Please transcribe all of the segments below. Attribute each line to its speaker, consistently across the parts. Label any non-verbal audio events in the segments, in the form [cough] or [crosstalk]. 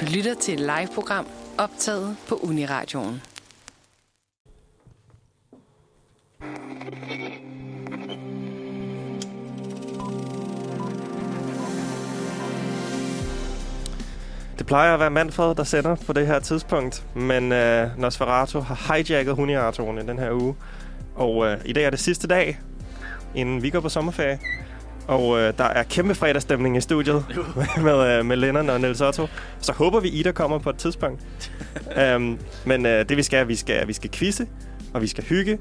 Speaker 1: Du lytter til et live-program optaget på Uniradioen.
Speaker 2: Det plejer at være Manfred, der sender på det her tidspunkt, men øh, Nosferatu har hijacket Huniaratoren i den her uge. Og øh, i dag er det sidste dag, inden vi går på sommerferie. Og øh, der er kæmpe fredagsstemning i studiet [laughs] med, øh, med Lennon og Niels Otto. Så håber vi, Ida kommer på et tidspunkt. øhm, men øh, det vi skal, er, vi skal, vi skal quizze, og vi skal hygge,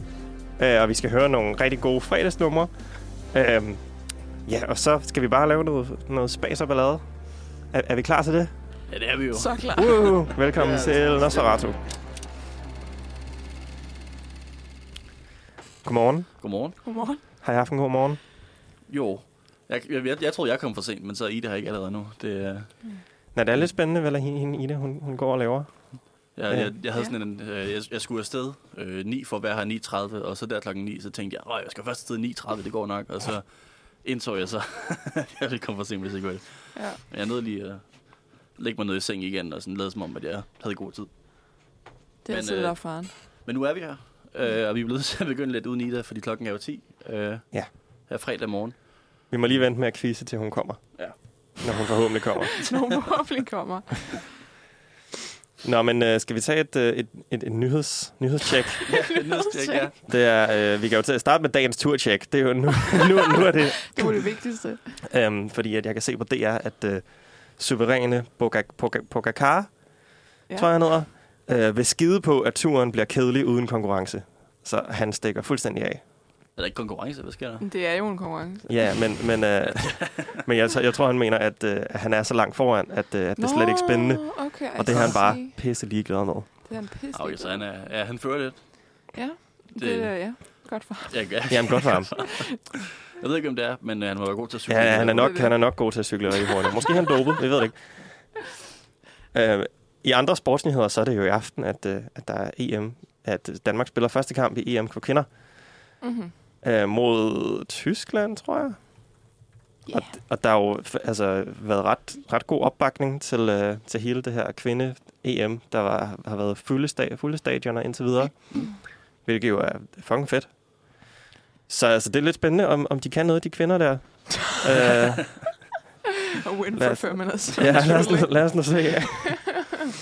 Speaker 2: øh, og vi skal høre nogle rigtig gode fredagsnumre. Øhm, ja, og så skal vi bare lave noget, noget spas og ballade. Er, er vi klar til det?
Speaker 3: Ja, det er vi jo.
Speaker 4: Så klar.
Speaker 2: Woo! Velkommen
Speaker 3: Ja,
Speaker 2: til Nosferatu. Godmorgen.
Speaker 3: Godmorgen.
Speaker 4: Godmorgen.
Speaker 2: Har I haft en god morgen?
Speaker 3: Jo. Jeg, jeg, jeg, jeg troede, jeg kom for sent, men så er Ida her ikke allerede nu. Det, øh,
Speaker 2: Nå, det er lidt spændende, hvad hende, hende Ida, hun, hun går og laver.
Speaker 3: jeg, jeg, jeg havde
Speaker 4: Ja.
Speaker 3: sådan en... Øh, jeg, jeg skulle afsted øh, 9 for at være her 9.30, og så der klokken 9, så tænkte jeg, "Åh, jeg skal først afsted 9.30, det går nok. Og så indså jeg så, [laughs] at jeg ville komme for sent, hvis jeg gjorde det.
Speaker 4: Ja.
Speaker 3: Men jeg nåede lige at lægge mig ned i seng igen, og sådan lade som om, at jeg havde god tid.
Speaker 4: Det er
Speaker 3: Men,
Speaker 4: altid
Speaker 3: øh,
Speaker 4: lidt faren. [laughs]
Speaker 3: Men nu er vi her, øh, og vi er blevet [laughs] til at begynde lidt uden Ida, fordi klokken er jo 10. Øh,
Speaker 2: Ja.
Speaker 3: Her fredag
Speaker 4: [laughs]
Speaker 3: morgen.
Speaker 2: Vi må lige vente med at quizze, til hun kommer.
Speaker 3: Ja. [laughs]
Speaker 2: Når hun forhåbentlig kommer.
Speaker 4: Nogle forhåbentlig kommer.
Speaker 2: Nå, men øh, skal vi tage et, øh, et, et, et nyheds, nyhedstjek?
Speaker 3: Ja, nødstjek, ja.
Speaker 2: Det er, øh, vi kan jo til at starte med dagens turtjek. Det er jo nu, nu, nu er det
Speaker 4: Det var det vigtigste.
Speaker 2: Øhm, fordi at jeg kan se på DR, at øh, suveræne Boga- Boga- Pogacar, ja.
Speaker 4: Ja.
Speaker 2: tror jeg han hedder, øh, vil skide på, at turen bliver kedelig uden konkurrence. Så han stikker fuldstændig af.
Speaker 3: Er der ikke konkurrence? Hvad sker der?
Speaker 4: Men Det er jo en konkurrence.
Speaker 2: Ja, men, men,
Speaker 4: [laughs]
Speaker 2: øh, men jeg, tror- jeg tror, han mener, at øh, at han er så langt foran, at, øh, at det er slet ikke spændende.
Speaker 4: Nå, Okay,
Speaker 2: Og det er
Speaker 4: kan
Speaker 2: han
Speaker 4: godt
Speaker 2: bare
Speaker 4: se.
Speaker 2: pisse ligeglad med.
Speaker 4: Det er han pisse.
Speaker 3: Okay, så han, er, ja, han fører lidt.
Speaker 4: Ja, det,
Speaker 3: Det-
Speaker 4: det er ja. Godt for ham.
Speaker 3: Jeg, jeg,
Speaker 2: Jamen, godt for ham.
Speaker 3: [laughs] jeg ved ikke, om det er, men øh, han må være god til at cykle.
Speaker 2: Ja, han er
Speaker 4: det er
Speaker 2: nok,
Speaker 4: det.
Speaker 2: han er nok god til at cykle rigtig hurtigt. Måske er han dopet, jeg ved det ikke. Øh, I andre sportsnyheder, så er det jo i aften, at, øh, at der er EM, at øh, Danmark spiller første kamp i E EM for kvinder
Speaker 4: Mm-hmm.
Speaker 2: øh, mod Tyskland, tror jeg.
Speaker 4: Ja.
Speaker 2: Og, og der har jo f- altså, været ret, ret god opbakning til, øh, til hele det her kvinde-EM, der var, har været fulde, sta- fulde stadioner indtil videre, hvilket jo er fucking fedt. Så altså, det er lidt spændende, om, om de kan noget, de kvinder der. øh,
Speaker 4: [laughs] Og win
Speaker 2: Lad
Speaker 4: for
Speaker 2: os-
Speaker 4: fem minutes.
Speaker 2: Ja, lad
Speaker 4: [laughs]
Speaker 2: os, nu- lad os nu se. Ja.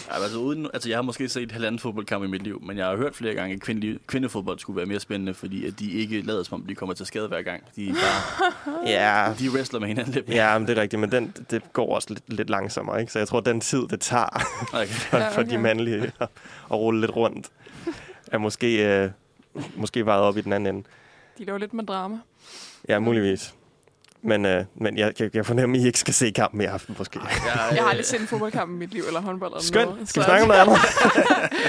Speaker 3: Ja, altså, uden, altså, jeg har måske set halvanden fodboldkamp i mit liv, men jeg har hørt flere gange, at kvindelig, kvindefodbold skulle være mere spændende, fordi at de ikke lader som om, de kommer til skade hver gang. De, er bare,
Speaker 2: Ja,
Speaker 3: de wrestler med hinanden lidt.
Speaker 2: ja men det er rigtigt, men den, det går også lidt, lidt langsommere, ikke? Så jeg tror, den tid, det tager
Speaker 3: Okay.
Speaker 2: for, [laughs]
Speaker 4: Ja,
Speaker 2: okay. for de
Speaker 4: okay.
Speaker 2: mandlige at, at rulle lidt rundt, er måske, øh, måske vejet op i den anden ende.
Speaker 4: De laver lidt med drama.
Speaker 2: Ja, muligvis. Men, øh, men jeg, jeg, jeg fornemmer, at I ikke skal se kampen i aften, måske.
Speaker 3: Jeg,
Speaker 4: Jeg har aldrig set en fodboldkamp i mit liv, eller håndbold eller noget.
Speaker 2: Skønt! Skal vi
Speaker 4: så-
Speaker 2: snakke om [laughs] noget andet?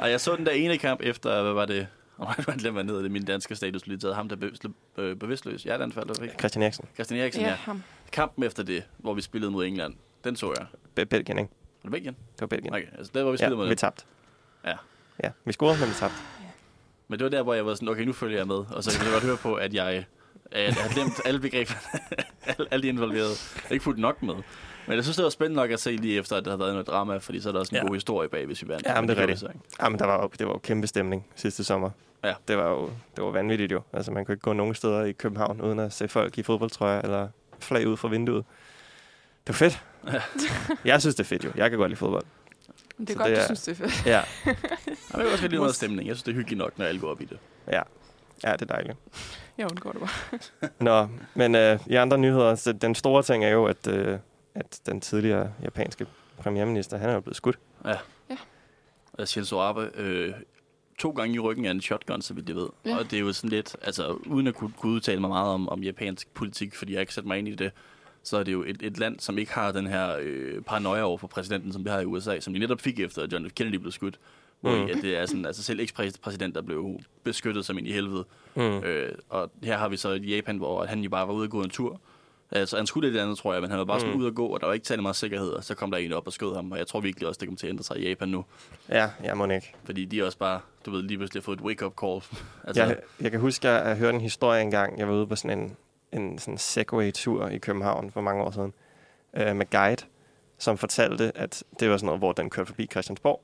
Speaker 3: Og jeg så den der ene kamp efter, hvad var det? Og [laughs] jeg glemte, hvad ned, det er min danske status lige taget. Ham, der bevidst, øh, bevidstløs. Jeg er den falder, ikke?
Speaker 2: Christian Eriksen.
Speaker 3: Christian Eriksen,
Speaker 4: Ja,
Speaker 3: ja.
Speaker 4: ham.
Speaker 3: Kampen efter det, hvor vi spillede mod England, den så jeg. Var
Speaker 2: Be- Belgien, ikke?
Speaker 3: det Belgien?
Speaker 2: Det var Belgien.
Speaker 3: Okay, altså der, hvor vi spillede
Speaker 2: Ja,
Speaker 3: mod
Speaker 2: vi
Speaker 3: dem.
Speaker 2: tabte.
Speaker 3: Ja.
Speaker 2: Ja, vi scorede, men vi tabte.
Speaker 3: Men det var der, hvor jeg var sådan, okay, nu følger jeg med. Og så kan jeg godt høre på, at jeg, at jeg har glemt alle begreberne, [laughs] alle, alle de involverede. Jeg har ikke fulgt nok med. Men jeg synes, det var spændende nok at se lige efter, at der har været noget drama, fordi så er der også en
Speaker 2: Ja.
Speaker 3: ja. god historie bag, hvis vi vandt.
Speaker 2: Ja, men det er
Speaker 3: gjorde vi
Speaker 2: rigtigt.
Speaker 3: så ikke.
Speaker 2: Ja, men der var jo, det var jo kæmpe stemning sidste sommer.
Speaker 3: Ja.
Speaker 2: Det var jo det var vanvittigt jo. Altså, man kunne ikke gå nogen steder i København, uden at se folk i fodboldtrøjer eller flag ud fra vinduet. Det var fedt. jeg synes, det er fedt jo. Jeg kan godt lide fodbold.
Speaker 4: Men Det er
Speaker 2: Så
Speaker 4: godt,
Speaker 2: det
Speaker 4: du
Speaker 2: er-
Speaker 4: synes, det er fedt. [laughs]
Speaker 2: Ja,
Speaker 3: Ja, men jeg kan også godt lide noget stemning. Jeg synes, det er hyggeligt nok, når alle går op i det.
Speaker 2: ja. ja det er dejligt.
Speaker 4: Jeg undgår det bare.
Speaker 2: Nå, men øh, i andre nyheder, så den store ting er jo, at, øh, at den tidligere japanske premierminister, han er jo blevet skudt.
Speaker 3: Ja.
Speaker 4: Ja.
Speaker 3: Og Shinzo Abe, øh, to gange i ryggen af en shotgun, så vidt jeg ved.
Speaker 4: Ja.
Speaker 3: Ja. Og det er jo sådan lidt, altså uden at kunne, kunne udtale mig meget om, om japansk politik, fordi jeg har ikke sat mig ind i det, så er det jo et, et land, som ikke har den her øh, paranoia over for præsidenten, som vi har i USA, som de netop fik efter, at John F. Kennedy blev skudt. Hvor
Speaker 2: Mm.
Speaker 3: mm. det er sådan, altså selv ekspræsident, der blev beskyttet som en i helvede.
Speaker 2: Mm.
Speaker 3: Øh, og her har vi så et Japan, hvor han jo bare var ude og gå en tur. Altså, han skulle lidt andet, tror jeg, men han var bare sådan
Speaker 2: Mm.
Speaker 3: ude og gå, og der var ikke særlig meget sikkerhed, og så kom der en op og skød ham, og jeg tror virkelig også, det kommer til at ændre sig i Japan nu,
Speaker 2: Ja, jeg må ikke.
Speaker 3: fordi de også bare, du ved, lige pludselig har fået et wake-up call. [laughs] altså,
Speaker 2: Jeg, jeg kan huske, at jeg hørte en historie engang. Jeg var ude på sådan en, en sådan Segway-tur i København for mange år siden øh, med guide. som fortalte, at det var sådan noget, hvor den kørte forbi Christiansborg.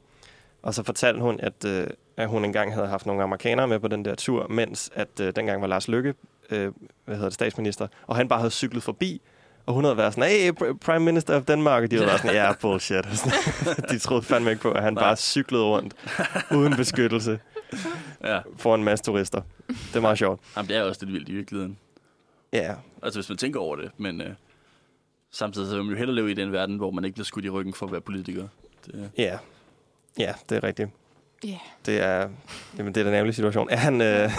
Speaker 2: Og så fortalte hun, at, øh, at hun engang havde haft nogle amerikanere med på den der tur, mens at øh, dengang var Lars Lykke, øh, hvad hedder det, statsminister, og han bare havde cyklet forbi, og hun havde været sådan, hey, pr- Prime Minister of Denmark, og de havde været sådan, ja, yeah, bullshit. [laughs] Og sådan. de troede fandme ikke på, at han
Speaker 3: Nej.
Speaker 2: bare cyklede rundt uden beskyttelse
Speaker 3: Ja,
Speaker 2: for en masse turister. Det er meget sjovt.
Speaker 3: Jamen, det er også lidt vildt i virkeligheden.
Speaker 2: Ja,
Speaker 3: Altså, hvis man tænker over det, men øh, samtidig så vil man jo hellere leve i den verden, hvor man ikke bliver skudt i ryggen for at være politiker. Det, øh.
Speaker 2: ja, ja, det er rigtigt.
Speaker 4: Ja.
Speaker 2: Det er, jamen, det er den ærgerlige situation. Er han, øh, [laughs] er,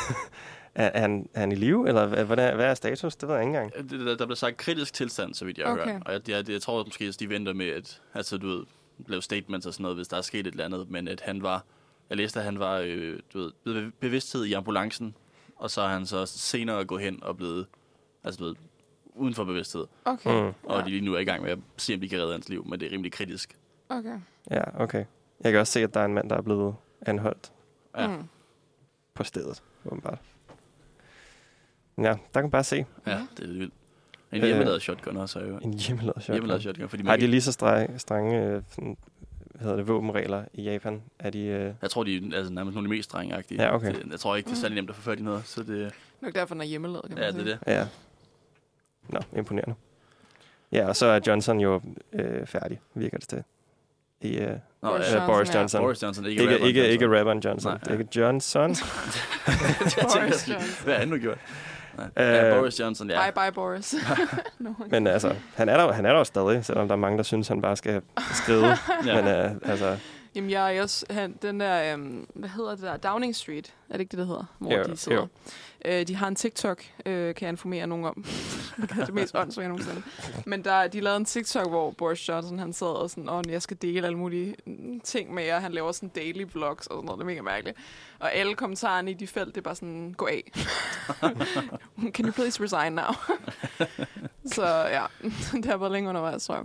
Speaker 2: er han, er han i live, eller hvad, hvad er, hvad er status? Det ved jeg ikke engang.
Speaker 3: det, der, der bliver sagt kritisk tilstand, så vidt jeg okay.
Speaker 4: Okay.
Speaker 3: hører. Og jeg, jeg, jeg tror måske, at de venter med, at altså, du ved, lave statements og sådan noget, hvis der er sket et eller andet, men at han var, jeg læste, at han var øh, du ved, ved bevidsthed i ambulancen, og så er han så senere gået hen og blevet, altså du ved, uden for bevidsthed.
Speaker 4: Okay.
Speaker 2: Mm.
Speaker 3: Og
Speaker 4: Ja.
Speaker 3: de lige nu er i gang med at se, om de kan redde hans liv, men det er rimelig kritisk.
Speaker 4: Okay.
Speaker 2: Ja, okay. Jeg kan også se, at der er en mand, der er blevet anholdt
Speaker 3: Ja.
Speaker 4: Mm.
Speaker 2: på stedet, åbenbart. Ja, der kan man bare se
Speaker 3: Ja,
Speaker 4: Ja.
Speaker 3: det er vildt. En
Speaker 2: Øh,
Speaker 3: hjemmelavet shotgun også er jo.
Speaker 2: en hjemmelavet shotgun.
Speaker 3: Hjemmelavet shotgun, fordi man
Speaker 2: Har de
Speaker 3: ikke,
Speaker 2: lige så strenge, strenge øh, sådan, hvad hedder det, våbenregler i Japan? Er de... Øh,
Speaker 3: jeg tror, de er altså, nærmest nogle af de mest drengagtige.
Speaker 2: Ja, okay.
Speaker 3: Det, jeg tror ikke, det er særlig nemt at få fat i noget, så det,
Speaker 4: Nok derfor, den er hjemmelavet, kan man
Speaker 3: ja, det er
Speaker 4: sige.
Speaker 3: det.
Speaker 2: ja. Nå, imponerende. Ja, og så er Johnson jo øh, færdig, virker det til. I, øh,
Speaker 3: Nå,
Speaker 4: Boris
Speaker 3: ja,
Speaker 2: øh, Boris
Speaker 4: Johnson, ja.
Speaker 2: Johnson.
Speaker 3: Boris Johnson, ikke,
Speaker 2: Ikke,
Speaker 3: rapperen
Speaker 2: ikke,
Speaker 3: Johnson.
Speaker 2: ikke rapperen Johnson. Nej,
Speaker 3: Nej,
Speaker 2: ja. Det er Johnson.
Speaker 3: [laughs] Jeg tænker
Speaker 4: Boris
Speaker 3: sådan,
Speaker 4: Johnson.
Speaker 3: Hvad er han nu gjort? Nej. Ja,
Speaker 2: Øh,
Speaker 3: Boris Johnson, ja.
Speaker 4: Bye bye,
Speaker 3: [laughs]
Speaker 4: Boris. no.
Speaker 2: Men altså, han er, der, jo- han er der jo stadig, selvom der er mange, der synes, han bare skal
Speaker 3: [laughs]
Speaker 2: skride.
Speaker 3: Ja.
Speaker 2: ja. Men øh, altså,
Speaker 4: Jamen, jeg er også... Han, den der... Øhm, hvad hedder det der? Downing Street. Er det ikke det, det hedder? Hvor
Speaker 2: Jo,
Speaker 4: de sidder.
Speaker 2: jo.
Speaker 4: Øh, de har en TikTok, øh, kan jeg informere nogen om. [laughs] det er det mest åndssvagt nogensinde. Men der, de lavede en TikTok, hvor Boris Johnson, han sad og sådan, åh, jeg skal dele alle mulige mm, ting med jer. Han laver sådan daily vlogs og sådan noget. Det er mega mærkeligt. Og alle kommentarerne i de felt, det er bare sådan, gå
Speaker 2: [laughs]
Speaker 4: af. Can you please resign now? [laughs] Så ja, [laughs] det har været længe undervejs, tror jeg.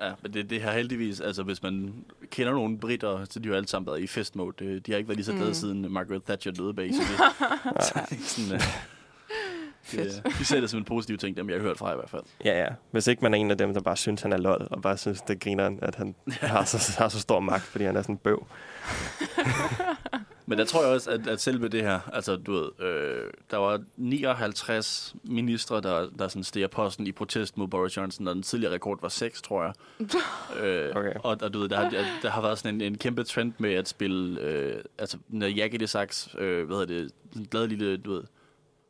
Speaker 3: ja, men det, det her heldigvis, altså hvis man kender nogle britter, så de har jo alle sammen været i festmode. Øh, De har ikke været lige så glade
Speaker 4: Mm.
Speaker 3: siden Margaret Thatcher døde bag. Så
Speaker 4: [laughs]
Speaker 3: det, så det er sådan, øh, det,
Speaker 4: Fedt.
Speaker 3: øh, de ser det som en positiv ting, dem jeg har hørt fra i hvert fald.
Speaker 2: ja, ja. Hvis ikke man er en af dem, der bare synes, han er lol, og bare synes, det griner han, at han har så, har så stor magt, fordi han er sådan en bøv.
Speaker 3: Men der tror jeg også, at, at selve det her, altså du ved, øh, der var 59 ministre, der, der sådan stiger posten i protest mod Boris Johnson, og den tidligere rekord var 6, tror jeg. Øh,
Speaker 2: Okay.
Speaker 3: og, og du ved, der, har- der, der har været sådan en, en kæmpe trend med at spille, øh, altså når Jack i det saks, øh, hvad hedder det, en glad lille, du ved,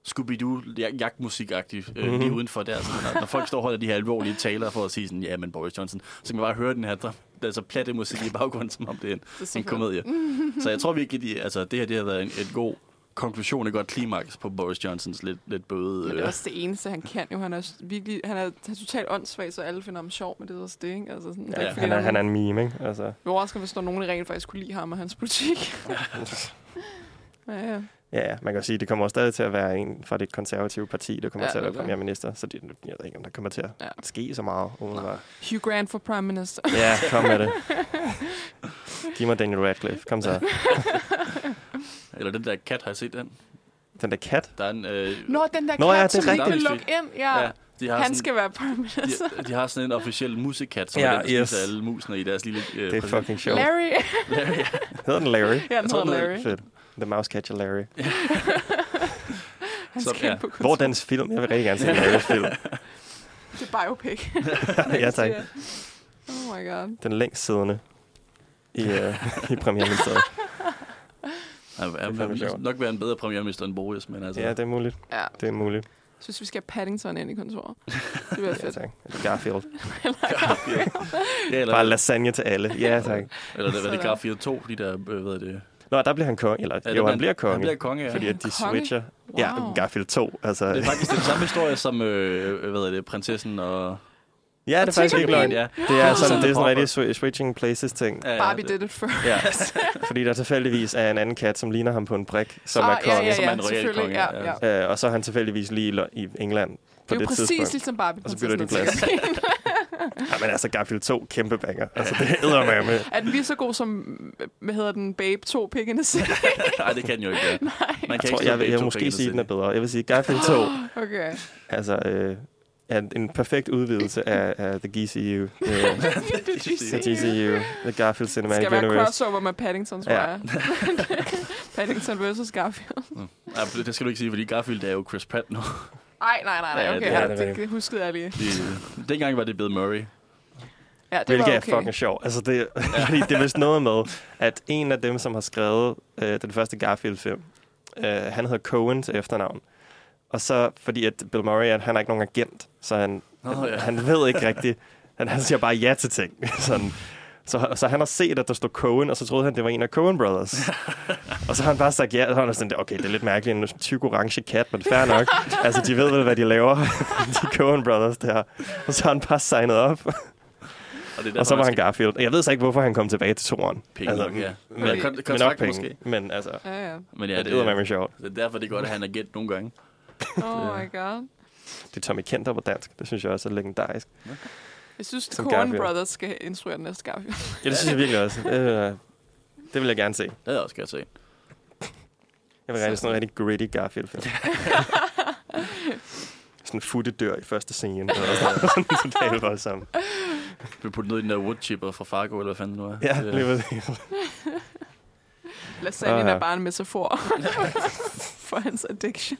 Speaker 3: Scooby-Doo, ja- jagtmusikagtig, øh, lige
Speaker 2: Mhm.
Speaker 3: udenfor der. Så når, når folk står og holder de her alvorlige taler for at sige sådan, ja, men Boris Johnson, så kan man bare høre den her, der, altså platte musik i baggrunden, som om det er en,
Speaker 4: er så
Speaker 3: en
Speaker 4: fedt. [laughs]
Speaker 3: komedie. Så jeg tror virkelig, de, altså, det her det har været en, et god konklusion, et godt klimaks på Boris Johnsons lidt, lidt bøde.
Speaker 4: Men det
Speaker 3: Øh,
Speaker 4: er også det eneste, han kan jo. Han er s- virkelig, han er, han er totalt åndssvag, så alle finder ham sjov, men det er også det, ikke? Altså, sådan, det
Speaker 2: Ja,
Speaker 4: er
Speaker 3: Ja,
Speaker 4: ikke,
Speaker 2: ja.
Speaker 4: fordi,
Speaker 2: Han, er, han er
Speaker 4: nogen-
Speaker 2: en meme, ikke? Altså,
Speaker 4: Det overrasker, hvis der er nogen, der rent faktisk kunne lide ham og hans
Speaker 2: [laughs]
Speaker 4: politik. ja, ja.
Speaker 2: ja, ja. man kan jo sige, det kommer stadig til at være en fra det konservative parti, der kommer
Speaker 4: Ja,
Speaker 2: ja, til at
Speaker 4: det
Speaker 2: være
Speaker 4: er det.
Speaker 2: premierminister, så det, jeg ved ikke, om der kommer til at
Speaker 4: Ja.
Speaker 2: ske så meget. umiddelbart.
Speaker 4: Hugh Grant for prime minister.
Speaker 2: Ja, kom med
Speaker 4: [laughs]
Speaker 2: det. Giv mig Daniel Radcliffe. Kom så.
Speaker 3: eller den der kat, har jeg set den?
Speaker 2: Den der kat.
Speaker 3: Der er en... Øh,
Speaker 4: Nå, den der
Speaker 2: Nå, ja,
Speaker 4: kat,
Speaker 2: det er
Speaker 4: som ikke
Speaker 2: rigtigt.
Speaker 4: kan lukke ind. Ja, ja
Speaker 3: de har
Speaker 4: han
Speaker 3: sådan,
Speaker 4: skal være prime minister.
Speaker 3: de, de har sådan en officiel musekat, som
Speaker 2: Ja,
Speaker 3: ja, er den, der
Speaker 2: yes.
Speaker 3: spiser alle musene i deres lille... Øh,
Speaker 2: Det er fucking sjovt.
Speaker 4: Larry.
Speaker 3: Larry, [laughs] ja.
Speaker 2: Hedder den Larry?
Speaker 4: ja, den
Speaker 3: tror,
Speaker 4: hedder
Speaker 3: den hedder-
Speaker 4: Larry.
Speaker 2: Fedt. The Mouse Catcher Larry.
Speaker 4: Han
Speaker 3: Som-
Speaker 4: skal
Speaker 3: ja.
Speaker 4: ja. på
Speaker 2: Hvor er
Speaker 4: kontor.
Speaker 2: dens film? Jeg vil rigtig gerne se Larrys
Speaker 4: [laughs]
Speaker 2: film. [laughs]
Speaker 4: Det er biopic.
Speaker 2: ja, tak.
Speaker 4: Oh my god.
Speaker 2: Den længst siddende i, uh, i premierministeriet.
Speaker 4: [laughs]
Speaker 3: Han, han,
Speaker 2: fandme
Speaker 3: han vil
Speaker 2: sjovt.
Speaker 3: nok være en bedre premierminister end Boris, men altså...
Speaker 2: Ja, det er muligt.
Speaker 4: Ja,
Speaker 2: Det er muligt.
Speaker 4: jeg synes, vi skal have Paddington ind i kontoret. Det bliver
Speaker 2: Ja,
Speaker 4: fedt. [laughs]
Speaker 2: tak. Eller Garfield. [laughs]
Speaker 3: ja, eller,
Speaker 2: Bare lasagne til alle. Ja, tak.
Speaker 3: eller det, hvad er det
Speaker 4: Sådan.
Speaker 3: Garfield 2, de der... Øh, hvad er det?
Speaker 2: Nå, der bliver han konge. Eller,
Speaker 3: Ja,
Speaker 2: ja, jo,
Speaker 3: den-
Speaker 2: han bliver konge.
Speaker 3: Han bliver konge, ja.
Speaker 2: Fordi at de
Speaker 4: Konge?
Speaker 2: switcher. Ja,
Speaker 4: Wow.
Speaker 2: Garfield 2. Altså,
Speaker 3: Det er faktisk den samme historie som, øh, hvad er det, prinsessen og...
Speaker 2: ja, det er faktisk ikke løgn.
Speaker 3: Ja, ja,
Speaker 2: Det er sådan,
Speaker 3: Sådan
Speaker 2: det er sådan
Speaker 3: popper.
Speaker 2: en rigtig swi- switching places ting.
Speaker 3: ja, [laughs]
Speaker 4: Barbie
Speaker 3: det.
Speaker 4: did it first.
Speaker 2: Ja,
Speaker 4: [laughs]
Speaker 2: fordi der tilfældigvis er en anden kat, som ligner ham på en brik, som er
Speaker 4: Ah,
Speaker 2: konge.
Speaker 4: Ja,
Speaker 3: som er
Speaker 4: ja, ja,
Speaker 3: en royal
Speaker 4: selvfølgelig.
Speaker 3: konge,
Speaker 4: Ja,
Speaker 3: ja.
Speaker 4: ja.
Speaker 2: Øh, og så er han tilfældigvis lige i Lo- i England på
Speaker 4: Det er
Speaker 2: det,
Speaker 4: jo præcis
Speaker 2: tidspunkt.
Speaker 4: ligesom Barbie.
Speaker 2: Og så bytter de plads. Ja, men altså, Garfield 2, kæmpe banger. Altså, det hedder man med.
Speaker 4: [laughs] Er den lige så god som, hvad hedder den, Babe 2 pikkende
Speaker 2: [laughs]
Speaker 3: Nej, det kan den jo ikke være. Man kan
Speaker 2: Jeg
Speaker 3: ikke
Speaker 2: tror,
Speaker 3: slå
Speaker 2: jeg, vil, jeg
Speaker 3: begge
Speaker 2: vil
Speaker 3: to
Speaker 2: måske
Speaker 3: penge til
Speaker 4: [gasps]
Speaker 2: sige, at den er
Speaker 3: siden.
Speaker 2: bedre. Jeg vil sige, Garfield 2,
Speaker 4: Okay.
Speaker 2: altså, øh, er en perfekt udvidelse af, af The GCU.
Speaker 4: [laughs]
Speaker 2: The,
Speaker 4: det er
Speaker 2: øh, the
Speaker 4: DC.
Speaker 2: GCU, The Garfield Cinematic
Speaker 4: Skal være
Speaker 2: Universe.
Speaker 4: crossover med Paddington, tror
Speaker 2: Ja.
Speaker 4: jeg. [laughs] Paddington versus Garfield.
Speaker 3: Ja, for det, det skal du ikke sige, fordi Garfield er jo Chris Pratt nu. [laughs]
Speaker 4: Ej, nej, nej,
Speaker 3: Ja,
Speaker 4: nej, okay.
Speaker 3: det er
Speaker 4: Ja,
Speaker 2: det
Speaker 4: det,
Speaker 2: rigtigt.
Speaker 4: det huskede jeg lige.
Speaker 3: Det, dengang var det Bill Murray.
Speaker 4: Ja, det
Speaker 2: Hvilket
Speaker 4: var
Speaker 2: er
Speaker 4: okay.
Speaker 2: fucking sjovt. Altså det, [laughs] fordi det er vist noget med, at en af dem, som har skrevet øh, den første Garfield-film, øh, han hedder Cohen til efternavn. Og så fordi, at Bill Murray, at han har ikke nogen agent, så han,
Speaker 3: Nå,
Speaker 2: han,
Speaker 3: ja.
Speaker 2: [laughs] han ved ikke rigtigt. Han, han siger bare ja til ting. [laughs] Sådan. Så, så han har set, at der stod Cohen, og så troede han, det var en af Cohen
Speaker 3: [laughs]
Speaker 2: Brothers. og så har han bare sagt ja, og så har han sådan, okay, det er lidt mærkeligt, en tyk orange kat, men fair nok. altså, de ved vel, hvad de laver, [laughs] de Cohen Brothers der. Og så har han bare signet op.
Speaker 3: Og, det er derfor,
Speaker 2: Og så var
Speaker 3: man
Speaker 2: han
Speaker 3: skal
Speaker 2: Garfield. Jeg ved så ikke, hvorfor han kom tilbage til toren.
Speaker 3: penge altså, nok, ja.
Speaker 2: Men,
Speaker 3: Men,
Speaker 2: men,
Speaker 3: kon-
Speaker 2: men
Speaker 3: kontrakt
Speaker 2: nok
Speaker 3: men
Speaker 2: penge.
Speaker 3: måske.
Speaker 2: Men altså, ja,
Speaker 4: Ja, ja.
Speaker 3: Men ja,
Speaker 2: det,
Speaker 3: det,
Speaker 2: det er
Speaker 3: er,
Speaker 2: med sjovt.
Speaker 3: det er derfor, det er godt, at han er gæt nogle gange.
Speaker 4: Oh my god.
Speaker 2: Det er Tommy Kenter på dansk. Det synes jeg også er legendarisk.
Speaker 4: Jeg synes,
Speaker 2: Som
Speaker 4: Coen
Speaker 2: Garfield.
Speaker 4: Brothers skal instruere den næste
Speaker 2: [laughs]
Speaker 4: Garfield.
Speaker 2: Ja, det synes jeg virkelig også. Øh, det vil jeg gerne se.
Speaker 3: Det er også godt at se.
Speaker 2: Jeg vil gerne se sådan en rigtig gritty
Speaker 3: [laughs]
Speaker 2: Garfield-film. sådan en futte dør i første scene. Og sådan totalt voldsomt.
Speaker 3: Vi putter ned i den der woodchipper fra Fargo, eller hvad fanden nu er. Øh,
Speaker 2: Ja,
Speaker 3: Det-
Speaker 2: lige præcis.
Speaker 4: Lasagne
Speaker 2: Ah.
Speaker 4: er bare en metafor [laughs] for hans addiction.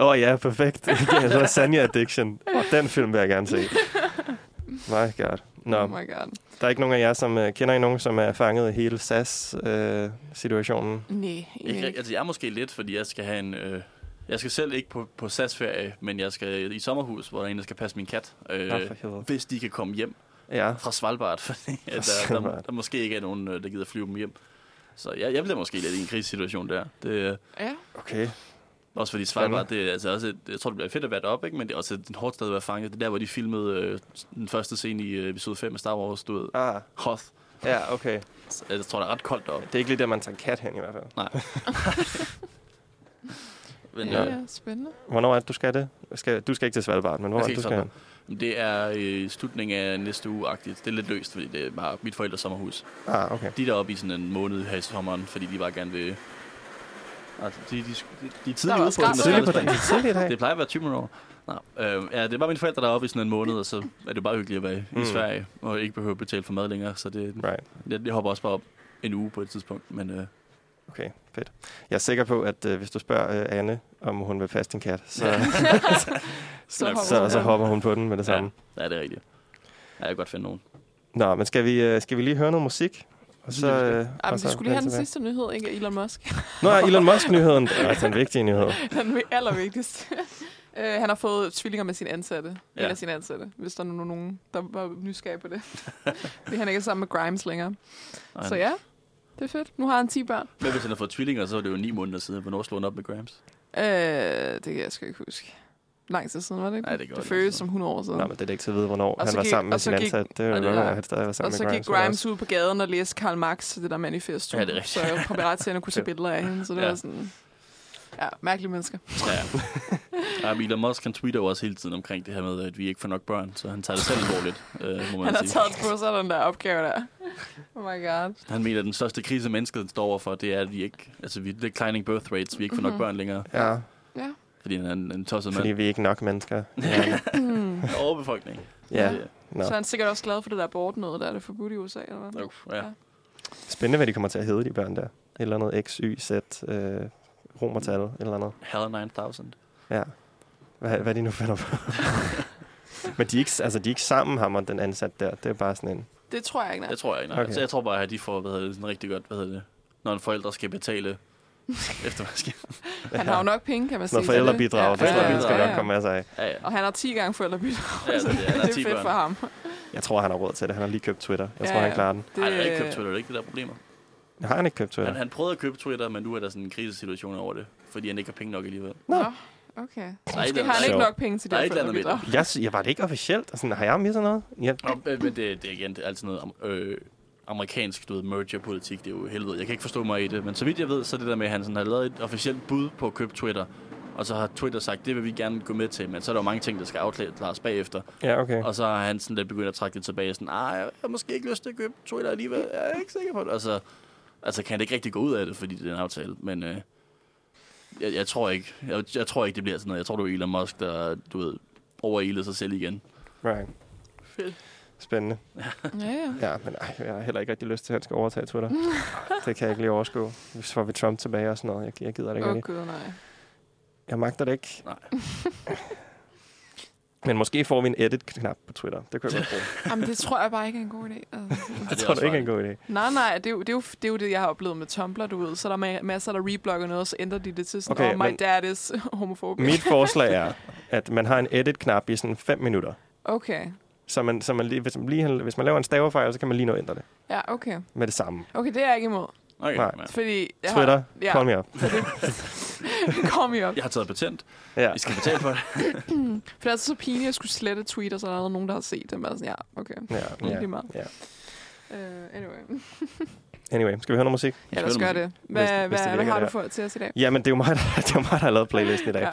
Speaker 2: Åh oh, ja, perfekt. Ja, Lasagne Addiction. Og den film vil jeg gerne
Speaker 3: [laughs]
Speaker 2: se. My God. Nå,
Speaker 4: Oh my god.
Speaker 2: der er ikke nogen af jer, som uh, kender I nogen, som er fanget i hele øh, SAS-situationen?
Speaker 4: Nej,
Speaker 3: Ikke,
Speaker 4: ikke.
Speaker 3: rigtig. altså, jeg er måske lidt, fordi jeg skal have en... Øh, jeg skal selv ikke på, på SAS-ferie, men jeg skal i sommerhus, hvor der er en, der skal passe min kat. Øh,
Speaker 2: Nå, for helvede.
Speaker 3: hvis de kan komme hjem
Speaker 2: Ja.
Speaker 3: fra Svalbard, [laughs] fordi at der, der, der,
Speaker 2: Svalbard.
Speaker 3: der måske ikke er nogen, øh, der gider flyve dem hjem. Så jeg, jeg bliver måske lidt i en krisesituation der. Det, øh,
Speaker 4: Ja.
Speaker 2: Okay.
Speaker 3: også fordi Svalbard, det er altså også et, jeg tror, det bliver fedt at være deroppe, ikke? men det er også et hårdt sted at være fanget. Det er der, hvor de filmede øh, den første scene i øh, episode 5 af Star Wars, du ved,
Speaker 2: Ah,
Speaker 3: Hoth.
Speaker 2: ja, okay.
Speaker 3: Så Jeg tror, det er ret koldt deroppe.
Speaker 2: Det er ikke lige der, man tager en kat hen i hvert fald.
Speaker 3: Men,
Speaker 4: Ja,
Speaker 3: øh,
Speaker 4: ja, spændende.
Speaker 2: Hvornår er det, du skal det? Skal, du skal ikke til Svalbard, men hvor er
Speaker 3: Jeg
Speaker 2: det, du
Speaker 3: skal
Speaker 2: skal hen?
Speaker 3: ikke Det er øh, slutningen af næste uge-agtigt. Det er lidt løst, fordi det er bare mit forældres sommerhus.
Speaker 2: Ah, okay.
Speaker 3: De er deroppe i sådan en måned her i sommeren, fordi de bare gerne vil... Altså, de, de, de, de er tidligt ude på
Speaker 4: også
Speaker 3: den
Speaker 4: græs.
Speaker 2: Tidlig på
Speaker 3: der
Speaker 2: dagen. Tidlig i dag.
Speaker 3: Det plejer at være 20 år. Nej, øh, ja, det er bare mine forældre, der er oppe i sådan en måned, og så er det bare hyggeligt at være mm.
Speaker 2: Mm.
Speaker 3: i Sverige, og ikke behøve at betale for mad længere, så det,
Speaker 2: Right.
Speaker 3: jeg, jeg hopper også bare op en uge på et tidspunkt, men øh,
Speaker 2: Okay, fedt. Jeg er sikker på, at øh, hvis du spørger øh, Anne, om hun vil passe din kat, [laughs] så,
Speaker 4: Så
Speaker 3: nok-
Speaker 4: hopper
Speaker 2: så,
Speaker 4: hun
Speaker 2: så
Speaker 4: på.
Speaker 2: hopper hun på den med det samme.
Speaker 3: ja, det er rigtigt. Ja, jeg kan godt finde nogen.
Speaker 2: Nå, men skal vi, øh, skal vi lige høre noget musik? Og så,
Speaker 3: Lige
Speaker 2: øh,
Speaker 4: Ej,
Speaker 2: og
Speaker 4: Ah, men
Speaker 2: så
Speaker 4: vi skulle lige have den
Speaker 2: tilbage.
Speaker 4: sidste nyhed, ikke? af Elon Musk. [laughs]
Speaker 2: Nå, ja, Elon Musk-nyheden. Det er altså en vigtig nyhed.
Speaker 4: Den vi- allervigtigste. [laughs] Uh, han har fået tvillinger med sin ansatte. Ja.
Speaker 3: Ja.
Speaker 4: En af sine ansatte, hvis der nu er nogen, der var nysgerrige på det. [laughs] Fordi han ikke er sammen med Grimes længere.
Speaker 3: Og
Speaker 4: Så
Speaker 3: han-
Speaker 4: ja, det er fedt. Nu har han 10 børn.
Speaker 3: Men hvis han har fået tvillinger, så er det jo ni måneder siden. Hvornår slog han op med Grams?
Speaker 4: Øh, det kan jeg sgu ikke huske. Lang tid siden, var det ikke?
Speaker 3: Nej, det kan
Speaker 4: det
Speaker 3: godt
Speaker 4: føles
Speaker 3: være.
Speaker 4: som 100 år siden.
Speaker 2: Nå, men det er da ikke til at vide, hvornår
Speaker 4: Og
Speaker 2: han
Speaker 4: så
Speaker 2: var
Speaker 4: gik-
Speaker 2: sammen med
Speaker 4: og så
Speaker 2: sin
Speaker 4: gik-
Speaker 2: ansat. Det er jo
Speaker 3: og det-
Speaker 2: godt,
Speaker 4: ja.
Speaker 2: at han stadig var
Speaker 4: og
Speaker 2: sammen
Speaker 4: så
Speaker 2: med
Speaker 4: gik
Speaker 2: Grimes. men
Speaker 4: Grimes ud på gaden og læste Karl Marx, det der manifest.
Speaker 3: Ja, det er rigtigt.
Speaker 4: Så paparazzierne kunne tage billeder af hende, så det
Speaker 3: Ja.
Speaker 4: ja. var sådan... Ja, mærkelige mennesker.
Speaker 3: Ja. ja. men Elon Musk, han tweeter jo også hele tiden omkring det her med, at vi ikke får nok børn, så han tager det selv alvorligt, øh, må man
Speaker 4: Han har
Speaker 3: sige.
Speaker 4: taget på sig den der opgave der. Oh my god.
Speaker 3: Han mener, at den største krise, mennesket står overfor, det er, at vi ikke... Altså, vi declining birth rates, vi ikke får nok
Speaker 4: Mhm.
Speaker 3: børn længere,
Speaker 2: Ja,
Speaker 4: Ja.
Speaker 3: fordi han er en, en tosset
Speaker 2: fordi
Speaker 3: mand.
Speaker 2: vi er ikke nok
Speaker 3: [laughs]
Speaker 2: mennesker.
Speaker 3: Hmm.
Speaker 4: Mm.
Speaker 3: Overbefolkning.
Speaker 2: Ja,
Speaker 3: Det-
Speaker 2: Nå.
Speaker 4: Så er han sikkert også glad for det der abort noget, der er det forbudt i USA, eller hvad?
Speaker 3: Uff, ja.
Speaker 2: Spændende, hvad de kommer til at hedde, de børn der. Et eller andet X, Y, Z, øh, romertal, et eller andet.
Speaker 3: Hell 9000.
Speaker 2: Ja. Hvad, hvad de nu finder
Speaker 3: [laughs]
Speaker 2: på. Men de er, ikke, altså, de er ikke sammen, ham og den ansat der. Det er bare sådan en...
Speaker 4: Det tror jeg ikke, nej.
Speaker 3: Det tror jeg ikke. Okay.
Speaker 2: Okay.
Speaker 3: Altså, jeg tror bare, at de får, hvad hedder det, sådan rigtig godt, hvad hedder det, når en forældre skal betale [laughs] efter man skal.
Speaker 4: Han har jo nok penge, kan man sige.
Speaker 2: Noget
Speaker 4: så det-
Speaker 2: forældrebidrag, det tror jeg, vi
Speaker 3: ja,
Speaker 2: skal
Speaker 3: ja.
Speaker 2: nok komme af sig af.
Speaker 3: Ja, ja.
Speaker 4: Og han har 10 gange forældrebidrag,
Speaker 3: Ja,
Speaker 4: så
Speaker 3: det er- han har
Speaker 4: det
Speaker 3: 10
Speaker 4: er fedt
Speaker 3: børn.
Speaker 4: for ham.
Speaker 2: Jeg tror, han har råd til det. Han har lige købt Twitter. Jeg
Speaker 4: Ja,
Speaker 2: tror, han
Speaker 4: ja.
Speaker 2: klarer den.
Speaker 3: Ej, han har ikke købt Twitter, det er ikke det der er problemer.
Speaker 2: Har han ikke købt Twitter?
Speaker 3: Han, han prøvede at købe Twitter, men nu er der sådan en krisesituation over det, fordi han ikke har penge nok alligevel.
Speaker 2: Nå.
Speaker 4: Nå, okay.
Speaker 3: er et
Speaker 4: Måske
Speaker 3: eller
Speaker 4: har han ikke
Speaker 2: andet.
Speaker 4: nok penge til
Speaker 3: Der
Speaker 4: det
Speaker 3: er
Speaker 4: her
Speaker 3: et eller andet med
Speaker 4: forældrebidrag.
Speaker 2: Jeg, sy- jeg var det ikke officielt. Altså, har jeg misset noget? Jeg,
Speaker 3: Nå, men men det, det er igen, det er altid noget am- øh, amerikansk, du ved, merger-politik, det er jo helvede. Jeg kan ikke forstå mig i det, men så vidt jeg ved, så er det der med, at han sådan har lavet et officielt bud på at købe Twitter, og så har Twitter sagt, det vil vi gerne gå med til, men så er der jo mange ting, der skal afklares bagefter.
Speaker 2: ja, okay.
Speaker 3: Og så har han sådan lidt begyndt at trække det tilbage, sådan, nej, jeg har måske ikke lyst til at købe Twitter alligevel, jeg er ikke sikker på det. Og så altså, kan det ikke rigtig gå ud af det, fordi det er en aftale, men øh, jeg, jeg, tror ikke, jeg, jeg, tror ikke, det bliver sådan noget. Jeg tror, det er Elon Musk, der, du ved, overilede sig selv igen.
Speaker 2: Right.
Speaker 4: Fedt.
Speaker 2: Spændende.
Speaker 4: Ja, ja.
Speaker 2: Ja, men ej, jeg har heller ikke rigtig lyst til, at han skal overtage Twitter. det kan jeg ikke lige overskue. Så får vi Trump tilbage og sådan noget. Jeg, jeg gider det ikke.
Speaker 4: Åh, oh,
Speaker 2: Okay.
Speaker 4: gud, nej.
Speaker 2: Jeg magter det ikke.
Speaker 3: Nej.
Speaker 2: [laughs] Men måske får vi en edit-knap på Twitter. Det kunne jeg godt bruge.
Speaker 4: Jamen, det tror jeg bare ikke er en god idé. Altså.
Speaker 3: Ej,
Speaker 2: Det
Speaker 3: er
Speaker 2: tror
Speaker 3: også
Speaker 2: du ikke er en
Speaker 3: farligt.
Speaker 2: god idé.
Speaker 4: Nej, nej, det er, jo, det, er jo, det er jo det, jeg har oplevet med Tumblr, du ved. Så er der er masser, der reblogger noget, og så ændrer de det til sådan,
Speaker 2: Okay,
Speaker 4: okay, oh, my
Speaker 2: men-
Speaker 4: dad is homofobisk.
Speaker 2: Mit forslag er, at man har en edit-knap i sådan 5 minutter.
Speaker 4: Okay.
Speaker 2: Så, man, så man lige, hvis, man lige, hvis man laver en stavefejl, så kan man lige nå at ændre det
Speaker 4: Ja, okay.
Speaker 2: med det samme.
Speaker 4: Okay, det er jeg ikke imod.
Speaker 3: Okay,
Speaker 2: Nej.
Speaker 3: ja.
Speaker 4: Fordi jeg
Speaker 2: Twitter,
Speaker 4: [laughs] Har,
Speaker 2: ja.
Speaker 4: ja,
Speaker 2: call me up.
Speaker 4: kom jo.
Speaker 3: Jeg har taget patent. [laughs]
Speaker 2: Ja.
Speaker 3: I skal betale for det.
Speaker 4: For det er så pinligt, at jeg skulle slette tweet, og så er der allerede nogen, der har set dem. Altså, ja, okay.
Speaker 2: Ja,
Speaker 4: Lige
Speaker 2: ja,
Speaker 4: meget.
Speaker 2: ja.
Speaker 4: Uh, anyway.
Speaker 2: Anyway, skal vi høre noget musik?
Speaker 4: Ja, lad os gøre det. Hvad,
Speaker 2: Hvis- hvis det
Speaker 4: hvad, hvad
Speaker 2: virker,
Speaker 4: har
Speaker 2: det
Speaker 4: du
Speaker 2: her.
Speaker 4: for til os i dag?
Speaker 2: Jamen, det er jo mig, der, [laughs] det er jo mig, der har lavet playlisten i dag.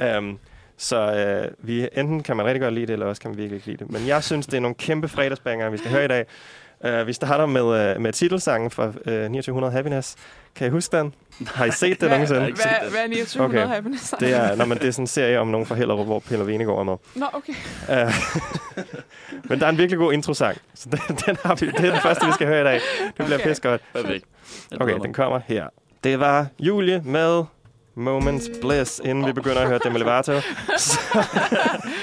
Speaker 2: Ja. Um, så øh, vi, enten kan man rigtig godt lide det, eller også kan man virkelig ikke lide det. Men jeg synes, det er nogle kæmpe fredagsbanger, vi skal høre i dag. Uh, vi starter med, uh, med titelsangen fra uh, 2900 Happiness. Kan I huske den? Har I set det
Speaker 4: Hvad-
Speaker 2: nogensinde?
Speaker 3: ikke set
Speaker 4: Hvad,
Speaker 3: det.
Speaker 4: hvad er 2900
Speaker 2: Okay.
Speaker 4: okay. happiness?
Speaker 2: Det er, når man, det er sådan en serie om nogen fra Hellerup, hvor Pelle Venegård er med.
Speaker 4: [laughs] Nå, okay.
Speaker 2: Øh, [laughs] Men der er en virkelig god introsang, så den, den har vi, det er den første, vi skal høre i dag. Det bliver okay.
Speaker 4: Okay.
Speaker 2: pisse godt.
Speaker 3: Perfekt. Jeg
Speaker 2: Okay,
Speaker 3: glæder mig.
Speaker 2: den kommer her. Det var Julie med Moments Bliss, inden vi begynder at høre Demi Lovato.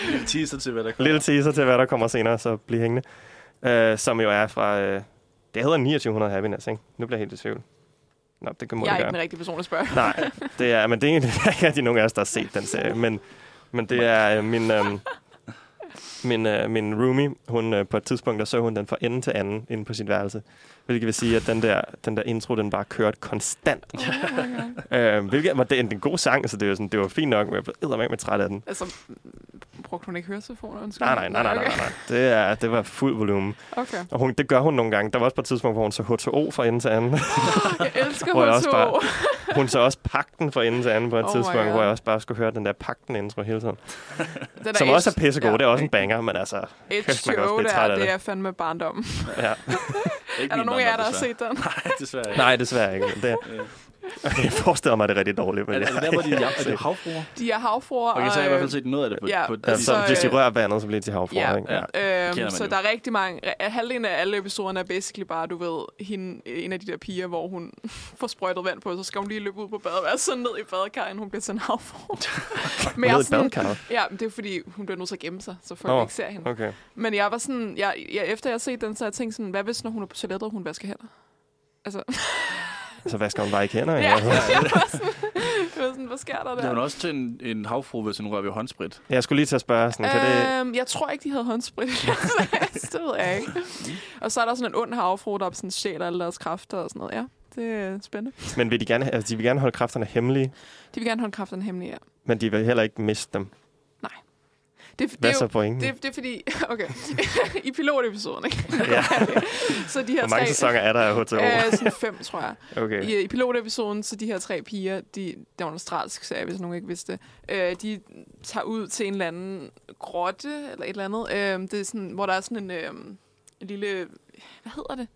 Speaker 3: Lille teaser til, hvad der kommer.
Speaker 2: Lille teaser til, hvad der kommer senere, så bliv hængende. Uh, som jo er fra... Uh, det hedder 2900 Happiness, ikke? Nu bliver jeg helt i tvivl. Nå, det kan må
Speaker 4: Jeg er
Speaker 2: det
Speaker 4: ikke
Speaker 2: gøre.
Speaker 4: den rigtige person
Speaker 2: [laughs]
Speaker 4: at spørge.
Speaker 2: Nej, det er, men det er egentlig [laughs] der er ikke rigtig nogen af os, der har set den serie. Men, men det er øh, min, øh, min, øh, min roomie, hun øh, på et tidspunkt, der så hun den fra ende til anden inde på sit værelse. Hvilket vil sige, at den der, den der intro, den bare kørte konstant.
Speaker 4: Oh my God.
Speaker 2: Øh, hvilket var det er en, en god sang, så det var, sådan, det var fint nok, men jeg blev eddermame med træt af den.
Speaker 4: Altså, brugte hun ikke høretelefoner? Undskyld.
Speaker 2: Nej, nej, nej, nej, nej,
Speaker 4: Okay.
Speaker 2: nej. Det, er, det var fuld volumen.
Speaker 4: okay.
Speaker 2: Og hun, det gør hun nogle gange. Der var også på et tidspunkt, hvor hun så H2O fra ende til anden. [laughs]
Speaker 4: Jeg elsker
Speaker 2: Hvor jeg
Speaker 4: hun
Speaker 2: også
Speaker 4: så.
Speaker 2: bare- Hun så også pakten fra ende til anden på et
Speaker 4: Oh
Speaker 2: oh
Speaker 4: my
Speaker 2: tidspunkt,
Speaker 4: God.
Speaker 2: hvor jeg også bare skulle høre den der pakten intro hele tiden.
Speaker 4: Den der
Speaker 2: Som også
Speaker 4: H-
Speaker 2: er pissegod. Ja.
Speaker 4: ja.
Speaker 2: Det er også en banger, men altså... Kæft, man kan også
Speaker 4: H2O
Speaker 2: blive træt
Speaker 4: der,
Speaker 2: af
Speaker 4: det
Speaker 2: det.
Speaker 4: er fandme barndom.
Speaker 2: Ja.
Speaker 3: Ikke
Speaker 4: Er der
Speaker 3: min
Speaker 4: nogen af jer, der
Speaker 3: barndom,
Speaker 4: har set den?
Speaker 3: desværre. Nej, [laughs] desværre ikke.
Speaker 2: Nej, desværre ikke. men Det,
Speaker 3: Øh,
Speaker 2: jeg forestiller mig, det er rigtig dårligt. Men
Speaker 3: Er,
Speaker 2: jeg,
Speaker 3: er det der, hvor [laughs] de er, er det havfruer?
Speaker 4: De er havfruer.
Speaker 3: Okay, så har jeg i
Speaker 4: og,
Speaker 3: hvert fald set noget af det på,
Speaker 4: ja,
Speaker 3: på
Speaker 2: ja,
Speaker 4: så,
Speaker 2: så, hvis de
Speaker 4: øh,
Speaker 2: rører vandet, så bliver de til havfruer.
Speaker 4: ja,
Speaker 2: ikke? Ja.
Speaker 3: kender
Speaker 4: Øhm,
Speaker 3: man
Speaker 4: så
Speaker 3: jo.
Speaker 4: der er rigtig mange. Halvdelen af alle episoderne er basically bare, du ved, hende, øh, en af de der piger, hvor hun [laughs] får sprøjtet vand på, så skal hun lige løbe ud på badeværelset sådan ned i badekarren, hun bliver sådan
Speaker 3: [laughs]
Speaker 4: havfru. Men jeg
Speaker 2: Ned
Speaker 4: er
Speaker 2: i badekarret?
Speaker 4: Ja, men det er fordi, hun bliver nødt til at gemme sig, så folk
Speaker 2: Nå,
Speaker 4: oh, ikke ser hende. Okay.
Speaker 2: Okay.
Speaker 4: Men jeg var sådan, jeg, jeg, efter jeg har set den, så har jeg tænkt sådan, hvad hvis, når hun er på toilettet, og hun vasker hænder? [laughs] Altså,
Speaker 2: Så hvad skal hun bare ikke hænder?
Speaker 4: ja,
Speaker 2: Ja.
Speaker 4: jeg var sådan, jeg var sådan, hvad sker der
Speaker 3: Det er
Speaker 4: der?
Speaker 3: jo også til en, en havfru, hvis hun rører ved håndsprit.
Speaker 2: Jeg skulle lige til at spørge, sådan, kan det...
Speaker 4: Øhm, jeg tror ikke, de havde håndsprit.
Speaker 2: [laughs]
Speaker 4: det ved jeg ikke. Og så er der sådan en ond havfru, der sådan stjæler alle deres kræfter og sådan noget. Ja, det er spændende.
Speaker 2: Men vil de, gerne, altså, de vil gerne holde kræfterne hemmelige,
Speaker 4: De vil gerne holde kræfterne hemmelige, ja.
Speaker 2: men de vil heller ikke miste dem.
Speaker 4: Det, det,
Speaker 2: Hvad
Speaker 4: er
Speaker 2: så
Speaker 4: jo,
Speaker 2: pointen?
Speaker 4: det, det er fordi, [laughs] okay, i pilotepisoden, ikke?
Speaker 2: [laughs] ja.
Speaker 4: Så de her
Speaker 2: Hvor mange
Speaker 4: [laughs] tre,
Speaker 2: sæsoner er der af H2O?
Speaker 4: Øh, sådan fem, tror jeg.
Speaker 2: Okay.
Speaker 4: I, I pilotepisoden, så de her tre piger, de, der var en australsk serie, hvis nogen ikke vidste det, øh, de tager ud til en eller anden grotte, eller et eller andet, øh, det er sådan, hvor der er sådan en, øh, en lille, hvad hedder det?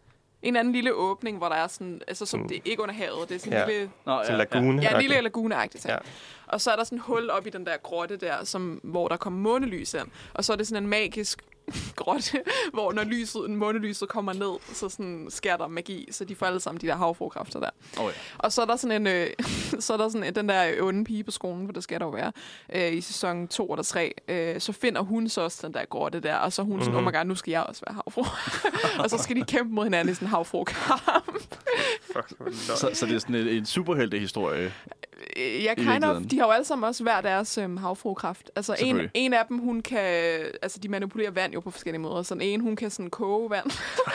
Speaker 4: En eller anden lille åbning, hvor der er sådan, altså som
Speaker 2: Mm.
Speaker 4: det er ikke under havet, det er sådan
Speaker 2: Ja.
Speaker 4: en lille,
Speaker 3: Nå,
Speaker 2: Til lagune.
Speaker 4: ja, en lille
Speaker 2: Okay.
Speaker 4: laguneagtig ting.
Speaker 2: Ja.
Speaker 4: Ja. Og så er der sådan et hul op i den der grotte der, som, hvor der kommer månelys ind. Og så er det sådan en magisk [laughs] grotte, hvor når lyset, månelyset kommer ned, så sådan sker der magi, så de får alle sammen de der havfrukræfter der.
Speaker 3: Oh, ja.
Speaker 4: Og så er der sådan en, øh, [laughs] så er der sådan en, den der onde pige på skolen, for det skal der jo være, øh, i sæson 2 eller 3, øh, så finder hun så også den der grotte der, og så er hun sådan,
Speaker 2: Mhm.
Speaker 4: oh my god, nu skal jeg også være havfru. [laughs] og så skal de kæmpe mod hinanden i sådan en havfrukamp.
Speaker 2: Fuck, hvor lort.
Speaker 3: Så, så det er sådan en, en superheltehistorie.
Speaker 4: Øh, Jeg
Speaker 3: I
Speaker 4: kind of,
Speaker 3: virkeligheden.
Speaker 4: de har jo alle sammen også hver deres øhm, havfrukraft. Altså en,
Speaker 3: Selvfølgelig.
Speaker 4: en af dem, hun kan, altså de manipulerer vand jo på forskellige måder. Så den ene, hun kan sådan
Speaker 3: [laughs]
Speaker 4: koge vand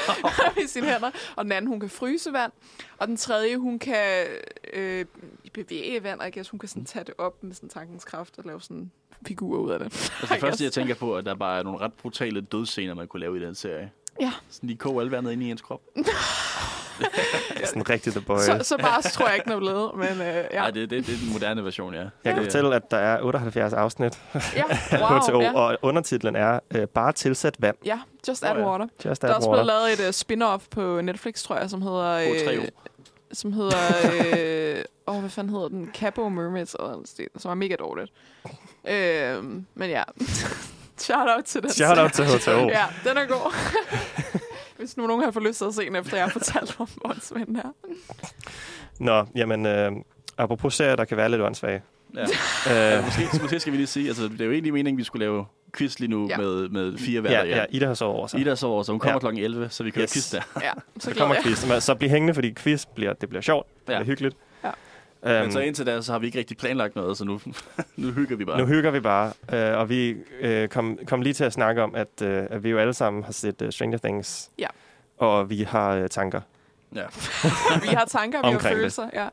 Speaker 4: [laughs] i sine hænder, og den anden, hun kan fryse vand. Og den tredje, hun kan øh, bevæge vand, og jeg guess, hun kan sådan tage det op med sådan tankens kraft og lave sådan figurer ud af det. [laughs]
Speaker 3: Altså, det
Speaker 4: I
Speaker 3: første, jeg
Speaker 4: guess.
Speaker 3: tænker på, er, at der bare er nogle ret brutale dødsscener, man kunne lave i den serie.
Speaker 4: Ja.
Speaker 3: Sådan, de koger alle vandet ind i ens krop.
Speaker 2: Sådan rigtig The Boys.
Speaker 4: Så, så bare tror jeg ikke, den er blevet, men øh,
Speaker 3: Ja.
Speaker 4: ja. Øh,
Speaker 3: Ej, det, det, det er den moderne version, ja.
Speaker 2: Jeg kan
Speaker 3: Det-
Speaker 2: fortælle, at der er 78 afsnit
Speaker 3: [laughs]
Speaker 4: ja.
Speaker 2: af H2O,
Speaker 4: Wow, ja.
Speaker 2: og undertitlen er øh, Bare tilsæt vand.
Speaker 4: ja, just
Speaker 3: Nå
Speaker 4: add
Speaker 3: ja.
Speaker 4: water.
Speaker 2: Just
Speaker 4: Der er
Speaker 2: add
Speaker 4: også blevet øh,
Speaker 2: water.
Speaker 4: lavet et uh, spin-off på Netflix, tror jeg, som hedder...
Speaker 3: H3O.
Speaker 4: som hedder... Øh, åh, hvad fanden hedder den? Cabo Mermaids, eller noget stil, som er mega dårligt. Øh, men ja, [laughs] shout out til den.
Speaker 2: Shout
Speaker 4: [laughs]
Speaker 2: out til HTO.
Speaker 4: Ja, den er god. [laughs] Hvis nu nogen har fået lyst til at se den, efter jeg har fortalt om åndsmænden her.
Speaker 2: Nå, jamen, øh, apropos serier, der kan være lidt åndssvage.
Speaker 3: Ja.
Speaker 2: Øh,
Speaker 3: Ja, måske, måske skal vi lige sige, altså det er jo egentlig meningen, vi skulle lave quiz lige nu
Speaker 4: Ja.
Speaker 3: ja. med, med fire
Speaker 2: ja,
Speaker 3: værter.
Speaker 2: ja, Ida har sovet over sig.
Speaker 3: Ida sover, så hun kommer
Speaker 2: Ja.
Speaker 3: ja. klokken 11, så vi kører
Speaker 2: Yes.
Speaker 3: yes. quiz der.
Speaker 4: Ja, så
Speaker 2: så
Speaker 4: glæder
Speaker 2: kommer
Speaker 4: jeg.
Speaker 2: quiz. Men Så bliv hængende, fordi quiz bliver, det bliver sjovt. Det
Speaker 3: Ja.
Speaker 2: bliver hyggeligt.
Speaker 4: Ja.
Speaker 2: Øhm,
Speaker 3: Men så indtil da, så har vi ikke rigtig planlagt noget, så nu, [laughs] nu hygger vi bare.
Speaker 2: Nu hygger vi bare, øh, og vi øh, kom, kom lige til at snakke om, at, øh, at vi jo alle sammen har set uh, Stranger Things.
Speaker 4: Ja.
Speaker 2: Og vi har øh, tanker.
Speaker 3: Ja.
Speaker 4: Vi har tanker, vi har
Speaker 2: Omkring det.
Speaker 4: følelser. Ja.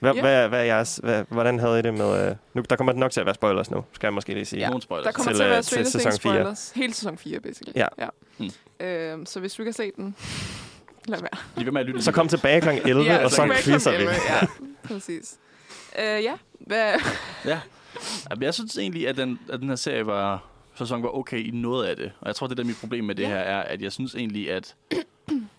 Speaker 2: Hvad,
Speaker 4: Ja.
Speaker 2: yeah. hvad, hvad er jeres, hvad, hvordan havde I det med... Øh, nu, der kommer nok til at være spoilers nu, skal jeg måske lige sige.
Speaker 4: Ja.
Speaker 3: Ja. Nogen spoilers.
Speaker 4: Der kommer
Speaker 2: Til,
Speaker 4: til, at
Speaker 2: øh,
Speaker 4: være
Speaker 2: til
Speaker 4: Stranger
Speaker 2: sæson
Speaker 4: Things
Speaker 2: fire.
Speaker 4: spoilers. Hele sæson 4, basically.
Speaker 2: Ja.
Speaker 4: ja. Øhm, så hvis du ikke har set den, lad være.
Speaker 3: Lige ved med at lytte.
Speaker 2: Så kom tilbage kl. 11,
Speaker 4: [laughs] Ja,
Speaker 2: og
Speaker 4: så
Speaker 2: så
Speaker 4: kan vi ikke
Speaker 2: quizzer
Speaker 4: komme
Speaker 2: vi.
Speaker 4: 11, Ja, præcis. Øh, ja, hvad,
Speaker 3: Ja. Jamen, jeg synes egentlig, at den, at den her serie var, sæson var okay i noget af det. Og jeg tror, det der er mit problem med det
Speaker 4: Ja.
Speaker 3: ja. her, er, at jeg synes egentlig, at... [clears throat]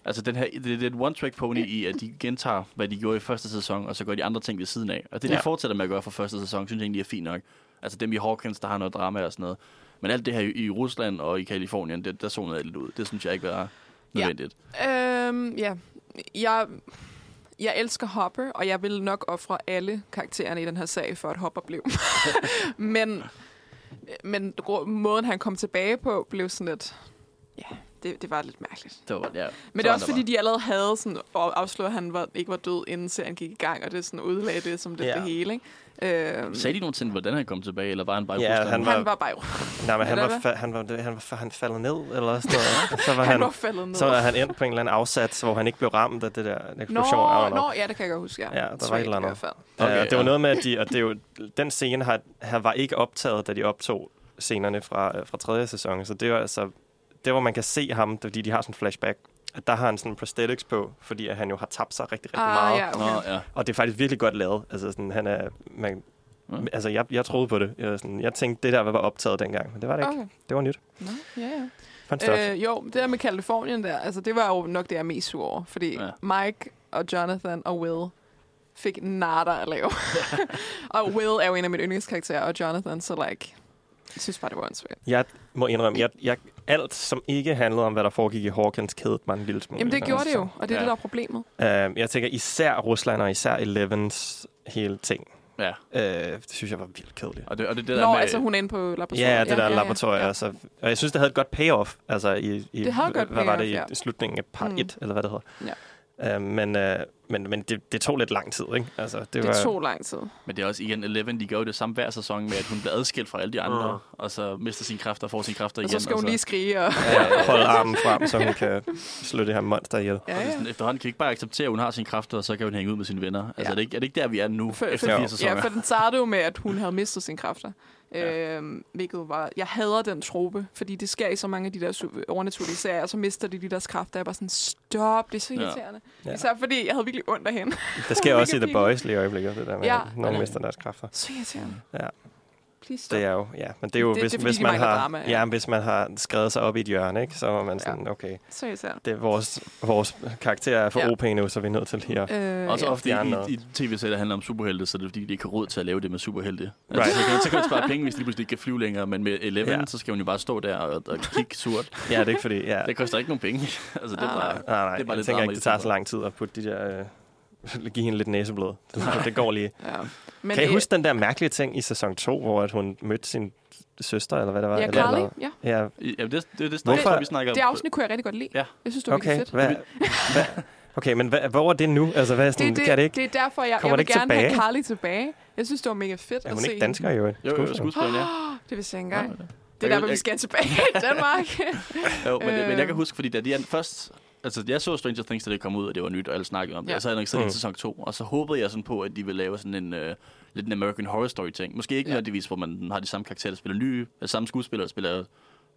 Speaker 3: altså, den her, det, det er et one-track pony i, at de gentager, hvad de gjorde i første sæson, og så gør de andre ting ved siden af. Og det, de
Speaker 2: Ja.
Speaker 3: fortsætter med at gøre fra første sæson, synes jeg egentlig er fint nok. Altså, dem i Hawkins, der har noget drama og sådan noget. Men alt det her i, i Rusland og i Kalifornien, det, der zonede jeg lidt ud. Det synes jeg ikke var nødvendigt.
Speaker 4: Øhm, ja. Jeg, jeg elsker Hopper, og jeg vil nok ofre alle karaktererne i den her sag, for at Hopper
Speaker 2: [laughs]
Speaker 4: blev. men men gro- måden, han kom tilbage på, blev sådan lidt... Ja, det, det var lidt mærkeligt.
Speaker 3: Det var, ja,
Speaker 4: Men det er også, fordi de allerede havde sådan, og afslørede, at han var, ikke var død, inden serien gik i gang, og det sådan udlagde det som lidt
Speaker 2: Ja.
Speaker 4: det hele. Ikke? Øhm,
Speaker 3: Sagde de nogensinde, hvordan han kom tilbage, eller var han bare i
Speaker 2: Ja,
Speaker 3: Rusland?
Speaker 2: han
Speaker 4: han var bare...
Speaker 2: Nej, men han var,
Speaker 4: Eller
Speaker 2: fa- han, var, han, var, fa- han faldet ned, eller sådan noget. Så var
Speaker 4: Han, han
Speaker 2: han,
Speaker 4: var faldet ned.
Speaker 2: så er han endt på en eller anden afsats, hvor han ikke blev ramt af det der
Speaker 4: Nå,
Speaker 2: eksplosion. I don't know.
Speaker 4: nå, ja, det kan jeg godt huske, ja.
Speaker 2: Ja, der var et
Speaker 4: Sweet,
Speaker 2: eller andet.
Speaker 4: i hvert fald.
Speaker 2: Okay,
Speaker 3: Okay,
Speaker 2: uh, det var
Speaker 3: ja.
Speaker 2: noget med, at de, og det er jo, den scene har, har, var ikke optaget, da de optog scenerne fra, øh, fra tredje sæson. Så det var altså, det hvor man kan se ham, det er, fordi de har sådan en flashback, at der har han sådan prosthetics på, fordi at han jo har tabt sig rigtig, rigtig
Speaker 4: Ah,
Speaker 2: meget.
Speaker 4: ja, okay.
Speaker 3: Nå, ja.
Speaker 2: Og det er faktisk virkelig godt lavet. Altså, sådan, han er, man,
Speaker 3: Ja.
Speaker 2: altså jeg, jeg troede på det. Jeg, var sådan, jeg tænkte, det der var optaget dengang, men det var det ikke.
Speaker 4: okay.
Speaker 2: Det var nyt.
Speaker 4: Nå, ja, ja.
Speaker 2: Fun stuff.
Speaker 4: Øh, jo, det der med Kalifornien der, altså det var jo nok det, jeg er mest sur over. Fordi ja.
Speaker 3: Ja.
Speaker 4: Mike og Jonathan og Will fik nada at lave. [laughs] og Will er jo en af mine yndlingskarakterer, og Jonathan, så like, jeg synes bare, det var åndssvagt.
Speaker 2: jeg må indrømme, jeg, jeg, alt, som ikke handlede om, hvad der foregik i Hawkins, kædede mig en lille smule.
Speaker 4: Jamen det gjorde det jo, og det
Speaker 3: Ja.
Speaker 4: er ja. det, der er problemet.
Speaker 2: Øh, jeg tænker især Rusland og især Elevens hele ting.
Speaker 3: ja.
Speaker 2: Øh, det synes jeg var vildt kedeligt.
Speaker 3: Og det, og det, det
Speaker 4: Det
Speaker 3: der
Speaker 4: Nå,
Speaker 3: med,
Speaker 4: altså hun er inde på laboratoriet.
Speaker 2: Ja, det der laboratorium. Ja, Altså, og jeg synes, det havde et godt payoff. Altså, i, i,
Speaker 4: Det havde et godt
Speaker 2: hvad var det i
Speaker 4: payoff, ja.
Speaker 2: slutningen af part
Speaker 4: Mm.
Speaker 2: 1, eller hvad det hedder. Ja. Øh, men øh, men, men det, det tog lidt lang tid, ikke? Altså, det,
Speaker 4: Det,
Speaker 2: var,
Speaker 4: det tog lang tid.
Speaker 3: Men det er også igen, Eleven, de gør jo det samme hver sæson med, at hun bliver adskilt fra alle de andre,
Speaker 2: Mm.
Speaker 3: og så mister sine kræfter og får sine kræfter
Speaker 4: Og
Speaker 3: igen.
Speaker 4: så skal hun lige skrige, og
Speaker 2: Ja, holde armen frem, så hun kan slå det her monster ihjel.
Speaker 3: Ja,
Speaker 4: ja,
Speaker 3: ja.
Speaker 4: ja.
Speaker 3: Sådan, efterhånden kan vi ikke bare acceptere, at hun har sine kræfter, og så kan hun hænge ud med sine venner. Altså,
Speaker 4: Ja.
Speaker 3: ja. er, det ikke, er det ikke der, vi er nu,
Speaker 4: For-
Speaker 3: for,
Speaker 4: for-
Speaker 3: efter
Speaker 2: Ja.
Speaker 3: fire sæsoner?
Speaker 4: Ja, for den startede jo med, at hun havde mistet sine kræfter. Ja.
Speaker 3: Ja.
Speaker 4: Øhm, hvilket var... Jeg hader den trope, fordi det sker i så mange af de der su- overnaturlige serier, og så mister de de deres kræfter. Jeg var sådan, stop, det er så
Speaker 3: Ja.
Speaker 4: irriterende. Ja.
Speaker 2: Ja.
Speaker 4: Især fordi, jeg havde virkelig ondt af hende. [laughs]
Speaker 2: Det sker
Speaker 4: Mega
Speaker 2: også i The
Speaker 4: pinligt.
Speaker 2: Boys lige i øjeblikket, det der med,
Speaker 4: Ja.
Speaker 2: ja. når hun
Speaker 3: Ja.
Speaker 2: mister deres kræfter.
Speaker 4: Så irriterende.
Speaker 2: Ja.
Speaker 4: Please stop.
Speaker 2: Det er jo, ja, men det er jo,
Speaker 4: Det-
Speaker 2: hvis,
Speaker 4: det er, fordi
Speaker 2: hvis
Speaker 4: de
Speaker 2: man
Speaker 4: mangler
Speaker 2: har,
Speaker 4: drama, ja.
Speaker 2: ja. ja, hvis man har skrevet sig op i et hjørne, ikke, så er man
Speaker 4: Ja.
Speaker 2: sådan, okay,
Speaker 4: Så irriterende.
Speaker 2: det er vores, vores karakter er for
Speaker 4: Ja.
Speaker 2: ja. OP nu, så vi er nødt til lige
Speaker 4: [laughs]
Speaker 2: at...
Speaker 4: Øh,
Speaker 3: Og så ofte
Speaker 2: Det er
Speaker 3: i,
Speaker 2: noget.
Speaker 3: i, i tv-serier, der handler om superhelte, så er det fordi, de ikke har råd til at lave det med superhelte. Altså,
Speaker 2: Right.
Speaker 3: right. så, kan, så kan man spare penge, hvis de lige pludselig ikke kan flyve længere, men med Eleven,
Speaker 2: Ja.
Speaker 3: ja. så skal hun jo bare stå der og, og kigge surt.
Speaker 2: Ja, det er ikke fordi, ja.
Speaker 3: Det koster ikke nogen penge. [laughs] altså, det er
Speaker 4: Ah.
Speaker 2: Nej,
Speaker 3: bare...
Speaker 2: nej,
Speaker 3: Det er
Speaker 2: jeg
Speaker 3: bare lidt
Speaker 2: tænker
Speaker 3: drama
Speaker 2: ikke,
Speaker 3: i
Speaker 2: det tager
Speaker 3: stedet
Speaker 2: så
Speaker 3: for.
Speaker 2: lang tid at putte de der... Øh, give hende lidt næseblod. Det, det går lige.
Speaker 4: ja. Men,
Speaker 2: Men kan I
Speaker 4: øh,
Speaker 2: huske den der mærkelige ting i sæson 2, hvor at hun mødte sin søster, eller hvad det var?
Speaker 4: Ja,
Speaker 2: eller
Speaker 4: Carly.
Speaker 2: noget?
Speaker 4: Ja.
Speaker 2: Ja,
Speaker 3: Ja, det, det, det, det,
Speaker 2: Hvorfor-
Speaker 3: tror jeg, vi snakker om.
Speaker 4: Det afsnit kunne jeg rigtig godt lide.
Speaker 3: Ja.
Speaker 4: Jeg synes, det var
Speaker 2: okay.
Speaker 4: virkelig fedt.
Speaker 2: Hvad, hvad, okay, men hvad, hvor er det nu? Altså, hvad er sådan,
Speaker 4: Det,
Speaker 2: det,
Speaker 4: det,
Speaker 2: kan det
Speaker 4: det,
Speaker 2: ikke?
Speaker 4: det er derfor, jeg,
Speaker 2: Kommer
Speaker 4: jeg
Speaker 2: det
Speaker 4: vil
Speaker 2: ikke
Speaker 4: gerne tilbage? have
Speaker 2: tilbage?
Speaker 4: Carly tilbage. Jeg synes, det var mega fedt
Speaker 2: Er
Speaker 4: at
Speaker 2: hun
Speaker 4: se.
Speaker 2: ikke dansker i øvrigt?
Speaker 3: Jo, jo,
Speaker 2: Skuespiller.
Speaker 3: skuespilleren, ja.
Speaker 4: Det vidste jeg ikke engang. Det
Speaker 3: Jeg
Speaker 4: er der,
Speaker 3: kan-
Speaker 4: hvor vi
Speaker 3: jeg-
Speaker 4: skal tilbage i
Speaker 3: [laughs]
Speaker 4: Danmark.
Speaker 3: Jo, men, øh. men
Speaker 4: Øh.
Speaker 3: jeg kan huske, fordi da de an- først... Altså, jeg så Stranger Things, da det kom ud, og det var nyt, og alle snakkede om det.
Speaker 4: Ja.
Speaker 3: Ja. Og så havde jeg nok set
Speaker 2: Mm.
Speaker 3: mm. sæson 2, og så håbede jeg sådan på, at de ville lave sådan en... Øh, lidt en American Horror Story ting. Måske ikke
Speaker 4: Ja.
Speaker 3: ja. nødvendigvis, hvor man har de samme karakterer, der spiller nye, altså samme skuespillere, der spiller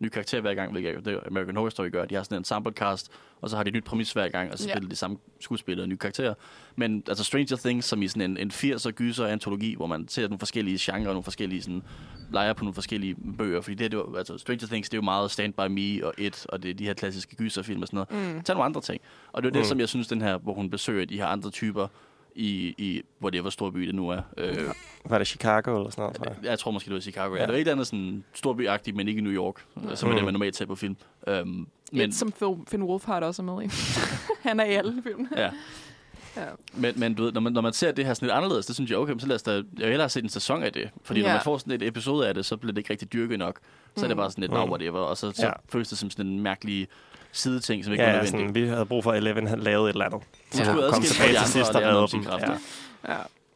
Speaker 3: ny karakter hver gang, hvilket det American Horror Story gør. De har sådan en samplecast, og så har de et nyt præmis hver gang, og så
Speaker 4: Ja.
Speaker 3: spiller de samme skuespillere og nye karakterer. Men altså Stranger Things, som i sådan en, en 80'er gyser antologi, hvor man ser nogle forskellige genrer, nogle forskellige sådan, leger på nogle forskellige bøger. Fordi det, her, det var, altså, Stranger Things, det er jo meget Stand By Me og It, og det er de her klassiske gyserfilm og sådan noget. Mm. Tag nogle andre ting. Og det er det, som jeg synes, den her, hvor hun besøger de her andre typer, i, i hvor det var stor by, det nu er. Øh,
Speaker 2: Var det Chicago eller sådan noget, tror jeg?
Speaker 3: jeg tror måske, det var i Chicago. Ja. Er det var et eller andet sådan storbyagtigt, men ikke i New York, mm. som er det, man normalt ser på film. Øhm,
Speaker 4: Men...
Speaker 3: men,
Speaker 4: Et, som Phil, Finn Wolfhard også er med i. [laughs] han er i alle filmene.
Speaker 3: ja.
Speaker 4: Ja.
Speaker 3: men, men du ved, når man, når man ser det her sådan lidt anderledes, det synes jeg, okay, men så lad os da, jeg vil hellere se en sæson af det. Fordi ja. når
Speaker 4: Ja.
Speaker 3: man får sådan et episode af det, så bliver det ikke rigtig dyrket nok. Så er det bare sådan lidt, no, whatever. Og så, så
Speaker 2: Ja.
Speaker 3: føles det som sådan en mærkelig sideting, som ikke ja, er
Speaker 2: Ja,
Speaker 3: nødvendig.
Speaker 2: sådan, vi havde brug for, at Eleven havde lavet et eller andet. Så
Speaker 3: skulle
Speaker 2: ja. kom
Speaker 3: adskilles fra
Speaker 2: tilbage
Speaker 3: de
Speaker 2: til
Speaker 3: andre
Speaker 2: sidst
Speaker 3: og
Speaker 2: og
Speaker 3: lære noget
Speaker 2: redde
Speaker 3: om
Speaker 2: dem.
Speaker 3: sine kræfter.
Speaker 2: Ja.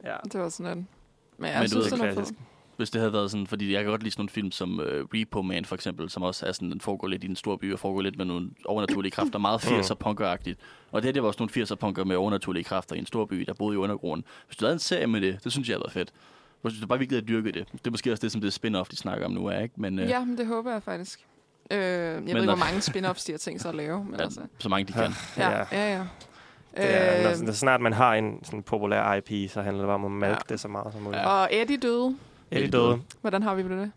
Speaker 4: ja.
Speaker 2: Ja.
Speaker 4: Det var sådan en... Men jeg
Speaker 3: Men du
Speaker 4: synes,
Speaker 3: ved,
Speaker 4: den er fed.
Speaker 2: klassisk.
Speaker 3: Hvis det havde været sådan, fordi jeg kan godt lide sådan nogle film som øh, Repo Man for eksempel, som også er sådan, den foregår lidt i en stor by, og foregår lidt med nogle overnaturlige kræfter, meget
Speaker 2: Mm.
Speaker 3: 80'er punkeragtigt. Og det her, det var også nogle 80'er punker med overnaturlige kræfter i en stor by, der boede i undergrunden. Hvis du lavede en serie med det, det synes jeg havde været fedt. Hvis du bare virkelig havde dyrket det. Det er måske også det, som det spin-off, de snakker om nu er, ikke? Men, øh,
Speaker 4: Ja, men det håber jeg faktisk. Øh, jeg men ved
Speaker 3: når-
Speaker 4: ikke, hvor mange spin-offs de har tænkt sig at lave. Men
Speaker 3: ja,
Speaker 4: altså,
Speaker 3: så mange de kan.
Speaker 4: ja,
Speaker 2: Ja.
Speaker 4: ja, ja. ja.
Speaker 2: Det er, når,
Speaker 4: Øh,
Speaker 2: når snart man har en sådan populær IP, så handler det bare om at malke ja. det så meget som muligt. Ja.
Speaker 4: Og Eddie døde.
Speaker 2: Eddie døde.
Speaker 4: Hvordan har vi med det?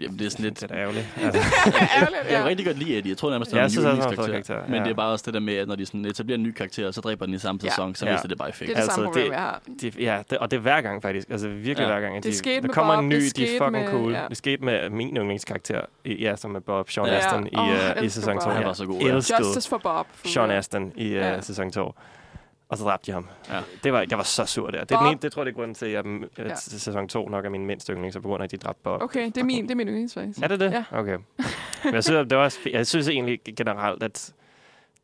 Speaker 3: Jamen, det er sådan
Speaker 2: Lidt. [laughs]
Speaker 3: lidt...
Speaker 2: Det er da ærgerligt. Altså,
Speaker 4: [laughs] Ærgerligt,
Speaker 3: Jeg kan rigtig godt lide Eddie. Jeg tror nærmest, det
Speaker 2: Ja,
Speaker 3: er
Speaker 2: jeg synes
Speaker 3: en
Speaker 2: også, han er en fed
Speaker 3: yndlingskarakter.
Speaker 2: karakter.
Speaker 3: Men
Speaker 2: Ja.
Speaker 3: det er bare også det der med, at når de sådan etablerer en ny karakter, så dræber den i samme
Speaker 4: Ja.
Speaker 3: sæson, så
Speaker 2: Ja.
Speaker 3: mister det bare effekt.
Speaker 4: Det er det
Speaker 2: Altså,
Speaker 4: samme problem,
Speaker 2: det-
Speaker 4: jeg har.
Speaker 2: det, ja, det, og det er hver gang faktisk. Altså virkelig
Speaker 3: Ja.
Speaker 2: ja. hver gang. at
Speaker 4: Det
Speaker 2: de-
Speaker 4: skete
Speaker 2: der
Speaker 4: med
Speaker 2: kommer
Speaker 4: Bob,
Speaker 2: en ny,
Speaker 4: det
Speaker 2: de er
Speaker 4: skete
Speaker 2: fucking
Speaker 4: med-
Speaker 2: cool.
Speaker 4: ja.
Speaker 2: Det skete med min yndlingskarakter, i- ja, som er Bob, Sean
Speaker 3: Ja.
Speaker 2: ja. Aston, i,
Speaker 4: Åh, jeg
Speaker 2: uh, i
Speaker 4: elsker
Speaker 2: sæson
Speaker 4: Bob.
Speaker 2: 2.
Speaker 4: Han
Speaker 3: var så god, ja.
Speaker 2: Elskede
Speaker 4: Justice for Bob.
Speaker 2: Sean Aston i uh,
Speaker 4: Ja.
Speaker 2: sæson 2. Og så dræbte de ham.
Speaker 3: Ja.
Speaker 2: Ja. Det var, jeg var så sur der. Det, er den
Speaker 4: Bob.
Speaker 2: ene, det tror jeg, det er grunden til, at, jeg, at
Speaker 4: Ja.
Speaker 2: sæson 2 nok er min mindste yndling, så på grund af, at de dræbte Bob.
Speaker 4: Okay, det er min, det er min yndlingsfase.
Speaker 2: Er det det?
Speaker 4: Ja.
Speaker 2: Okay. Men jeg synes, det var også, jeg synes egentlig generelt, at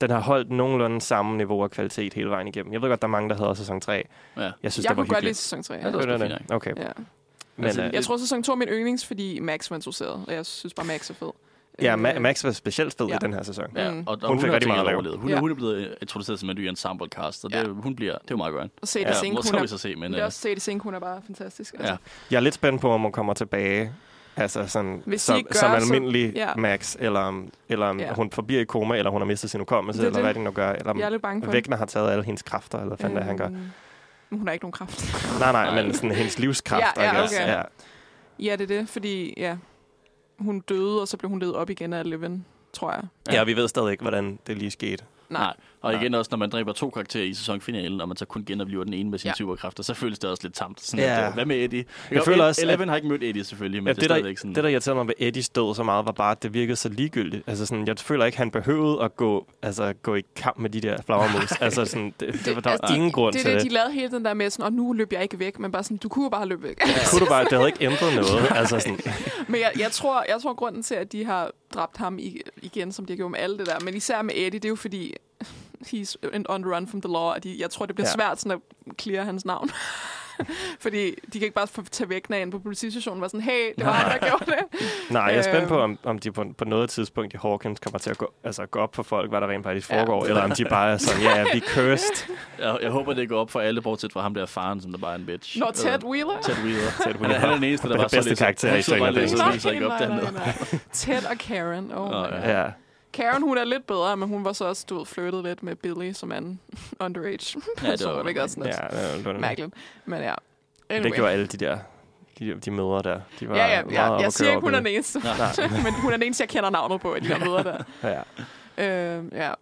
Speaker 2: den har holdt nogenlunde samme niveau af kvalitet hele vejen igennem. Jeg ved godt, der er mange, der hedder sæson 3.
Speaker 3: Ja.
Speaker 2: Jeg synes, det
Speaker 4: Jeg
Speaker 2: var
Speaker 4: kunne godt lide
Speaker 2: hyggeligt.
Speaker 4: sæson 3. Ja.
Speaker 3: Ja, det var sgu
Speaker 2: Ved du
Speaker 3: fint
Speaker 2: det? Okay.
Speaker 4: Ja.
Speaker 2: Men,
Speaker 3: Altså,
Speaker 2: altså,
Speaker 4: Jeg tror, sæson 2 er min yndlings, fordi Max var introduceret, og jeg synes bare, Max er fed.
Speaker 2: ja,
Speaker 4: Øh,
Speaker 2: Ma- Max var specielt fed ja.
Speaker 4: Ja.
Speaker 2: i den her sæson.
Speaker 3: Ja,
Speaker 4: Mm.
Speaker 3: og, og
Speaker 2: Hun
Speaker 3: hun,
Speaker 2: fik
Speaker 3: hun,
Speaker 2: rigtig meget at lave.
Speaker 3: overlevet. hun, ja.
Speaker 4: Ja.
Speaker 3: hun er blevet øh, introduceret som en ny ensemble cast, og det,
Speaker 4: Ja.
Speaker 3: hun bliver, det er jo meget godt.
Speaker 4: Og Sadie
Speaker 3: Ja,
Speaker 4: Sink,
Speaker 3: måske
Speaker 4: hun
Speaker 3: skal vi
Speaker 4: er,
Speaker 3: så se, men...
Speaker 4: det
Speaker 3: øh,
Speaker 4: er også Sadie Sink, hun er bare fantastisk. altså.
Speaker 3: ja.
Speaker 2: Jeg er lidt spændt på, om hun kommer tilbage altså sådan,
Speaker 4: Hvis de
Speaker 2: som,
Speaker 4: ikke gør,
Speaker 2: som
Speaker 4: så-
Speaker 2: almindelig
Speaker 4: ja.
Speaker 2: Max, eller, om- eller om
Speaker 4: Ja.
Speaker 2: hun forbliver i koma, eller hun har mistet sin hukommelse,
Speaker 4: Det er
Speaker 2: eller
Speaker 4: det.
Speaker 2: hvad det nu gør, eller om
Speaker 4: Jeg er lidt bange for
Speaker 2: Vægner har taget alle hendes kræfter, eller hvad fanden øh. han gør.
Speaker 4: Øhm, men hun har ikke nogen kraft. [laughs]
Speaker 2: Nej, nej, men sådan hendes livskræfter.
Speaker 4: Ja,
Speaker 2: I
Speaker 4: ja,
Speaker 2: guess.
Speaker 4: okay.
Speaker 2: ja.
Speaker 4: ja, det er det, fordi ja, hun døde, og så blev hun levet op igen af Eleven, tror jeg.
Speaker 3: Ja.
Speaker 2: ja, og vi ved stadig ikke, hvordan det lige skete.
Speaker 3: Nej. Og igen også, når man dræber to karakterer i sæsonfinalen, og man så kun genopliver den ene med sine ja.
Speaker 4: Ja.
Speaker 3: superkræfter, så føles det også lidt tamt. Sådan
Speaker 2: Ja.
Speaker 3: ja. at, øh, hvad med Eddie? E-
Speaker 2: Jeg føler også, at-
Speaker 3: Eleven har ikke mødt Eddie selvfølgelig, men
Speaker 2: Ja,
Speaker 3: det,
Speaker 2: det,
Speaker 3: er
Speaker 2: der,
Speaker 3: stadigvæk sådan...
Speaker 2: det, der irriterede mig ved Eddies død så meget, var bare, at det virkede så ligegyldigt. Altså, sådan, jeg føler ikke, han behøvede at gå, altså, gå i kamp med de der
Speaker 4: [laughs]
Speaker 2: flagermus. altså, sådan, det, det, var, der var
Speaker 4: altså,
Speaker 2: ingen grund
Speaker 4: Det er
Speaker 2: til
Speaker 4: det,
Speaker 2: det.
Speaker 4: de lavede hele den der med sådan, og nu løb jeg ikke væk, men bare sådan, du kunne jo bare løbe væk. [laughs]
Speaker 2: Det kunne du bare, det havde ikke ændret noget. altså, sådan,
Speaker 4: Men jeg, jeg, tror, jeg tror, grunden til, at de har dræbt ham i, igen, som de har gjort med alle det der, men især med Eddie, det er jo fordi, [laughs] he's in- on the run from the law, og de, jeg tror, det bliver
Speaker 2: Ja.
Speaker 4: ja. svært sådan at clear hans navn. [laughs] fordi de kan ikke bare få- tage væk ind på politistationen og være sådan, hey, det var ham, der gjorde det.
Speaker 2: nej, jeg er spændt på,
Speaker 4: Øhm.
Speaker 2: om, om de på, på noget tidspunkt i Hawkins kommer til at gå, altså, gå op for folk, hvad der rent faktisk
Speaker 4: Ja.
Speaker 2: foregår, eller om de bare er sådan, ja, yeah, vi cursed.
Speaker 3: Jeg, jeg håber, det går op for alle, bortset fra ham der faren, som der bare er en
Speaker 2: [laughs]
Speaker 3: bitch.
Speaker 4: Når
Speaker 3: Eller-
Speaker 4: Ted Wheeler...
Speaker 3: Ted Wheeler.
Speaker 2: Ted
Speaker 3: Han er,
Speaker 2: Wheeler.
Speaker 3: han er den eneste, der
Speaker 2: Den
Speaker 3: var
Speaker 2: bedste karakter i Stranger
Speaker 3: Stranger
Speaker 2: Things.
Speaker 3: Things.
Speaker 4: Nej,
Speaker 3: viser ikke op
Speaker 4: nej, nej,
Speaker 3: den.
Speaker 4: nej. Ted og Karen. Oh,
Speaker 3: Nå,
Speaker 4: oh,
Speaker 3: ja.
Speaker 4: ja.
Speaker 2: Ja.
Speaker 4: Karen, hun er lidt bedre, men hun var så også, du ved, flirtet lidt med Billy, som er en [laughs] underage [laughs]
Speaker 3: Ja, det
Speaker 4: person,
Speaker 3: var
Speaker 4: ikke også sådan lidt
Speaker 2: Ja, det var-
Speaker 4: mærkeligt. Men ja, anyway.
Speaker 2: det gjorde alle de der de, de mødre der. De var
Speaker 4: Ja, ja,
Speaker 2: meget
Speaker 4: ja.
Speaker 2: oppe at
Speaker 4: Jeg siger
Speaker 2: køre
Speaker 4: ikke, hun
Speaker 2: over
Speaker 4: er den eneste, [laughs] men hun er den eneste, jeg kender navnet på, at de her møder der.
Speaker 2: det. Ja.
Speaker 4: Øh, ja.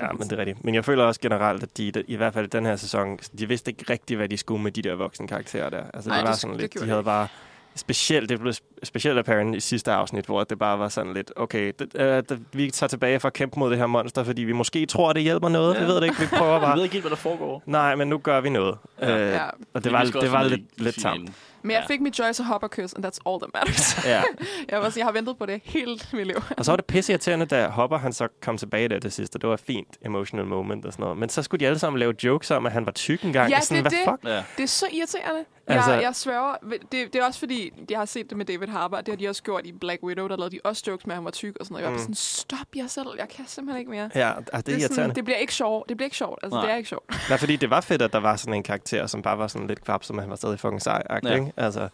Speaker 2: Ja, men det er rigtigt. Men jeg føler også generelt, at de, i hvert fald i den her sæson, de vidste ikke rigtigt, hvad de skulle med de der voksne karakterer der. Altså,
Speaker 4: Nej,
Speaker 2: det var
Speaker 4: det sk-
Speaker 2: sådan
Speaker 4: det
Speaker 2: lidt,
Speaker 4: gjorde
Speaker 2: de
Speaker 4: de
Speaker 2: havde
Speaker 4: ikke.
Speaker 2: bare specielt, det blev sp- specielt apparent i sidste afsnit, hvor det bare var sådan lidt, okay, det, øh, det, vi tager tilbage for at kæmpe mod det her monster, fordi vi måske tror, det hjælper noget.
Speaker 3: Ja.
Speaker 2: Vi ved det ikke, vi prøver
Speaker 3: Jeg
Speaker 4: [laughs]
Speaker 3: ved
Speaker 2: bare.
Speaker 3: ikke helt, hvad der foregår.
Speaker 2: Nej, men nu gør vi noget.
Speaker 3: Ja.
Speaker 2: Øh,
Speaker 4: ja.
Speaker 2: Og det var,
Speaker 3: husker
Speaker 2: det
Speaker 3: også
Speaker 2: var
Speaker 3: nede i
Speaker 2: lidt, lidt
Speaker 3: finalen.
Speaker 2: tamt.
Speaker 4: Men jeg
Speaker 3: Ja.
Speaker 4: fik mit Joyce og Hopper kys, and that's all that
Speaker 2: [laughs]
Speaker 4: matters.
Speaker 2: Ja.
Speaker 4: jeg, var sådan, jeg har ventet på det hele mit liv.
Speaker 2: Og så var det pisseirriterende, da Hopper han så kom tilbage der til sidst, og det var et fint emotional moment og sådan noget. Men så skulle de alle sammen lave jokes om, at han var tyk engang.
Speaker 4: Ja,
Speaker 2: og sådan,
Speaker 4: det er
Speaker 2: hvad
Speaker 4: det.
Speaker 2: fuck?
Speaker 3: Ja.
Speaker 4: Det er så irriterende.
Speaker 2: Altså-
Speaker 4: Altså, jeg, jeg sværger. Det, det er også fordi, jeg har set det med David Harbour, og det har de også gjort i Black Widow, der lavede de også jokes med, at han var tyk og sådan noget. Jeg var
Speaker 2: Mm.
Speaker 4: mm. sådan, stop jer selv, jeg kan simpelthen ikke mere.
Speaker 2: Ja, altså, det, det er
Speaker 4: det,
Speaker 2: irriterende.
Speaker 4: sådan, det bliver ikke sjovt. Det bliver ikke sjovt. Altså,
Speaker 3: Nej.
Speaker 4: Nej. det er ikke sjovt.
Speaker 2: Nej, fordi det var fedt, at der var sådan en karakter, som bare var sådan lidt kvap, som han var stadig fucking sej.
Speaker 3: Ja.
Speaker 2: Ja. Altså,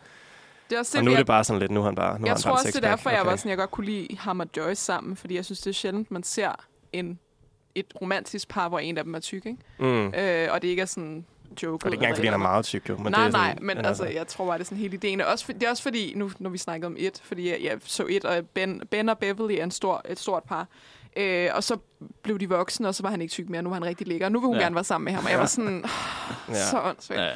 Speaker 4: Det er også
Speaker 2: Og
Speaker 4: det,
Speaker 2: nu er
Speaker 4: jeg,
Speaker 2: det bare sådan lidt, nu er han bare nu
Speaker 4: jeg
Speaker 2: har han
Speaker 4: tror
Speaker 2: bare en
Speaker 4: også, det er
Speaker 2: sixpack.
Speaker 4: derfor, okay. jeg
Speaker 2: Okay.
Speaker 4: var sådan, jeg godt kunne lide ham og Joyce sammen, fordi jeg synes, det er sjældent, man ser en, et romantisk par, hvor en af dem er tyk, ikke?
Speaker 2: Mm.
Speaker 4: Øh, og det ikke er sådan joke.
Speaker 2: Og det er ikke engang, fordi han er meget tyk, jo. Men
Speaker 4: nej,
Speaker 2: det er sådan,
Speaker 4: nej, men altså, jeg tror bare, det er sådan hele ideen. Og Også, for- det er også fordi, nu når vi snakkede om et, fordi jeg, jeg så et, og ben, ben og Beverly er en stor, et stort par. Øh, og så blev de voksne, og så var han ikke tyk mere, nu er han rigtig lækker. og Nu vil hun
Speaker 3: Ja.
Speaker 4: gerne være sammen med ham, og jeg var sådan,
Speaker 2: Ja,
Speaker 4: så åndssvagt.
Speaker 3: Ja, ja.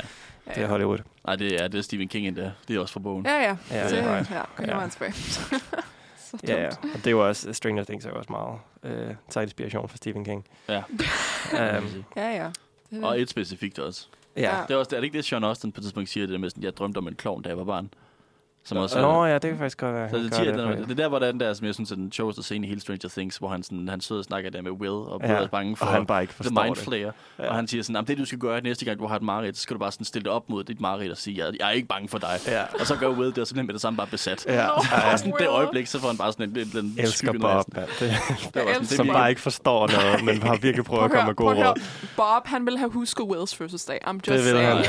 Speaker 2: det er Hollywood.
Speaker 3: Nej, det er, det er Stephen King endda. Det er også fra bogen. [laughs]
Speaker 4: Ja, ja.
Speaker 2: Ja,
Speaker 4: Så-
Speaker 2: det er right.
Speaker 4: ja, kom
Speaker 2: Ja.
Speaker 4: ja. tilbage. så dumt.
Speaker 2: Ja, ja. Og det er jo også, Stranger Things er jo også meget øh, tager inspiration fra Stephen King. [laughs] Øhm,
Speaker 3: Ja.
Speaker 2: um,
Speaker 4: ja, ja. Det-
Speaker 3: Øhm, Og et specifikt også.
Speaker 2: ja.
Speaker 4: Ja.
Speaker 3: Det er, også, er det ikke det, Sean Austin på et tidspunkt siger, det der med sådan, jeg drømte om en klovn, da jeg var barn? Som også
Speaker 2: Nå ja, det kan faktisk godt være.
Speaker 3: Så
Speaker 2: han
Speaker 3: det,
Speaker 2: gør
Speaker 3: tier,
Speaker 2: det,
Speaker 3: den,
Speaker 2: fordi-
Speaker 3: er- det er der, hvor der er den der, som jeg synes er den sjoveste scene i hele Stranger Things, hvor han, sådan, han sidder og snakker der med Will, og Will
Speaker 2: Ja,
Speaker 3: er bange for
Speaker 2: og han bare ikke
Speaker 3: The
Speaker 2: forstår
Speaker 3: Mind
Speaker 2: det.
Speaker 3: Flayer.
Speaker 2: Ja.
Speaker 3: Ja. Og han siger sådan, "Jamen, det du skal gøre næste gang, du har et mareridt, så skal du bare sådan stille dig op mod dit mareridt og sige, jeg, jeg er ikke bange for dig.
Speaker 2: Ja.
Speaker 3: Og så gør Will det, og simpelthen med det samme bare besat.
Speaker 2: Ja,
Speaker 3: Og
Speaker 2: jeg
Speaker 3: sådan det øjeblik, så får han bare sådan en, en, en
Speaker 2: elsker
Speaker 3: skygge ned ad
Speaker 2: Bob,
Speaker 3: sådan.
Speaker 2: mand. Det,
Speaker 3: Det var sådan,
Speaker 4: Jeg
Speaker 3: det,
Speaker 2: som
Speaker 3: vi-
Speaker 2: bare ikke forstår noget, men har virkelig prøvet at komme med gode råd.
Speaker 4: prøv høre. Bob, han ville have husket Wills fødselsdag. I'm just
Speaker 2: Det ville
Speaker 4: saying.
Speaker 2: han.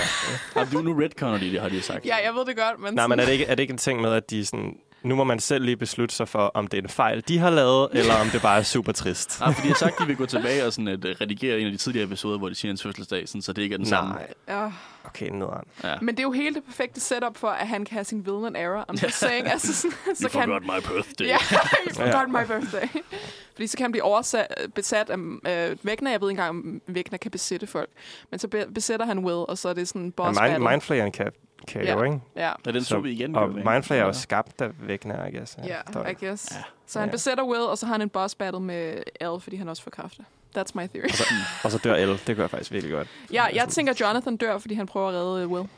Speaker 3: Jamen, du er nu retconner det, har de jo sagt.
Speaker 4: Ja, jeg ved det godt, men...
Speaker 2: Nej,
Speaker 4: sådan-
Speaker 2: men er det, ikke, er det ikke en ting med, at de sådan... Nu må man selv lige beslutte sig for, om det er en fejl, de har lavet,
Speaker 3: [laughs]
Speaker 2: eller om det bare er super trist.
Speaker 3: Nej, fordi jeg har sagt, at de vil gå tilbage og sådan at øh, redigere en af de tidligere episoder, hvor de siger hans fødselsdag, sådan, så det ikke er den samme.
Speaker 2: Nej,
Speaker 4: Ja.
Speaker 2: okay, nederen.
Speaker 3: Ja.
Speaker 4: Men det er jo hele det perfekte setup for, at han kan have sin villain error. I'm just saying. altså, sådan, så
Speaker 3: You
Speaker 4: kan
Speaker 3: forgot my birthday. [laughs]
Speaker 4: Ja, you
Speaker 2: Ja.
Speaker 4: forgot my birthday. Fordi så kan han blive oversat, besat af øh, Vækner. Jeg ved ikke engang, om Vækner kan besætte folk. Men så be- besætter han Will, og så er det sådan en boss
Speaker 2: Ja, mind,
Speaker 4: battle.
Speaker 2: mindflayeren kan, kan
Speaker 4: Ja.
Speaker 2: jo, ikke?
Speaker 4: Ja,
Speaker 3: Ja, den så vi igen.
Speaker 2: og
Speaker 3: jo, ikke?
Speaker 2: Mindflayer er jo
Speaker 3: Ja.
Speaker 2: skabt af Vækner, I guess.
Speaker 4: ja,
Speaker 2: dårligt.
Speaker 4: I guess.
Speaker 3: Ja.
Speaker 4: Så han
Speaker 2: Ja.
Speaker 4: besætter Will, og så har han en boss battle med Al, fordi han også får kræfter. That's my
Speaker 3: [laughs]
Speaker 4: theory.
Speaker 2: Og så dør Elle. Det gør jeg faktisk virkelig godt.
Speaker 4: Ja, jeg tænker, Jonathan dør, fordi han prøver at redde øh, Will.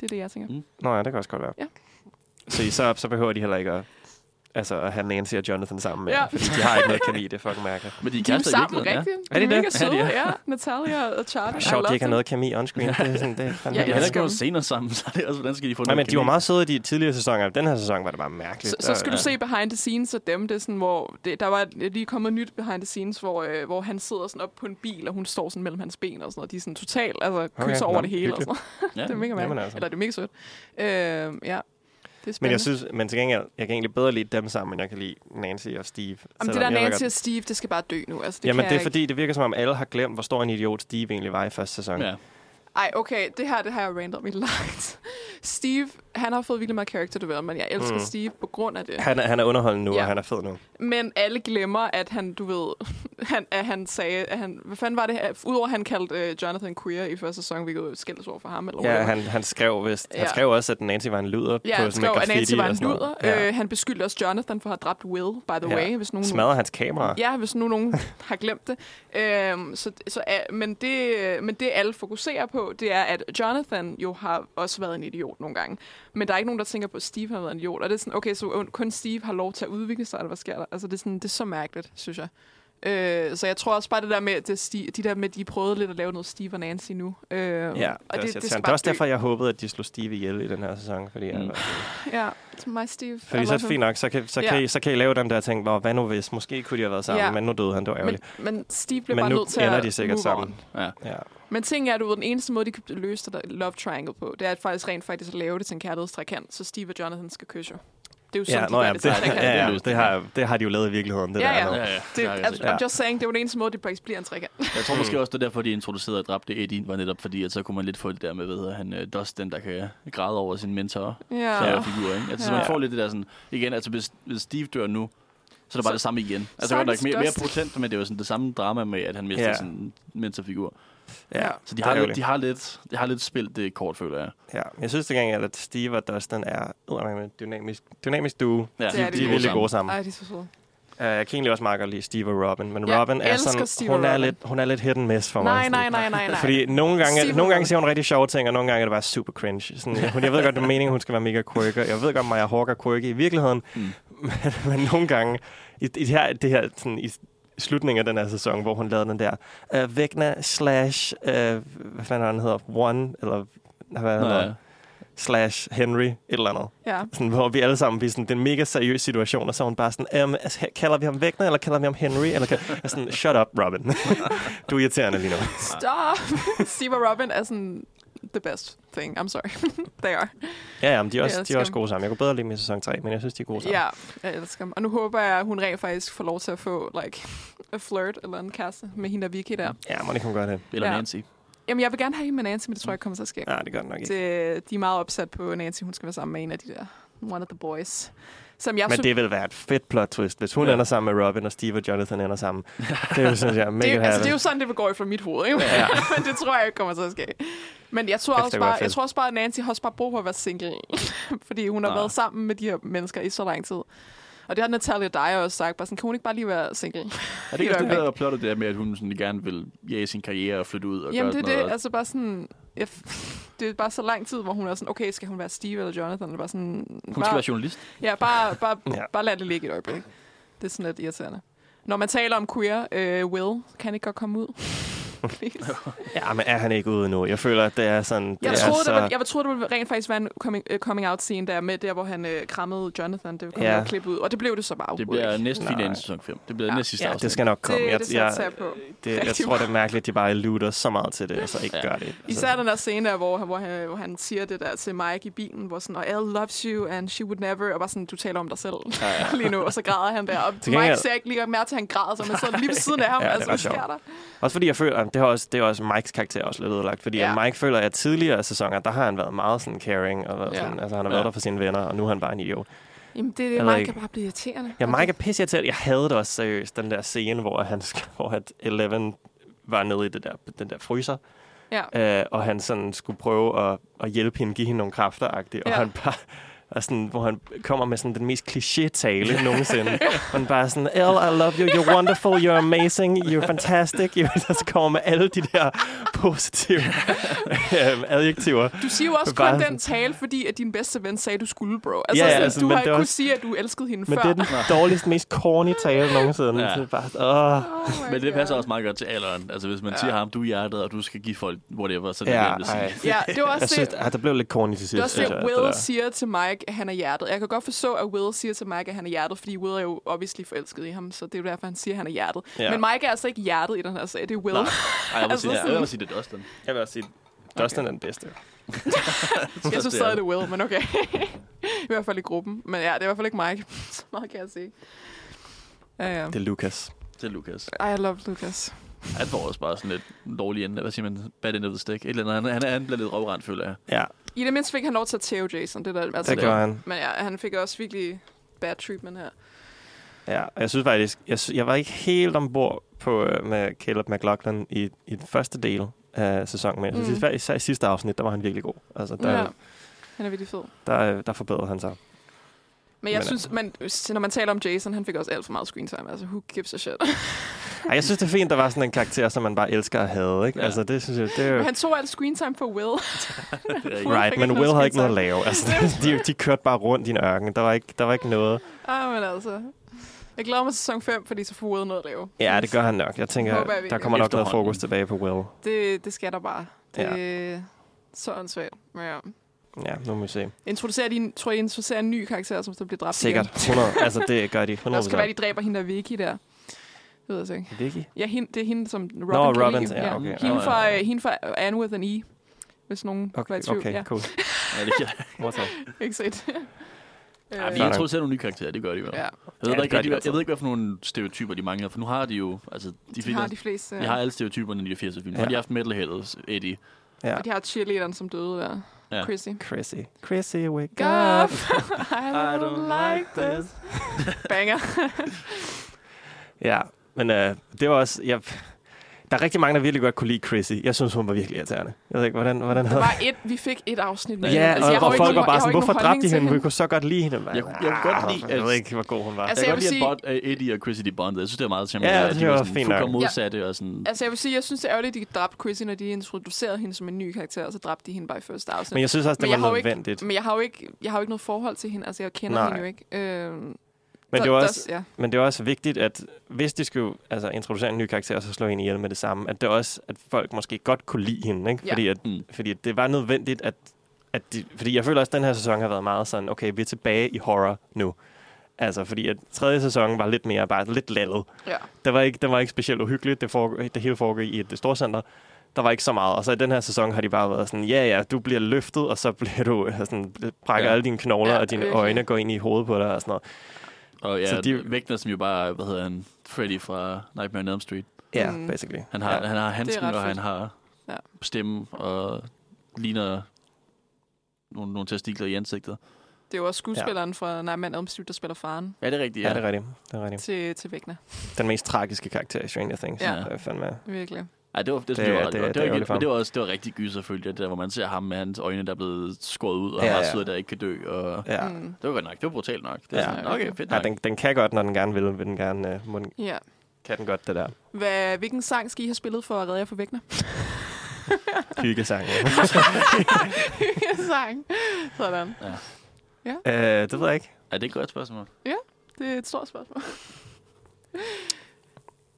Speaker 4: Det er det, jeg tænker.
Speaker 2: Nå ja, det kan også godt være.
Speaker 4: Ja.
Speaker 2: Så, I, så, så behøver de heller ikke at, altså, at have Nancy og Jonathan sammen med, ja.
Speaker 4: Ja.
Speaker 2: fordi de har ikke noget kemi, det er fucking mærkeligt.
Speaker 3: Men de er
Speaker 4: De er jo
Speaker 3: kærester i
Speaker 4: sammen,
Speaker 3: virkeligheden, ja.
Speaker 4: rigtigt?
Speaker 2: Er de det?
Speaker 4: mega
Speaker 2: Ja,
Speaker 4: søde,
Speaker 3: de er.
Speaker 4: ja. Natalia og Charlie. [laughs] I
Speaker 2: Sjovt,
Speaker 4: love
Speaker 2: de ikke har
Speaker 4: them.
Speaker 2: noget kemi on screen. Det er sådan, det er fandme
Speaker 3: Ja, de har heller
Speaker 4: Ja,
Speaker 2: mærkeligt.
Speaker 3: ikke gået senere sammen, [laughs] så det er også, hvordan skal de få
Speaker 2: Nej,
Speaker 3: noget
Speaker 2: men de var
Speaker 3: kemi?
Speaker 2: meget søde i de tidligere sæsoner. Den her sæson var det bare
Speaker 4: Så,
Speaker 2: mærkeligt.
Speaker 4: så skal
Speaker 2: Der-
Speaker 4: du se behind the scenes af dem, det er sådan, hvor det, der var lige kommet nyt behind the scenes, hvor, øh, hvor han sidder sådan op på en bil, og hun står sådan mellem hans ben og sådan noget. De er sådan totalt, altså
Speaker 2: Okay,
Speaker 4: okay, kysser over
Speaker 2: nå,
Speaker 4: det hele og
Speaker 2: hyggeligt.
Speaker 4: sådan noget. [laughs]
Speaker 3: Ja.
Speaker 4: Det er mega
Speaker 2: Jamen
Speaker 4: mærkeligt.
Speaker 2: altså.
Speaker 4: Altså. Eller det er mega sødt. Øh, ja, det er spændende.
Speaker 2: Men jeg synes, men til gengæld, jeg kan egentlig bedre lide dem sammen, end jeg kan lide Nancy og Steve.
Speaker 4: Jamen, det der
Speaker 2: selvom jeg ved
Speaker 4: Nancy
Speaker 2: godt-
Speaker 4: og Steve, det skal bare dø nu. Altså, det
Speaker 2: Jamen,
Speaker 4: kan
Speaker 2: det er
Speaker 4: jeg
Speaker 2: fordi, det virker som om alle har glemt, hvor stor en idiot Steve egentlig var i første sæson.
Speaker 3: Ja.
Speaker 4: Ikke. Ej, okay, det her det har jeg randet om i langt. [laughs] Steve, han har fået virkelig meget character development. Jeg elsker
Speaker 2: Mm.
Speaker 4: mm. Steve på grund af det.
Speaker 2: Han, er, han er underholdende nu, ja.
Speaker 4: Ja.
Speaker 2: og han er fed nu.
Speaker 4: Men alle glemmer, at han, du ved, [laughs] han, at han sagde, at han, hvad fanden var det, udover at han kaldte uh, Jonathan queer i første sæson, hvilket jo skældes over for ham, eller
Speaker 2: Ja,
Speaker 4: whatever.
Speaker 2: han, han skrev vist, ja. han
Speaker 4: Ja.
Speaker 2: skrev også, at Nancy var en luder
Speaker 4: Ja,
Speaker 2: på sådan
Speaker 4: han skrev,
Speaker 2: en
Speaker 4: at
Speaker 2: graffiti.
Speaker 4: Nancy var en
Speaker 2: og sådan
Speaker 4: luder.
Speaker 2: noget.
Speaker 4: Ja. Øh, han beskyldte også Jonathan for at have dræbt Will, by the
Speaker 2: Ja.
Speaker 4: ja. way, hvis nogen...
Speaker 2: Smadrede hans kamera.
Speaker 4: Ja, hvis nu nogen [laughs] har glemt det. Øhm, så, så, er- men, det men det, alle fokuserer på, det er, at Jonathan jo har også været en idiot nogle gange. Men der er ikke nogen, der tænker på, at Steve har været en idiot. Og det er sådan, okay, så kun Steve har lov til at udvikle sig, eller hvad sker der? Altså, det er, sådan, det er så mærkeligt, synes jeg. Øh, så jeg tror også bare det der med, at det Steve, de der med, at de prøvede lidt at lave noget Steve og Nancy nu. Øh, ja, og
Speaker 2: Ja, og det, det, det, det er også derfor, jeg håbede, at de slog Steve ihjel i den her sæson. Fordi,
Speaker 3: Mm.
Speaker 2: mm.
Speaker 4: Ja, it's my Steve.
Speaker 2: fordi
Speaker 4: I
Speaker 2: så er
Speaker 4: love
Speaker 2: det
Speaker 4: him.
Speaker 2: fint nok, så kan, så,
Speaker 4: Ja.
Speaker 2: kan I, så kan I lave den der ting, hvor hvad nu hvis, måske kunne de have været sammen, ja.
Speaker 4: Ja.
Speaker 2: men nu døde han, det var
Speaker 4: Men,
Speaker 2: ærgerligt.
Speaker 4: men Steve blev
Speaker 2: Men
Speaker 4: bare
Speaker 2: nu
Speaker 4: nødt til
Speaker 2: ender
Speaker 4: at
Speaker 2: de sikkert
Speaker 4: move
Speaker 2: sammen.
Speaker 4: On.
Speaker 3: ja.
Speaker 2: Ja.
Speaker 4: Men ting er, at du ved, den eneste måde, de kan løse det der love triangle på, det er at faktisk rent faktisk at lave det til en kærlighedstrækant, så Steve og Jonathan skal kysse. jo. Det er jo sådan,
Speaker 2: Ja,
Speaker 4: de
Speaker 2: nå,
Speaker 4: gør
Speaker 2: ja, det,
Speaker 4: det til
Speaker 2: ja,
Speaker 4: en
Speaker 3: det
Speaker 4: trekant.
Speaker 3: er
Speaker 2: ja,
Speaker 3: løst.
Speaker 2: det, har, det har de jo lavet i virkeligheden, det
Speaker 4: Ja,
Speaker 2: der.
Speaker 4: ja.
Speaker 2: nu.
Speaker 3: ja, ja.
Speaker 4: Det,
Speaker 3: Det, er
Speaker 4: altså,
Speaker 2: Ja.
Speaker 4: I'm just saying, det er jo den eneste måde, de faktisk bliver en trekant.
Speaker 3: jeg tror måske også, det er derfor, de introducerede og dræbte Eddie, var netop fordi, at så kunne man lidt få det der med, hvad hedder han, øh, Dustin, der kan græde over sin mentor. Ja.
Speaker 4: Ja.
Speaker 3: figur, ikke? Altså, så
Speaker 4: Ja.
Speaker 3: man får lidt det der sådan, igen, altså hvis, hvis Steve dør nu, så er det bare
Speaker 4: Så-
Speaker 3: det samme igen. Altså,
Speaker 4: så er
Speaker 3: godt nok
Speaker 4: det
Speaker 3: mere, mere
Speaker 4: største.
Speaker 3: potent, men det er jo sådan det samme drama med, at han mister
Speaker 2: Ja.
Speaker 3: ja. sin mentorfigur.
Speaker 2: ja.
Speaker 3: Så
Speaker 2: Det
Speaker 3: de
Speaker 2: er
Speaker 3: har,
Speaker 2: ærgerligt.
Speaker 3: lidt, de har lidt, de har lidt spillet det kort, føler jeg.
Speaker 2: Ja, jeg synes til gengæld, at Steve og Dustin er eddermame en dynamisk, dynamisk duo.
Speaker 3: Ja,
Speaker 4: Det
Speaker 2: De, de er
Speaker 4: de gode
Speaker 2: virkelig gode sammen.
Speaker 4: Ej, de er så søde.
Speaker 2: Uh, jeg kan egentlig også meget godt lide Steve og Robin, men
Speaker 4: Jeg
Speaker 2: Robin er
Speaker 4: elsker
Speaker 2: sådan,
Speaker 4: Steve og
Speaker 2: hun, er
Speaker 4: Robin.
Speaker 2: lidt, hun er lidt hit and miss for mig.
Speaker 4: Nej,
Speaker 2: Sådan-
Speaker 4: nej, nej, nej, nej.
Speaker 2: Fordi nogle gange,
Speaker 4: Steve
Speaker 2: nogle gange
Speaker 4: Robin.
Speaker 2: siger hun rigtig sjove ting, og nogle gange er det bare super cringe. Sådan, jeg, jeg ved godt, det er meningen, hun skal være mega quirky. og Jeg ved godt, Maja Hawk er quirky i virkeligheden. Mm.
Speaker 3: Mm.
Speaker 2: Men, [laughs] men nogle gange, i, i det her, det her sådan, i slutningen af den her sæson, hvor hun lavede den der uh, Vegna slash, uh, hvad fanden er han hedder, One, eller hvad
Speaker 3: Nå,
Speaker 2: hedder
Speaker 3: ja.
Speaker 2: han? slash Henry, et eller andet.
Speaker 4: Ja.
Speaker 2: Sådan, hvor vi alle sammen vi er sådan, det er en mega seriøs situation, og så er hun bare sådan, um, altså, kalder vi ham Vegna, eller kalder vi ham Henry? Eller kan... Jeg er sådan, [laughs]
Speaker 4: [laughs]
Speaker 2: shut up, Robin. du er irriterende lige nu.
Speaker 4: Stop! Steve og Robin er sådan the best thing. I'm sorry. [laughs] They are.
Speaker 2: Ja, ja, men de er
Speaker 4: Jeg
Speaker 2: også, de er
Speaker 4: elsker
Speaker 2: også
Speaker 4: dem.
Speaker 2: gode sammen. Jeg kunne bedre lide dem i sæson 3, men jeg synes, de er gode sammen.
Speaker 4: Ja, jeg elsker dem. Og nu håber jeg, at hun rent faktisk får lov til at få like, a flirt eller en kæreste med hende og Vicky der.
Speaker 2: Ja, må ikke hun gøre det.
Speaker 3: Eller
Speaker 4: Ja.
Speaker 3: ja. Nancy.
Speaker 4: Jamen, jeg vil gerne have hende med Nancy, men det tror jeg ikke kommer til at ske.
Speaker 2: Nej, det gør den nok ikke.
Speaker 4: Det, de er meget opsat på Nancy. Hun skal være sammen med en af de der one of the boys. Som jeg
Speaker 2: Men
Speaker 4: så-
Speaker 2: det vil være et fedt plot twist, hvis hun
Speaker 3: Ja.
Speaker 2: ja. ender sammen med Robin, og Steve og Jonathan ender
Speaker 4: [laughs]
Speaker 2: sammen. Det er jo, synes jeg,
Speaker 4: det,
Speaker 2: mega
Speaker 4: er, jo- altså, det er
Speaker 2: happy.
Speaker 4: jo sådan, det går fra mit hoved, ikke?
Speaker 3: Ja.
Speaker 4: [laughs] Men det tror jeg ikke kommer til at ske. Men jeg tror,
Speaker 2: Det
Speaker 4: også
Speaker 2: kunne være
Speaker 4: bare, jeg
Speaker 2: fedt.
Speaker 4: tror også bare, at Nancy har også bare brug for at være single. [laughs] fordi hun har
Speaker 3: Nå.
Speaker 4: været sammen med de her mennesker i så lang tid. Og det har Natalia Dyer også sagt. Bare sådan, kan hun ikke bare lige være single?
Speaker 3: Er det ikke også
Speaker 4: Helt
Speaker 3: det der plotter der med, at hun sådan gerne vil jage sin karriere og flytte ud og
Speaker 4: Jamen,
Speaker 3: gøre
Speaker 4: det er det.
Speaker 3: noget?
Speaker 4: Altså bare sådan... Jeg, f- [laughs] det er bare så lang tid, hvor hun er sådan, okay, skal hun være Steve eller Jonathan? Eller bare sådan,
Speaker 3: Hun skal
Speaker 4: bare,
Speaker 3: være journalist.
Speaker 4: ja, bare, bare, ja.
Speaker 2: [laughs] Ja.
Speaker 4: bare lad det ligge et øjeblik. Det er sådan lidt irriterende. Når man taler om queer, øh, Will, kan ikke godt komme ud? Please.
Speaker 2: Ja, men er han ikke ude nu? Jeg føler, at det er sådan...
Speaker 4: Jeg,
Speaker 2: det
Speaker 4: troede,
Speaker 2: er så...
Speaker 4: der ville, jeg troede, der ville rent faktisk være en coming, uh, coming out scene der med der, hvor han uh, krammede Jonathan. Det ville komme
Speaker 2: Ja.
Speaker 4: ja. klip ud, og det blev det så bare
Speaker 3: Det
Speaker 4: overhovedet
Speaker 3: bliver
Speaker 4: ikke.
Speaker 3: næsten fint
Speaker 2: Nej.
Speaker 3: i sæson 5. Det bliver
Speaker 4: Ja.
Speaker 3: næst sidste
Speaker 2: Ja,
Speaker 3: afsnit.
Speaker 2: det skal nok komme.
Speaker 4: Det,
Speaker 2: Jeg,
Speaker 4: det
Speaker 2: jeg, altså-
Speaker 4: satser jeg på.
Speaker 2: det, jeg
Speaker 4: rigtig
Speaker 2: tror, det er mærkeligt, at de bare lutter så meget til det, og så ikke
Speaker 3: Ja.
Speaker 2: ja. gør det. Altså,
Speaker 4: Især den der scene der, hvor, hvor, han, hvor han siger det der til Mike i bilen, hvor sådan, Elle loves you, and she would never, og bare sådan, du taler om dig selv
Speaker 3: Ja, ja.
Speaker 4: [laughs] lige nu, og så græder han der. Og Mike
Speaker 2: gengæld-
Speaker 4: ser ikke lige mere til, at han græder, så man sidder lige ved siden af ham,
Speaker 2: Ja, det
Speaker 4: altså,
Speaker 2: var
Speaker 4: hvad sker
Speaker 2: sjovt.
Speaker 4: der?
Speaker 2: Også fordi jeg føler, at det er også, det er også Mikes karakter også lidt ødelagt, fordi
Speaker 4: Ja.
Speaker 2: ja. Mike føler, at tidligere sæsoner, der har han været meget sådan caring, og været
Speaker 4: Ja.
Speaker 2: sådan, altså, han har
Speaker 3: Ja.
Speaker 2: været der for sine venner, og nu er han bare en idiot.
Speaker 4: Jamen, det,
Speaker 2: Jeg
Speaker 4: det
Speaker 2: ved
Speaker 4: Mike
Speaker 2: ikke.
Speaker 4: kan bare blive irriterende.
Speaker 2: Ja, Mike er pisse til. Jeg havde det også seriøst, den der scene, hvor, han, [laughs] sk- hvor at Eleven var nede i det der, den der fryser,
Speaker 4: Ja.
Speaker 2: øh, og han sådan skulle prøve at, at hjælpe hende, give hende nogle kræfter ja. og
Speaker 4: Ja.
Speaker 2: han bare og sådan, hvor han kommer med sådan den mest kliché-tale nogensinde. Og han bare sådan, Elle, I love you, you're wonderful, you're amazing, you're fantastic. Og så kommer med alle de der [laughs] positive øhm, adjektiver.
Speaker 4: Du siger jo også
Speaker 2: Bare
Speaker 4: kun den tale, fordi at din bedste ven sagde, du skulle, bro. Altså,
Speaker 2: Ja, ja,
Speaker 4: sådan,
Speaker 2: altså,
Speaker 4: du
Speaker 2: men
Speaker 4: har
Speaker 2: det
Speaker 4: ikke
Speaker 2: er
Speaker 4: kunnet
Speaker 2: også-
Speaker 4: sige, at du elskede hende
Speaker 2: Men
Speaker 4: før.
Speaker 2: det er den dårligste, mest corny tale nogensinde.
Speaker 3: Ja.
Speaker 2: Ja. Så det er bare, åh.
Speaker 4: [laughs] Oh my
Speaker 3: Men det
Speaker 4: God.
Speaker 3: passer også meget godt til alderen. Altså, hvis man ja. siger ham, du er hjertet, og du skal give folk whatever, så er det
Speaker 2: Ja,
Speaker 3: ja, nemt at sige.
Speaker 2: ej.
Speaker 4: Ja, det var også
Speaker 2: Jeg synes,
Speaker 4: det.
Speaker 2: at det blev lidt corny til sidst.
Speaker 4: Det er også
Speaker 2: synes
Speaker 4: det,
Speaker 2: jeg,
Speaker 4: Will
Speaker 2: der.
Speaker 4: siger til Mike, at han er hjertet. Jeg kan godt forstå, at Will siger til Mike, at han er hjertet, fordi Will er jo obviously forelsket i ham, så det er jo derfor, han siger, at han er hjertet.
Speaker 2: Ja.
Speaker 4: Men Mike er altså ikke hjertet i den her sag, det er Will.
Speaker 3: Nej. Ej, jeg vil
Speaker 4: Altså
Speaker 3: sige,
Speaker 4: sådan-
Speaker 3: jeg vil sige, det er Dustin.
Speaker 2: Jeg vil også sige, Dustin er den bedste.
Speaker 4: [laughs] jeg synes
Speaker 3: det er det.
Speaker 4: stadig, det er Will, men okay. [laughs] I hvert fald i gruppen. Men ja, det er i hvert fald ikke Mike. [laughs] Så meget kan jeg sige. Ja, ja.
Speaker 2: Det er Lucas.
Speaker 3: Det er Lukas.
Speaker 4: Ej, I love Lucas.
Speaker 3: Han får også bare sådan lidt dårlig ende. Hvad siger man? Bad end of the stick. Et eller andet. Han, han, er- han bliver lidt røvrendt, føler jeg.
Speaker 2: Ja,
Speaker 4: I det mindste fik han lov til at tæve Jason. Det, der, altså,
Speaker 2: det gør han.
Speaker 4: Men ja, han fik også virkelig bad treatment her.
Speaker 2: Ja, og jeg synes faktisk, jeg, sy- jeg var ikke helt ombord på, øh, med Caleb McLaughlin i, i den første del af sæsonen, men jeg synes,
Speaker 4: Mm.
Speaker 2: mm. især i sidste afsnit, der var han virkelig god. Altså, der,
Speaker 4: Ja.
Speaker 2: ja.
Speaker 4: Han er virkelig fed.
Speaker 2: der, øh, der forbedrede han sig.
Speaker 4: Men jeg
Speaker 2: Men,
Speaker 4: synes, man, når man taler om Jason, han fik også alt for meget screen time. Altså, who gives a shit?
Speaker 2: Ej, jeg synes, det er fint, der var sådan en karakter, som man bare elsker at have. Ikke?
Speaker 3: Ja.
Speaker 2: Ja. Altså, det synes jeg, det er
Speaker 4: Men
Speaker 2: jo...
Speaker 4: han tog alt screen time for
Speaker 2: [laughs]
Speaker 4: Will.
Speaker 3: Det er ikke.
Speaker 4: Right.
Speaker 2: Right,
Speaker 4: fik
Speaker 2: men
Speaker 4: ikke
Speaker 2: Will
Speaker 4: noget
Speaker 2: havde ikke noget at
Speaker 4: skidtøj.
Speaker 2: lave. Altså,
Speaker 4: [laughs]
Speaker 2: de, de kørte bare rundt i en ørken. Der var ikke, der var ikke noget.
Speaker 4: ah, men altså. Jeg glæder mig til sæson 5, fordi så får Will noget at lave.
Speaker 2: Ja, det gør han nok. Jeg tænker,
Speaker 4: Håber jeg
Speaker 2: der kommer nok noget fokus tilbage på Will.
Speaker 4: Det, det skal der bare. Det er så åndssvagt. Men ja.
Speaker 2: Ja, nu må vi se.
Speaker 4: Introducerer de, en- tror I, introducerer en ny karakter, som så bliver dræbt
Speaker 2: Sikkert.
Speaker 4: igen?
Speaker 2: 100. Altså, det gør de. 100%.
Speaker 4: Det også kan være, de dræber hende der Vicky der. Det ved jeg så ikke.
Speaker 2: Vicky?
Speaker 4: Ja, hende, det er hende, som Robin
Speaker 2: Nå,
Speaker 4: kan
Speaker 2: Robin.
Speaker 4: lide.
Speaker 2: Ja, okay.
Speaker 4: Hende,
Speaker 3: Nå, ja.
Speaker 4: fra, øh, hende fra Anne with an E. Hvis nogen var i
Speaker 2: Okay,
Speaker 4: tvivl.
Speaker 2: okay
Speaker 4: ja.
Speaker 2: cool.
Speaker 3: Ja,
Speaker 4: [laughs]
Speaker 3: det kan
Speaker 4: Øh.
Speaker 3: jeg.
Speaker 2: What's up?
Speaker 4: Ikke [laughs] set. Øh,
Speaker 3: Ej, men
Speaker 2: fair
Speaker 3: de
Speaker 2: nok.
Speaker 3: introducerer nogle nye karakterer, det gør de jo.
Speaker 4: ja.
Speaker 3: Jeg ved,
Speaker 2: Ja,
Speaker 3: ja,
Speaker 2: det
Speaker 3: ikke,
Speaker 2: gør
Speaker 3: rigtig,
Speaker 2: de
Speaker 3: hvad- jeg
Speaker 2: altid.
Speaker 3: ved ikke, hvad for nogle stereotyper de mangler, for nu har de jo... Altså, de,
Speaker 4: De,
Speaker 3: fik
Speaker 4: har
Speaker 3: de,
Speaker 4: de Altså, fleste. øh,
Speaker 3: de har alle stereotyperne i de 80'er film.
Speaker 2: Ja.
Speaker 3: Ja. Har de haft metalheadet, Eddie?
Speaker 2: Ja.
Speaker 4: Og de har cheerleaderen, som døde der.
Speaker 3: Ja.
Speaker 4: Ja. [laughs] Chrissy.
Speaker 2: Chrissy. Chrissy, wake
Speaker 4: Guff.
Speaker 2: up.
Speaker 4: I don't like this. [laughs] Banger.
Speaker 2: Ja, men øh, det var også... Jeg, der er rigtig mange, der virkelig godt kunne lide Chrissy. Jeg synes, hun var virkelig irriterende. Jeg ved ikke, hvordan, hvordan
Speaker 4: Der
Speaker 2: havde...
Speaker 4: var et, vi fik et afsnit med.
Speaker 2: Ja,
Speaker 4: jeg
Speaker 2: altså,
Speaker 4: har
Speaker 2: og, og
Speaker 4: jo
Speaker 2: folk var
Speaker 4: ikke nogen- jeg har
Speaker 2: bare
Speaker 4: jo
Speaker 2: sådan,
Speaker 4: ikke
Speaker 2: hvorfor
Speaker 4: nogen
Speaker 2: dræbte I
Speaker 4: holdning til
Speaker 2: hende? Vi kunne så godt lide hende. Man.
Speaker 3: Jeg kunne- jeg kunne godt lide,
Speaker 2: Jeg ved
Speaker 3: at-
Speaker 2: ikke, hvor god hun var.
Speaker 4: Altså,
Speaker 3: Altså, jeg
Speaker 4: jeg
Speaker 3: kan godt
Speaker 4: vil
Speaker 3: lide, at
Speaker 4: sige-
Speaker 3: Bond, uh, Eddie og Chrissy de bondede. Jeg synes, det er meget charmerende.
Speaker 2: Ja,
Speaker 3: at
Speaker 2: det
Speaker 3: de
Speaker 2: var
Speaker 3: sådan
Speaker 2: fint nok.
Speaker 3: fuldkommen modsatte og sådan...
Speaker 4: Altså, jeg vil sige, jeg synes, det er ærgerligt, at de dræbte Chrissy, når de introducerede hende som en ny karakter, og så dræbte de hende bare i første afsnit.
Speaker 2: Men jeg synes også,
Speaker 4: Men
Speaker 2: det
Speaker 4: jeg har
Speaker 2: var
Speaker 4: jo ikke- Mm,
Speaker 2: nødvendigt.
Speaker 4: Men jeg har jo ikke, jeg har jo ikke noget forhold til hende. Altså, jeg kender
Speaker 2: Nej.
Speaker 4: hende jo ikke. Øhm,
Speaker 2: Men
Speaker 4: der-
Speaker 2: det var
Speaker 4: der-
Speaker 2: også,
Speaker 4: Ja.
Speaker 2: Men det er også vigtigt, at hvis de skulle altså, introducere en ny karakter, og så slå hende ihjel med det samme, at det er også, at folk måske godt kunne lide hende. Ikke?
Speaker 4: Ja.
Speaker 2: Fordi, at,
Speaker 3: Mm.
Speaker 2: fordi at det var nødvendigt, at, at de, fordi jeg føler også, at den her sæson har været meget sådan, okay, vi er tilbage i horror nu. Altså, fordi at tredje sæson var lidt mere bare lidt lallet.
Speaker 4: ja.
Speaker 2: Det var ikke, den var ikke specielt uhyggeligt. Det, foregår, det hele foregår i et storcenter. der var ikke så meget. Og så i den her sæson har de bare været sådan, ja ja, du bliver løftet, og så bliver du øh, sådan, brækker
Speaker 3: Ja.
Speaker 2: alle dine knogler,
Speaker 4: Ja,
Speaker 2: og dine
Speaker 4: virkelig.
Speaker 2: øjne går ind i hovedet på dig og sådan noget.
Speaker 3: Og ja,
Speaker 2: Så
Speaker 3: så
Speaker 2: Altså, de-
Speaker 3: de... vægtene, som jo bare, er, hvad hedder han, Freddy fra Nightmare on Elm Street.
Speaker 2: Ja, yeah,
Speaker 4: Mm.
Speaker 2: basically.
Speaker 3: Han har,
Speaker 2: ja.
Speaker 3: ja. han har handsken,
Speaker 4: ret
Speaker 3: og han
Speaker 4: fedt.
Speaker 3: har
Speaker 4: Ja.
Speaker 3: ja. stemme, og ligner nogle, nogle testikler i ansigtet.
Speaker 4: Det er jo også skuespilleren ja. fra Nightmare on Elm Street, der spiller faren
Speaker 3: Ja, det er rigtigt,
Speaker 2: Ja, det er rigtigt. Det er rigtigt.
Speaker 4: til, til Vægner.
Speaker 2: Den mest tragiske karakter i Stranger Things.
Speaker 4: Ja.
Speaker 2: Ja. Det er fandme
Speaker 4: Virkelig.
Speaker 3: Ej, det var, det, det,
Speaker 2: Det-
Speaker 3: det, var,
Speaker 2: det-
Speaker 3: det, det, var,
Speaker 2: det er
Speaker 3: det,
Speaker 2: ærgerligt for
Speaker 3: var,
Speaker 2: ham.
Speaker 3: det var også det var rigtig gyser, følte jeg, det der, hvor man ser ham med hans øjne, der er blevet skåret ud, og
Speaker 2: Ja,
Speaker 3: ja, han
Speaker 2: ja.
Speaker 3: har sidder der ikke kan dø, og
Speaker 2: Ja. Mm.
Speaker 4: Mm.
Speaker 3: det var godt nok, det var brutalt nok. Det er
Speaker 2: Ja.
Speaker 3: ja. sådan, okay, fedt
Speaker 2: Ja,
Speaker 3: nok.
Speaker 2: den, den kan godt, når den gerne vil. vil den gerne, øh, må den,
Speaker 4: ja.
Speaker 2: kan den godt, det der
Speaker 4: Hvad, hvilken sang skal I have spillet for at redde jer for Vægner?
Speaker 2: hyggesang.
Speaker 4: [laughs]
Speaker 2: [laughs]
Speaker 4: sang. Sådan.
Speaker 2: øh, det ved jeg ikke.
Speaker 3: Er det et godt spørgsmål? [laughs]
Speaker 4: Det er et stort spørgsmål.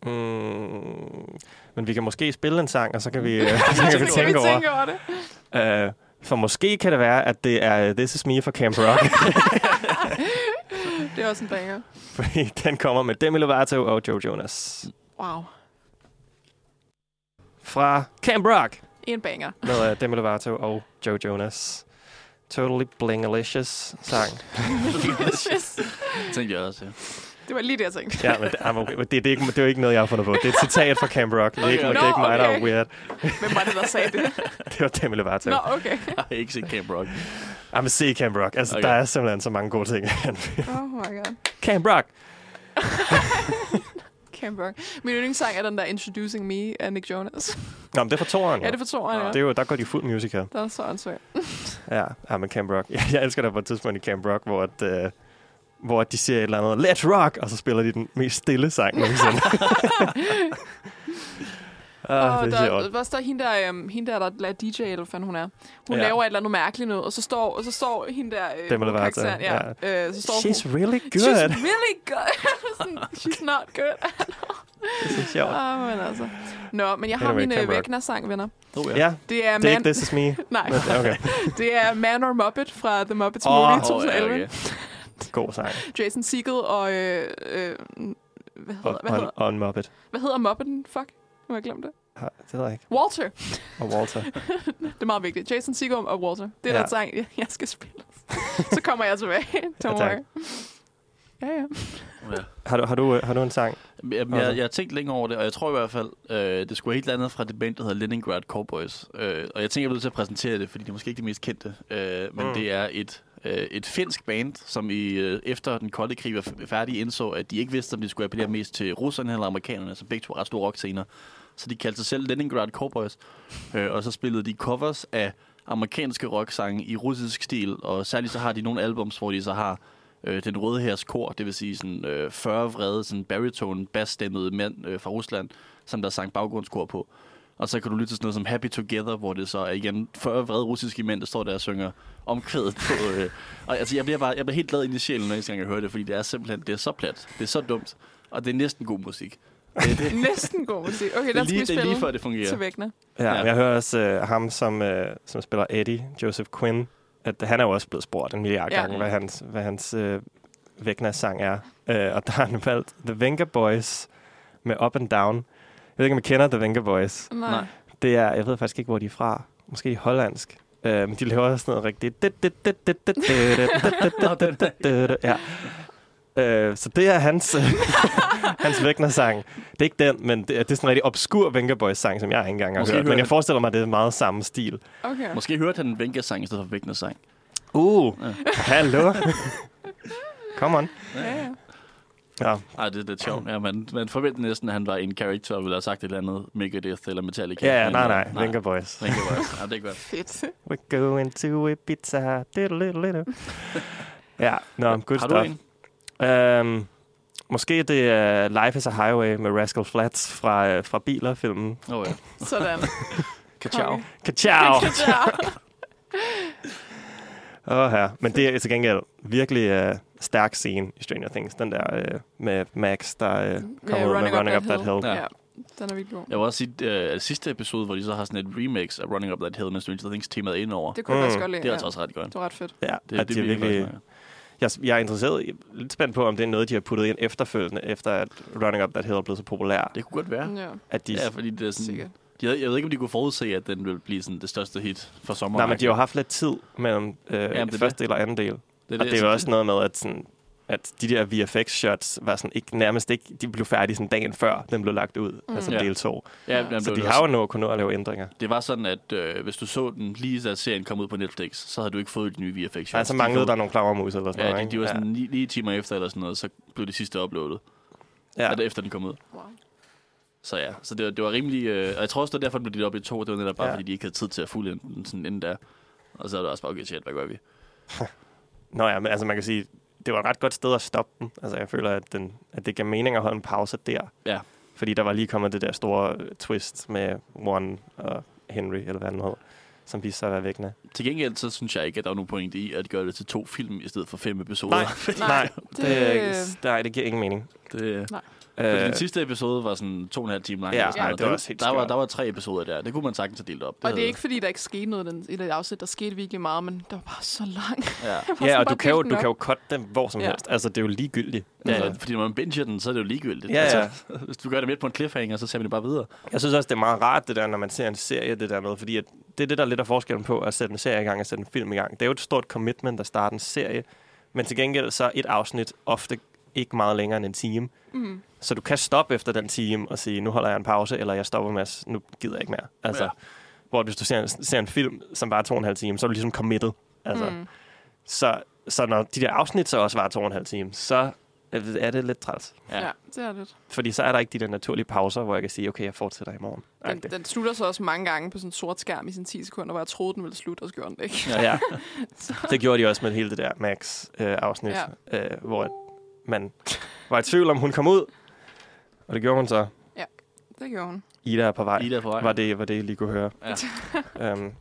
Speaker 2: Mm, men vi kan måske spille en sang, og så kan vi, [laughs] øh, så
Speaker 4: [laughs] Så
Speaker 2: kan vi tænke over.
Speaker 4: tænke over det.
Speaker 2: Øh, for måske kan det være, at det er øh, This Is Me fra Camp Rock. [laughs]
Speaker 4: Det er også en banger.
Speaker 2: fordi den kommer med Demi Lovato og Joe Jonas.
Speaker 4: Wow.
Speaker 2: Fra Camp Rock
Speaker 4: En banger.
Speaker 2: [laughs] med øh, Demi Lovato og Joe Jonas. Totally blingalicious sang.
Speaker 3: Tænkte jeg også, ja.
Speaker 4: Det var lige det, jeg tænkte.
Speaker 2: Ja, men det, ah, men det, det, er ikke, det er jo ikke noget, jeg har fundet på. Det er et citat fra Camp Rock. Det er ikke,
Speaker 3: Okay.
Speaker 2: det er ikke
Speaker 4: Nå,
Speaker 2: mig, der er
Speaker 4: okay.
Speaker 2: weird.
Speaker 4: Hvem var det, der sagde
Speaker 2: [laughs]
Speaker 4: det?
Speaker 2: Det var Demi Lovato.
Speaker 4: Nå, okay.
Speaker 3: Jeg har ikke set Camp Rock.
Speaker 2: Jamen, se Camp Rock. Altså, okay.
Speaker 3: Okay.
Speaker 2: der er simpelthen så mange gode ting. [laughs] i den film.
Speaker 4: [laughs] Oh my god.
Speaker 2: Camp Rock.
Speaker 4: Camp Rock. Min yndlingssang er den der Introducing Me af Nick Jonas.
Speaker 2: Nå, men det er fra toeren,
Speaker 4: Ja,
Speaker 2: jo.
Speaker 4: det forstår jeg.
Speaker 2: det er jo, der går de fuld musical.
Speaker 4: Der er så ansvaret.
Speaker 2: Ja, ja men Camp Rock. [laughs] Jeg, jeg elsker der på et tidspunkt i Camp Rock, hvor, at, øh, hvor at de siger et eller andet, let's rock, og så spiller de den mest stille sang
Speaker 4: [laughs]
Speaker 2: nogensinde. ah,
Speaker 4: Og
Speaker 2: det er
Speaker 4: der,
Speaker 2: sjovt.
Speaker 4: der, der er hende der, øhm, hende der, der lader DJ, eller hvad fanden hun er. Hun
Speaker 2: Ja.
Speaker 4: ja. laver et eller andet mærkeligt noget, og så står, og så står hende der... Øh,
Speaker 2: Demi Lovato,
Speaker 4: karakteren, Ja, ja. Øh, så står
Speaker 2: altså. She's
Speaker 4: hun,
Speaker 2: really good.
Speaker 4: She's really good. [laughs] Sådan, She's not good.
Speaker 2: det er
Speaker 4: [laughs]
Speaker 2: så sjovt.
Speaker 4: Åh, men altså. Nå, men jeg har
Speaker 2: Anyway,
Speaker 4: min
Speaker 2: Camp Rock.
Speaker 4: Vægner-sang, venner.
Speaker 3: Oh,
Speaker 2: Ja, det
Speaker 4: Det er,
Speaker 2: er
Speaker 4: Ah. man,
Speaker 2: ikke This Is Me.
Speaker 4: Nej, [laughs]
Speaker 2: Men, okay,
Speaker 4: det er Man or Muppet fra The Muppets
Speaker 2: Åh,
Speaker 4: Movie
Speaker 2: åh,
Speaker 3: Åh,
Speaker 4: 2011.
Speaker 3: ja, okay.
Speaker 2: god sang.
Speaker 4: Jason Segel og... Øh, øh, hvad, hedder, hvad,
Speaker 2: Og,
Speaker 4: hedder,
Speaker 2: og, og en Muppet.
Speaker 4: hvad hedder Muppeten? Fuck, nu har jeg glemt det.
Speaker 2: Ja, Det ved jeg ikke.
Speaker 4: Walter.
Speaker 2: Og Walter.
Speaker 4: Det er meget vigtigt. Jason Segel og Walter. Det er
Speaker 2: Ja.
Speaker 4: ja. den sang, jeg- jeg skal spille. Så kommer jeg tilbage. Don't
Speaker 2: tak.
Speaker 4: worry. Ja, ja.
Speaker 3: Ja.
Speaker 2: Har du, har du, øh, har du en sang?
Speaker 3: Jamen,
Speaker 2: Altså.
Speaker 3: jeg, jeg har tænkt længe over det, og jeg tror i hvert fald, øh, det skulle helt andet fra det band, der hedder Leningrad Cowboys. Øh, og jeg tænker, jeg bliver nødt til at præsentere det, fordi det er måske ikke det mest kendte. Øh, men
Speaker 2: Mm.
Speaker 3: mm. det er et, øh, et finsk band, som i, øh, efter den kolde krig var f- færdig, indså, at de ikke vidste, om de skulle appellere mest til russerne eller amerikanerne, som begge to er ret store rockscener. Så de kaldte sig selv Leningrad Cowboys, øh, og så spillede de covers af amerikanske rocksange i russisk stil, og særligt så har de nogle albums, hvor de så har øh, den røde hærs kor, det vil sige sådan øh, 40 vrede, sådan baritone, bassstemmede mænd øh, fra Rusland, som der sang baggrundskor på. Og så kan du lytte til sådan noget som Happy Together, hvor det så er igen 40 vrede russiske mænd, der står der og synger omkvædet på. Øh. Og altså, jeg bliver bare jeg bliver helt glad ind i sjælen, når jeg gang jeg hører det, fordi det er simpelthen det er så plat, det er så dumt, og det er næsten god musik. Det, det, det,
Speaker 4: [laughs] Næsten god musik. Okay,
Speaker 3: er
Speaker 4: der skal
Speaker 3: lige,
Speaker 4: vi
Speaker 3: det er lige før
Speaker 4: spille
Speaker 3: det
Speaker 4: til
Speaker 3: fungerer.
Speaker 4: Vægner.
Speaker 2: Ja, ja.
Speaker 3: Ja.
Speaker 2: jeg hører også øh, ham, som, øh, som spiller Eddie, Joseph Quinn, at han er jo også blevet spurgt en milliard
Speaker 4: Ja.
Speaker 2: gange, hvad hans, hvad hans øh, Vægner-sang er. Øh, og der har han valgt The Venga Boys med Up and Down. Jeg ved ikke, om I kender The Venga Boys.
Speaker 4: Nej.
Speaker 3: Nej.
Speaker 2: Det er, jeg ved faktisk ikke, hvor de er fra. Måske hollandsk. Øh, men de laver også noget rigtigt. Det- det- det- det- det- det- det- det- det- det- det- det- det- det- Ja. Øh, så det er hans, [laughs] hans Vægner-sang. Det er ikke den, men det er, det er sådan en rigtig obskur Venga Boys-sang, som jeg ikke engang har
Speaker 3: Måske
Speaker 2: hørt. Men
Speaker 3: hører
Speaker 2: jeg
Speaker 3: han-
Speaker 2: forestiller mig, at det er meget samme stil.
Speaker 4: Okay.
Speaker 3: Måske hørte han en Venka-sang i stedet for Vægner sang.
Speaker 2: Uh,
Speaker 3: Ja.
Speaker 2: hallo. Come on.
Speaker 4: Ja, ja.
Speaker 2: Ja,
Speaker 3: Ej, det er lidt sjovt. Ja, man, man forventede næsten, at han var en karakter og ville have sagt et eller andet Megadeth eller Metallica.
Speaker 2: ja, ja
Speaker 3: Men,
Speaker 2: nej,
Speaker 3: øh,
Speaker 2: nej. Venga Boys.
Speaker 3: Venga Boys. Ja, det er godt.
Speaker 4: Fedt.
Speaker 2: We're going to Ibiza. Diddle-diddle-diddle. Ja, nå, good
Speaker 3: Har
Speaker 2: stuff.
Speaker 3: du en?
Speaker 2: Øhm, måske det er Life is a Highway med Rascal Flats fra, øh, fra Biler-filmen.
Speaker 3: Åh oh, ja.
Speaker 4: Sådan.
Speaker 2: Kachow.
Speaker 4: Konge.
Speaker 2: [laughs] Kachow!
Speaker 4: Ciao.
Speaker 2: Åh, her. Men det er til gengæld virkelig øh, stærk scene i Stranger Things. Den der øh, med Max, der øh, kommer ud med Running Up That Hill.
Speaker 3: Hill.
Speaker 4: Ja. Den er virkelig god.
Speaker 3: Jeg vil også sige, at øh, sidste episode, hvor de så har sådan et remix af Running Up That Hill med Stranger Things temaet ind over, det,
Speaker 4: Det kunne jeg
Speaker 2: Mm.
Speaker 4: faktisk godt lide.
Speaker 3: det er altså
Speaker 4: ja.
Speaker 3: også ret godt.
Speaker 4: Det var ret fedt.
Speaker 2: Ja,
Speaker 3: Det,
Speaker 2: at
Speaker 3: det,
Speaker 2: de er
Speaker 3: virker
Speaker 2: virkelig,
Speaker 3: godt.
Speaker 2: jeg, jeg er interesseret, jeg er lidt spændt på, om det er noget, de har puttet ind efterfølgende, efter at Running Up That Hill er blevet så populær.
Speaker 3: det kunne godt være.
Speaker 4: Ja,
Speaker 2: At de,
Speaker 3: Ja, fordi det er sådan,
Speaker 4: sikkert.
Speaker 3: det Jeg, ved- jeg ved ikke, om de kunne forudse, at den ville blive sådan det største hit for sommeren.
Speaker 2: Nej, men de har jo haft lidt tid mellem øh,
Speaker 3: er det.
Speaker 2: første del og anden del.
Speaker 3: det,
Speaker 2: og det er jo også noget med, at, sådan, at de der VFX-shots var sådan ikke, nærmest ikke, de blev færdige sådan dagen før den blev lagt ud, mm. altså
Speaker 3: Ja.
Speaker 2: del 2.
Speaker 3: Ja, jamen, det
Speaker 2: Så
Speaker 3: var
Speaker 2: de
Speaker 3: det
Speaker 2: har jo nu kunnet nå at lave ændringer.
Speaker 3: Det var sådan, at øh, hvis du så den lige da serien kom ud på Netflix, så havde du ikke fået de nye VFX shots.
Speaker 2: Altså
Speaker 3: De
Speaker 2: manglede
Speaker 3: kom-
Speaker 2: der nogle klammermus eller sådan
Speaker 3: Ja,
Speaker 2: noget,
Speaker 3: de, de var
Speaker 2: ikke?
Speaker 3: sådan ni, ni timer efter eller sådan noget, så blev det sidste uploadet,
Speaker 2: ja.
Speaker 3: ja. efter den kom ud.
Speaker 4: Wow.
Speaker 3: Så ja, så det, var- det var rimelig... Øh, og jeg tror også, det var derfor, den blev delt op i to. Det var netop bare,
Speaker 2: Ja.
Speaker 3: ja. fordi de ikke havde tid til at fuldende den sådan inden da. Og så er det også bare, okay, shit, hvad gør vi?
Speaker 2: Nå ja, men altså man kan sige, det var et ret godt sted at stoppe den. Altså jeg føler, at, den, at det gav mening at holde en pause der.
Speaker 3: Ja.
Speaker 2: Fordi der var lige kommet det der store øh, twist med One og Henry, eller hvad han hed, som viste sig at være vækkende.
Speaker 3: Til gengæld, så synes jeg ikke, at der er nogen pointe i at gøre det til to film i stedet for fem episoder.
Speaker 2: Nej, nej, det,
Speaker 4: det-
Speaker 2: det, nej, det giver ingen mening.
Speaker 3: [laughs] Det,
Speaker 2: Øh,
Speaker 3: øh, den sidste episode var sådan to og en halv time lang.
Speaker 2: Ja,
Speaker 3: eller sådan
Speaker 2: ja,
Speaker 3: noget.
Speaker 2: det var
Speaker 3: der,
Speaker 2: også helt
Speaker 3: der, var,
Speaker 2: skørt.
Speaker 3: der var tre episoder der. Det kunne man sagtens have delt op.
Speaker 4: Og det
Speaker 3: havde-
Speaker 4: er ikke, fordi der ikke skete noget i den- i det afsnit. Der skete virkelig meget, men der var bare så langt. [laughs]
Speaker 3: Ja.
Speaker 2: ja, og
Speaker 4: bare
Speaker 2: du kan, jo,
Speaker 4: delt den
Speaker 2: du kan
Speaker 4: op.
Speaker 2: jo cut dem hvor som
Speaker 4: Ja.
Speaker 2: helst. Altså det er jo ligegyldigt.
Speaker 3: Ja,
Speaker 2: Altså,
Speaker 3: altså, fordi når man binger den, så er det jo ligegyldigt.
Speaker 2: Ja,
Speaker 3: Altså, [laughs] hvis du gør det midt på en cliffhanger, så ser man det bare videre.
Speaker 2: Jeg synes også, det er meget rart, det der, når man ser en serie, det der med, fordi at det er det, der er lidt af forskellen på at sætte en serie i gang og sætte en film i gang. Det er jo et stort commitment at starte en serie, men til gengæld så er et afsnit ofte ikke meget længere end en time.
Speaker 4: Mm.
Speaker 2: Så du kan stoppe efter den time og sige, nu holder jeg en pause, eller jeg stopper med, at- nu gider jeg ikke mere. Altså,
Speaker 3: Ja.
Speaker 2: ja. Hvor hvis du ser en, ser en film, som bare er to og en halv time, så er du ligesom committed. Altså, mm.
Speaker 4: Mm.
Speaker 2: så, så når de der afsnit så også var to og en halv time, så er det lidt træls.
Speaker 3: Ja.
Speaker 4: Ja. ja, det er lidt.
Speaker 2: Fordi så er der ikke de der naturlige pauser, hvor jeg kan sige, okay, jeg fortsætter i morgen.
Speaker 4: Den,
Speaker 2: Agtigt.
Speaker 4: den slutter så også mange gange på sådan en sort skærm i sine 10 sekunder, hvor jeg troede, den ville slutte, og så gjorde den det ikke.
Speaker 2: Ja. ja. Det gjorde de også med hele det der Max-afsnit, øh, øh, hvor at man var i tvivl om, hun kom ud. Og det gjorde hun så.
Speaker 4: [laughs] Det gjorde hun.
Speaker 2: Ida er på vej,
Speaker 3: Ida er på vej.
Speaker 2: var det, var det, I lige kunne høre.
Speaker 3: Ja.
Speaker 2: um,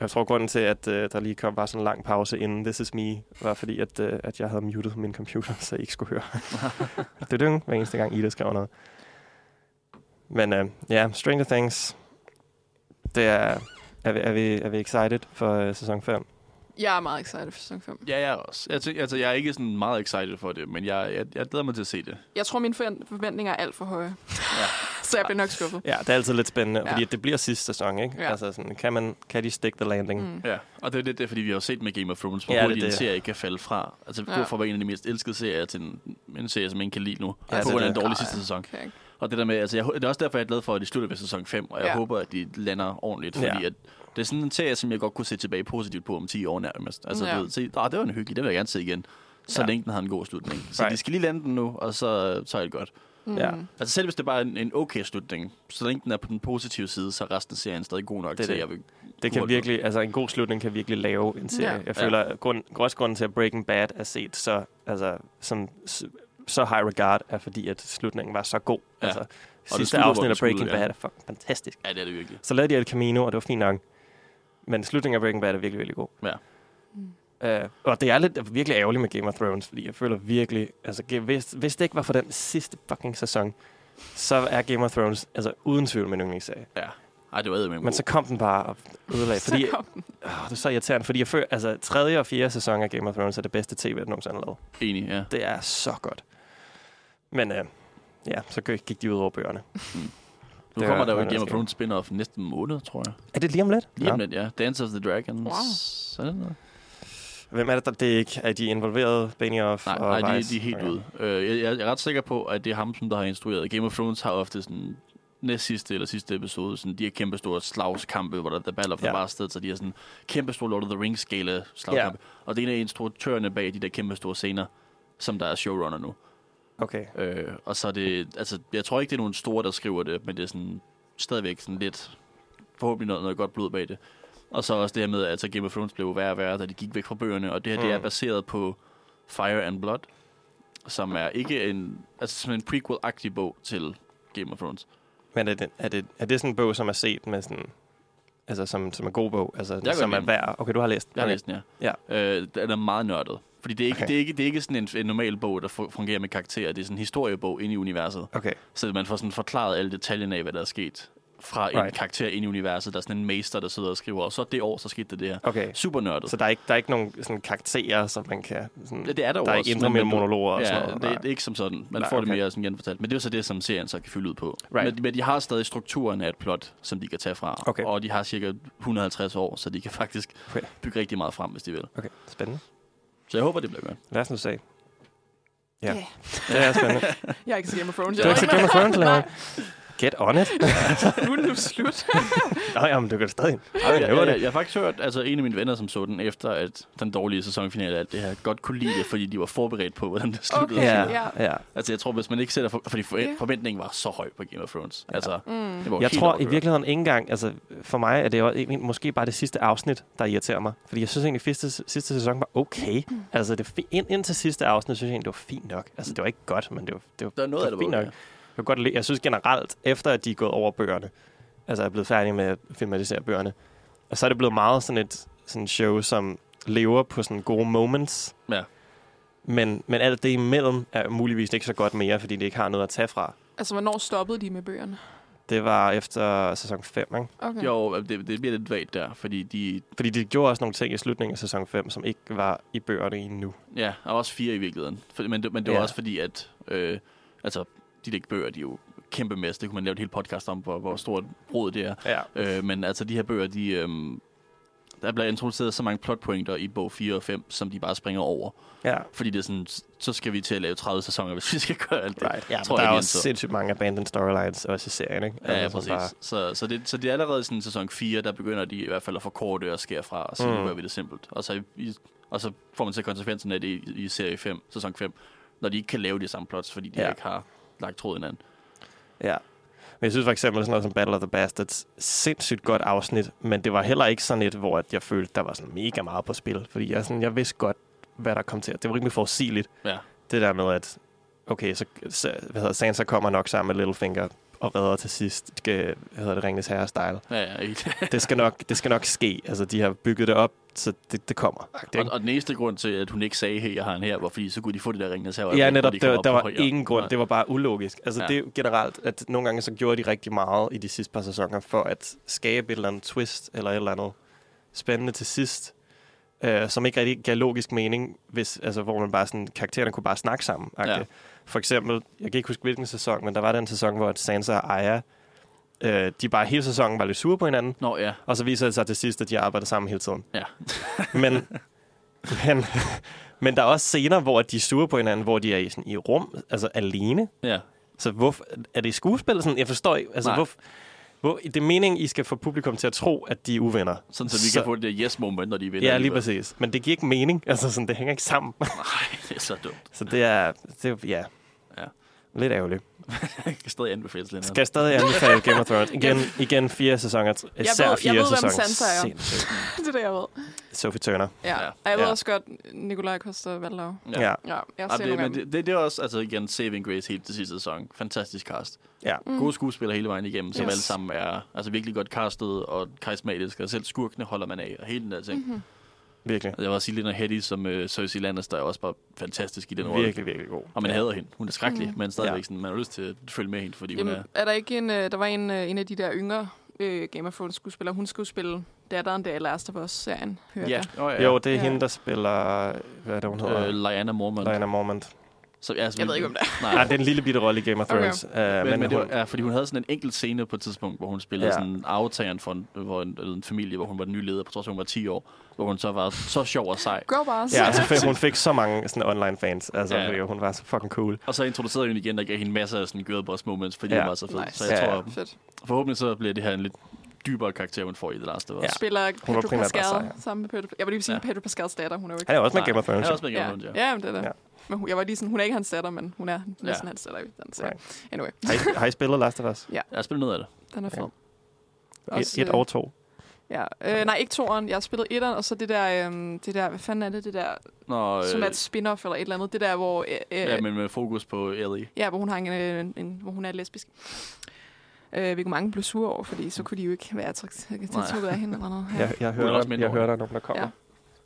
Speaker 2: jeg tror, grunden til, at øh, der lige kom bare sådan en lang pause inden This Is Me, var fordi, at, øh, at jeg havde muted min computer, [laughs] så I ikke skulle høre. det er hver eneste gang, Ida skrev noget. Men øh, ja, Stranger Things. Det er, er, vi, er, vi, er vi excited for øh, sæson 5?
Speaker 4: Jeg er meget excited for sæson 5.
Speaker 3: Ja, jeg er også. Jeg, tænker, altså, jeg er ikke sådan meget excited for det, men jeg, jeg, jeg glæder mig til at se det.
Speaker 4: Jeg tror, mine forven- forventninger er alt for høje.
Speaker 3: Ja.
Speaker 4: Ja. [laughs] så jeg bliver nok skuffet.
Speaker 2: Ja, det er altid lidt spændende, ja.
Speaker 4: Ja.
Speaker 2: fordi det bliver sidste sæson, ikke? Ja.
Speaker 4: Ja.
Speaker 2: Altså sådan, kan, man, kan de stick the landing? Mm.
Speaker 4: Mm.
Speaker 3: Ja. Og det er lidt det, fordi vi har jo set med Game of Thrones, hvor
Speaker 2: Ja,
Speaker 3: ja,
Speaker 2: det er
Speaker 3: hurtigt en
Speaker 2: det.
Speaker 3: serie kan falde fra. Altså, vi
Speaker 4: Ja.
Speaker 3: går fra at være en af de mest elskede serier til en, en serie, som ingen kan lide nu.
Speaker 2: Ja,
Speaker 3: Ja,
Speaker 2: det
Speaker 3: på
Speaker 2: er
Speaker 3: grund af en
Speaker 2: det.
Speaker 3: dårlig
Speaker 4: Nej.
Speaker 3: sidste sæson.
Speaker 4: Okay.
Speaker 3: Og det der med, altså, jeg, hå- det er også derfor, jeg er glad for, at de slutter ved sæson 5, og jeg
Speaker 4: Ja.
Speaker 3: håber, at de lander ordentligt,
Speaker 2: Ja.
Speaker 3: fordi at det er sådan en serie, som jeg godt kunne se tilbage positivt på om 10 år nærmest. Altså, ja.
Speaker 4: Ja.
Speaker 3: du ved, se, ah, det var en hyggelig, det vil jeg gerne se igen. Så
Speaker 2: Ja.
Speaker 3: ja. længe den har en god slutning. Så
Speaker 2: Right.
Speaker 3: de skal lige lande den nu, og så, så er det godt.
Speaker 4: Mm.
Speaker 2: Ja.
Speaker 4: Ja.
Speaker 3: Altså selv hvis det bare er en, en okay slutning, så længe den er på den positive side, så er resten af serien stadig god nok
Speaker 2: Det er
Speaker 3: det til,
Speaker 2: det.
Speaker 3: at jeg vil...
Speaker 2: Det kan
Speaker 3: Hurtigt.
Speaker 2: virkelig, altså en god slutning kan virkelig lave en serie.
Speaker 4: Ja.
Speaker 2: Ja. Jeg føler, ja. grund, også grunden til, at Breaking Bad er set så, altså, som, s- så high regard, er fordi, at slutningen var så god. Ja.
Speaker 3: Ja.
Speaker 2: Altså, sidste
Speaker 3: slutter, hvor
Speaker 2: afsnit
Speaker 3: den
Speaker 2: af Breaking
Speaker 3: slutter, ja.
Speaker 2: Bad er fucking fantastisk.
Speaker 3: Ja, det er det virkelig.
Speaker 2: Så lavede de El Camino, og det var fint nok. Men slutningen af Breaking Bad er virkelig, virkelig god.
Speaker 4: Mm.
Speaker 2: Uh, og det er lidt virkelig ærgerligt med Game of Thrones, fordi jeg føler virkelig, altså ge- hvis, hvis det ikke var for den sidste fucking sæson, så er Game of Thrones altså uden tvivl min yndlingsserie.
Speaker 3: Ej, det var eddermame
Speaker 2: Men så kom den bare og ødelagde,
Speaker 4: Fordi,
Speaker 2: fordi
Speaker 4: så kom den.
Speaker 2: åh, Ah, det er så irriterende, fordi jeg føler, altså tredje og fjerde sæson af Game of Thrones er det bedste tv, der nogensinde har lavet.
Speaker 3: god. Enig, ja.
Speaker 2: Det er så godt. Men uh, ja, så gik gik de ud over bøgerne.
Speaker 3: Nu
Speaker 2: det
Speaker 3: kommer
Speaker 2: var-
Speaker 3: der jo
Speaker 2: det
Speaker 3: et
Speaker 2: var
Speaker 3: Game of
Speaker 2: det
Speaker 3: Thrones spin-off næste måned, tror jeg.
Speaker 2: Er det lige om lidt?
Speaker 3: Lige om
Speaker 2: Nå.
Speaker 3: lidt, ja. Dance of the Dragons.
Speaker 4: Wow.
Speaker 3: Sådan noget.
Speaker 2: Hvem er det, der det er ikke? Er de involveret, Benioff
Speaker 3: Nej,
Speaker 2: og
Speaker 3: nej de,
Speaker 2: Weiss?
Speaker 3: de er helt
Speaker 2: Okay.
Speaker 3: ude. Øh, jeg, jeg, er ret sikker på, at det er ham, som der har instrueret. Game of Thrones har ofte sådan næst sidste eller sidste episode, sådan de her kæmpe store slagskampe, hvor der er Battle of the
Speaker 2: Ja.
Speaker 3: ja. Bastards, så de har sådan kæmpe store Lord of the Rings skala slagkampe. Ja. Og det er en af instruktørerne bag de der kæmpe store scener, som der er showrunner nu.
Speaker 2: Okay.
Speaker 3: Øh, og så er det, altså, jeg tror ikke, det er nogen store, der skriver det, men det er sådan, stadigvæk sådan lidt, forhåbentlig noget, noget godt blod bag det. Og så også det her med, at så Game of Thrones blev jo værre og værre, da de gik væk fra bøgerne, og det her, mm. det er
Speaker 2: Mm.
Speaker 3: baseret på Fire and Blood, som er ikke en, altså som en prequel-agtig bog til Game of Thrones.
Speaker 2: Men er det, er, det, er det sådan en bog, som er set med sådan... Altså, som, som er god bog, altså,
Speaker 3: kan
Speaker 2: som
Speaker 3: godt
Speaker 2: er
Speaker 3: lide den.
Speaker 2: værd. Okay, du har læst. den.
Speaker 3: Jeg har
Speaker 2: Okay.
Speaker 3: læst den, ja. ja. Øh, den er meget nørdet. Fordi det er, ikke,
Speaker 2: Okay.
Speaker 3: okay. det, er ikke, det er ikke sådan en, en normal bog, der fu- fungerer med karakterer. Det er sådan en historiebog inde i universet.
Speaker 2: Okay,
Speaker 3: Så man får sådan forklaret alle detaljerne af, hvad der er sket fra en
Speaker 2: Right.
Speaker 3: right. karakter ind i universet. Der er sådan en mester, der sidder og skriver, og så det år, så skete det der.
Speaker 2: Okay.
Speaker 3: Super nørdet.
Speaker 2: Så der er ikke, der er ikke nogen sådan, karakterer, som man kan... Sådan,
Speaker 3: det, det er der,
Speaker 2: der
Speaker 3: jo
Speaker 2: er
Speaker 3: også.
Speaker 2: ikke indre
Speaker 3: men- men
Speaker 2: mellem
Speaker 3: du-
Speaker 2: monologer og
Speaker 3: ja,
Speaker 2: sådan noget.
Speaker 3: Det,
Speaker 2: Nej.
Speaker 3: det er ikke som sådan. Man
Speaker 2: Nej,
Speaker 3: får det
Speaker 2: okay.
Speaker 3: mere sådan genfortalt. Men det er jo så det, som serien så kan fylde ud på.
Speaker 2: Right.
Speaker 3: Men, men de har stadig strukturen af et plot, som de kan tage fra.
Speaker 2: Okay.
Speaker 3: Og de har cirka 150 år, så de kan faktisk
Speaker 2: Okay.
Speaker 3: bygge rigtig meget frem, hvis de vil.
Speaker 2: Okay, spændende.
Speaker 3: Så jeg håber,
Speaker 2: [laughs]
Speaker 3: det bliver godt.
Speaker 2: Lad os nu se. Ja.
Speaker 4: Ja.
Speaker 2: Det er spændende.
Speaker 4: Jeg er ikke set Game of Thrones.
Speaker 2: Du har ikke set Game of Thrones længere? Get on it.
Speaker 4: Nu er det slut.
Speaker 2: Nå, jamen, du kan stadig.
Speaker 3: Ej, jeg,
Speaker 2: det var
Speaker 3: jeg,
Speaker 2: det.
Speaker 3: jeg, jeg har faktisk hørt, altså en af mine venner, som så den, efter at den dårlige sæsonfinale af alt det her, godt kunne lide det, fordi de var forberedt på, hvordan det sluttede.
Speaker 4: Okay.
Speaker 3: Okay.
Speaker 4: Ja.
Speaker 2: ja.
Speaker 3: Altså jeg tror, hvis man ikke sætter, for, fordi for,
Speaker 4: Ja.
Speaker 3: forventningen var så høj på Game of Thrones. Altså,
Speaker 4: Mm.
Speaker 3: det var
Speaker 2: Jeg
Speaker 3: helt
Speaker 2: tror i
Speaker 3: overkørt.
Speaker 2: virkeligheden ikke engang, altså for mig er det jo egentlig måske bare det sidste afsnit, der irriterer mig. Fordi jeg synes egentlig, sidste, sidste sæson var okay. Altså det, fi- ind, indtil sidste afsnit, synes jeg egentlig, det var fint nok. Altså det var ikke godt, men det var, det var,
Speaker 3: Der er noget af det,
Speaker 2: fint
Speaker 3: var
Speaker 2: nok.
Speaker 3: okay.
Speaker 2: Jeg, kan godt lide. jeg synes generelt, efter at de er gået over bøgerne, altså er blevet færdige med at filmatisere bøgerne, og så er det blevet meget sådan et sådan show, som lever på sådan gode moments.
Speaker 3: Ja.
Speaker 2: Men, men alt det imellem er muligvis ikke så godt mere, fordi det ikke har noget at tage fra.
Speaker 4: [laughs] Altså, hvornår stoppede de med bøgerne?
Speaker 2: Det var efter sæson 5, ikke?
Speaker 4: Okay.
Speaker 3: Jo, det, det bliver lidt vagt der, fordi de...
Speaker 2: Fordi de gjorde også nogle ting i slutningen af sæson 5, som ikke var i bøgerne endnu.
Speaker 3: Ja, der var også fire i virkeligheden. For, men, det- men det var
Speaker 2: Ja.
Speaker 3: også fordi, at... Øh, altså, de der bøger, de er jo kæmpe masse. Det kunne man lave et helt podcast om, hvor, hvor stort brod det er.
Speaker 2: Ja.
Speaker 3: Øh, men altså, de her bøger, de... Øh, der bliver introduceret så mange plotpointer i bog 4 og 5, som de bare springer over.
Speaker 2: ja.
Speaker 3: Fordi det er sådan, s- så skal vi til at lave 30 sæsoner, [laughs] hvis vi skal gøre alt det.
Speaker 2: Right. ja
Speaker 3: Tror
Speaker 2: tror der
Speaker 3: jeg,
Speaker 2: er
Speaker 3: de
Speaker 2: også
Speaker 3: anså.
Speaker 2: sindssygt mange abandoned storylines også i serien, ikke?
Speaker 3: Ja, ja
Speaker 2: Altså, sådan
Speaker 3: præcis. Så, så, det, så det er allerede sådan sæson 4, der begynder de i hvert fald at forkorte og skære fra, og så
Speaker 2: Mm.
Speaker 3: mm. gør vi det simpelt. Og så, i- i, og så får man så konsekvensen af det i, i serie 5, sæson 5, når de ikke kan lave de samme plots, fordi de
Speaker 2: Ja.
Speaker 3: ja. ikke har lagt tråden an.
Speaker 2: Bare, ja. Men jeg synes for eksempel sådan noget som Battle of the Bastards, sindssygt godt afsnit, men det var heller ikke sådan et, hvor at jeg følte, der var sådan mega meget på spil. Fordi jeg, sådan, jeg vidste godt, hvad der kom til. Det var rimelig forudsigeligt,
Speaker 3: Ja.
Speaker 2: det der med, at okay, så, så hvad hedder, Sansa kommer nok sammen med Littlefinger og redder til sidst, skal, hvad hedder det, Ringnes Herre-style.
Speaker 3: Ja, ja, ikke?
Speaker 2: det, skal nok, det skal nok ske. Altså, de har bygget det op, så det, det kommer.
Speaker 3: [laughs] og, og den eneste grund til, at hun ikke sagde, hey, jeg har en her, var fordi så kunne de få det der ringende her.
Speaker 2: Ja, netop. Der, der var ingen grund. Det var bare ulogisk. Altså, ja.
Speaker 3: Ja.
Speaker 2: det er jo generelt, at nogle gange så gjorde de rigtig meget i de sidste par sæsoner for at skabe et eller andet twist eller et eller andet spændende til sidst, øh, som ikke rigtig gav logisk mening, hvis, altså, hvor man bare sådan, karaktererne kunne bare snakke sammen. Ja.
Speaker 3: Ja.
Speaker 2: For eksempel, jeg kan ikke huske hvilken sæson, men der var den sæson, hvor at Sansa og Arya, øh, de bare hele sæsonen var lidt sure på hinanden,
Speaker 3: Nå, ja.
Speaker 2: og så viser det sig til sidst, at de arbejder sammen hele tiden.
Speaker 3: Ja.
Speaker 2: men, men, men der er også scener, hvor de er sure på hinanden, hvor de er i, sådan, i rum, altså alene.
Speaker 3: ja.
Speaker 2: Så hvorfor, er det skuespil? Sådan, jeg forstår ikke. Altså,
Speaker 3: Nej.
Speaker 2: hvor, hvor, det er meningen, I skal få publikum til at tro, at de er uvenner.
Speaker 3: Sådan, så vi kan få det der yes-moment, når de vinder.
Speaker 2: Ja, lige
Speaker 3: alligevel.
Speaker 2: præcis. Men det giver ikke mening. Altså, sådan, det hænger ikke sammen.
Speaker 3: Nej, det er [laughs] så dumt.
Speaker 2: så det er, det er ja.
Speaker 3: Ja.
Speaker 2: Lidt ærgerligt.
Speaker 3: Jeg kan stadig anbefale det.
Speaker 2: Skal jeg stadig anbefale Game of Thrones. Igen, igen fire sæsoner.
Speaker 4: ved-
Speaker 2: Især
Speaker 4: jeg
Speaker 2: fire
Speaker 4: ved, hvem
Speaker 2: sæsoner.
Speaker 4: Sansa er.
Speaker 2: Sindssygt.
Speaker 4: [laughs] det er det, jeg ved.
Speaker 2: Sophie Turner.
Speaker 4: Ja.
Speaker 3: Ja.
Speaker 4: ja. Og jeg ved
Speaker 2: Ja.
Speaker 4: også godt, Nikolaj Koster Valdau.
Speaker 2: Ja. ja.
Speaker 4: Ja, jeg
Speaker 3: Ja,
Speaker 4: ser
Speaker 3: det,
Speaker 4: nogle af
Speaker 3: men
Speaker 4: dem.
Speaker 3: det, det, det er også altså igen Saving Grace helt til sidste sæson. Fantastisk cast.
Speaker 2: ja.
Speaker 3: Mm. Gode skuespillere hele vejen igennem, som
Speaker 4: Yes.
Speaker 3: yes. alle sammen er altså virkelig godt castet og karismatiske, og selv skurkene holder man af, og hele den der ting.
Speaker 4: Mhm.
Speaker 3: Mm-hmm.
Speaker 2: Virkelig.
Speaker 3: Jeg var også sige Lena Headey som uh, Cersei Lannister er også bare fantastisk i den rolle.
Speaker 2: Virkelig, virkelig god.
Speaker 3: Og man hader hende. Hun er skrækkelig, mm. men stadigvæk
Speaker 2: Ja.
Speaker 3: ja. sådan, man har lyst til at følge med hende, fordi hun er...
Speaker 4: Jamen, er der ikke en, øh, der var en, øh, en af de der yngre øh, Game of Thrones skuespillere, hun skulle spille datteren der i Last of Us-serien, hørte
Speaker 3: Ja,
Speaker 4: jeg.
Speaker 3: oh, ja.
Speaker 2: Jo, det er ja.
Speaker 4: Ja.
Speaker 2: hende, der spiller... Hvad er det, hun hedder?
Speaker 3: Øh, Lyanna Mormont.
Speaker 2: Diana Mormont.
Speaker 3: Så, ja, altså,
Speaker 4: Jeg ved ikke, om det
Speaker 3: Nej,
Speaker 2: Nej, det er en lille bitte rolle i Game of
Speaker 4: Okay.
Speaker 2: Thrones. Okay. Uh,
Speaker 3: men, men, men det
Speaker 2: hun,
Speaker 3: var, ja, fordi hun havde sådan en enkelt scene på et tidspunkt, hvor hun spillede
Speaker 2: Ja.
Speaker 3: ja. sådan aftageren for en, hvor en, en, familie, hvor hun var den nye leder, på trods af, hun var 10 år, hvor hun så var så sjov og sej.
Speaker 4: Go Bars.
Speaker 2: ja, altså,
Speaker 3: [laughs]
Speaker 2: fik, hun fik så mange sådan, online fans. Altså,
Speaker 3: Ja.
Speaker 2: ja. hun var så fucking cool.
Speaker 3: Og så introducerede hun igen, der gav hende masser af sådan girlboss moments, fordi
Speaker 2: Ja.
Speaker 3: ja. hun var så fed.
Speaker 4: Nice.
Speaker 3: Nice. Så jeg
Speaker 2: Ja,
Speaker 3: ja,
Speaker 2: ja.
Speaker 3: tror,
Speaker 4: Fedt.
Speaker 3: forhåbentlig så bliver det her en lidt dybere karakter, man får i The Last of Us.
Speaker 2: Ja.
Speaker 3: Ja.
Speaker 4: Spiller
Speaker 2: var
Speaker 4: Pedro
Speaker 2: primært bare
Speaker 4: Pascal
Speaker 2: sej, ja.
Speaker 4: sammen med Pedro... Jeg vil lige sige
Speaker 3: Ja.
Speaker 4: Pedro Pascals datter, hun er jo ikke...
Speaker 2: Han er også med i Game of Thrones.
Speaker 3: Jeg
Speaker 2: jo.
Speaker 3: er også med i Game of Thrones, ja.
Speaker 4: ja. ja, men det er det.
Speaker 2: Ja.
Speaker 4: Ja. Men hun, jeg var lige sådan, hun er ikke hans datter, men hun er næsten
Speaker 3: Ja.
Speaker 4: hans datter i den serie. Anyway,
Speaker 2: Har I, har I spillet Last of Us?
Speaker 3: Jeg har spillet noget af det.
Speaker 4: den er
Speaker 2: Ja.
Speaker 4: fed.
Speaker 2: Et,
Speaker 4: Også,
Speaker 2: et
Speaker 4: øh,
Speaker 2: og to.
Speaker 4: Ja. Øh, nej, ikke toeren. Jeg har spillet etteren, og så det der, øhm, det der, hvad fanden er det, det der,
Speaker 3: Nå,
Speaker 4: som er
Speaker 3: øh,
Speaker 4: et spin-off eller et eller andet. Det der, hvor, øh, øh,
Speaker 3: ja, men med fokus på Ellie.
Speaker 4: ja, hvor hun, har en, øh, en, en, hvor hun er lesbisk. Øh, hvilket mange blev sure over, fordi så kunne de jo ikke være attrakt- tiltrukket af hende eller noget. Ja.
Speaker 2: Jeg, jeg
Speaker 3: Hun er
Speaker 2: hører,
Speaker 3: også
Speaker 2: der,
Speaker 3: mindre
Speaker 2: jeg hører,
Speaker 3: over.
Speaker 2: der er nogen, der kommer.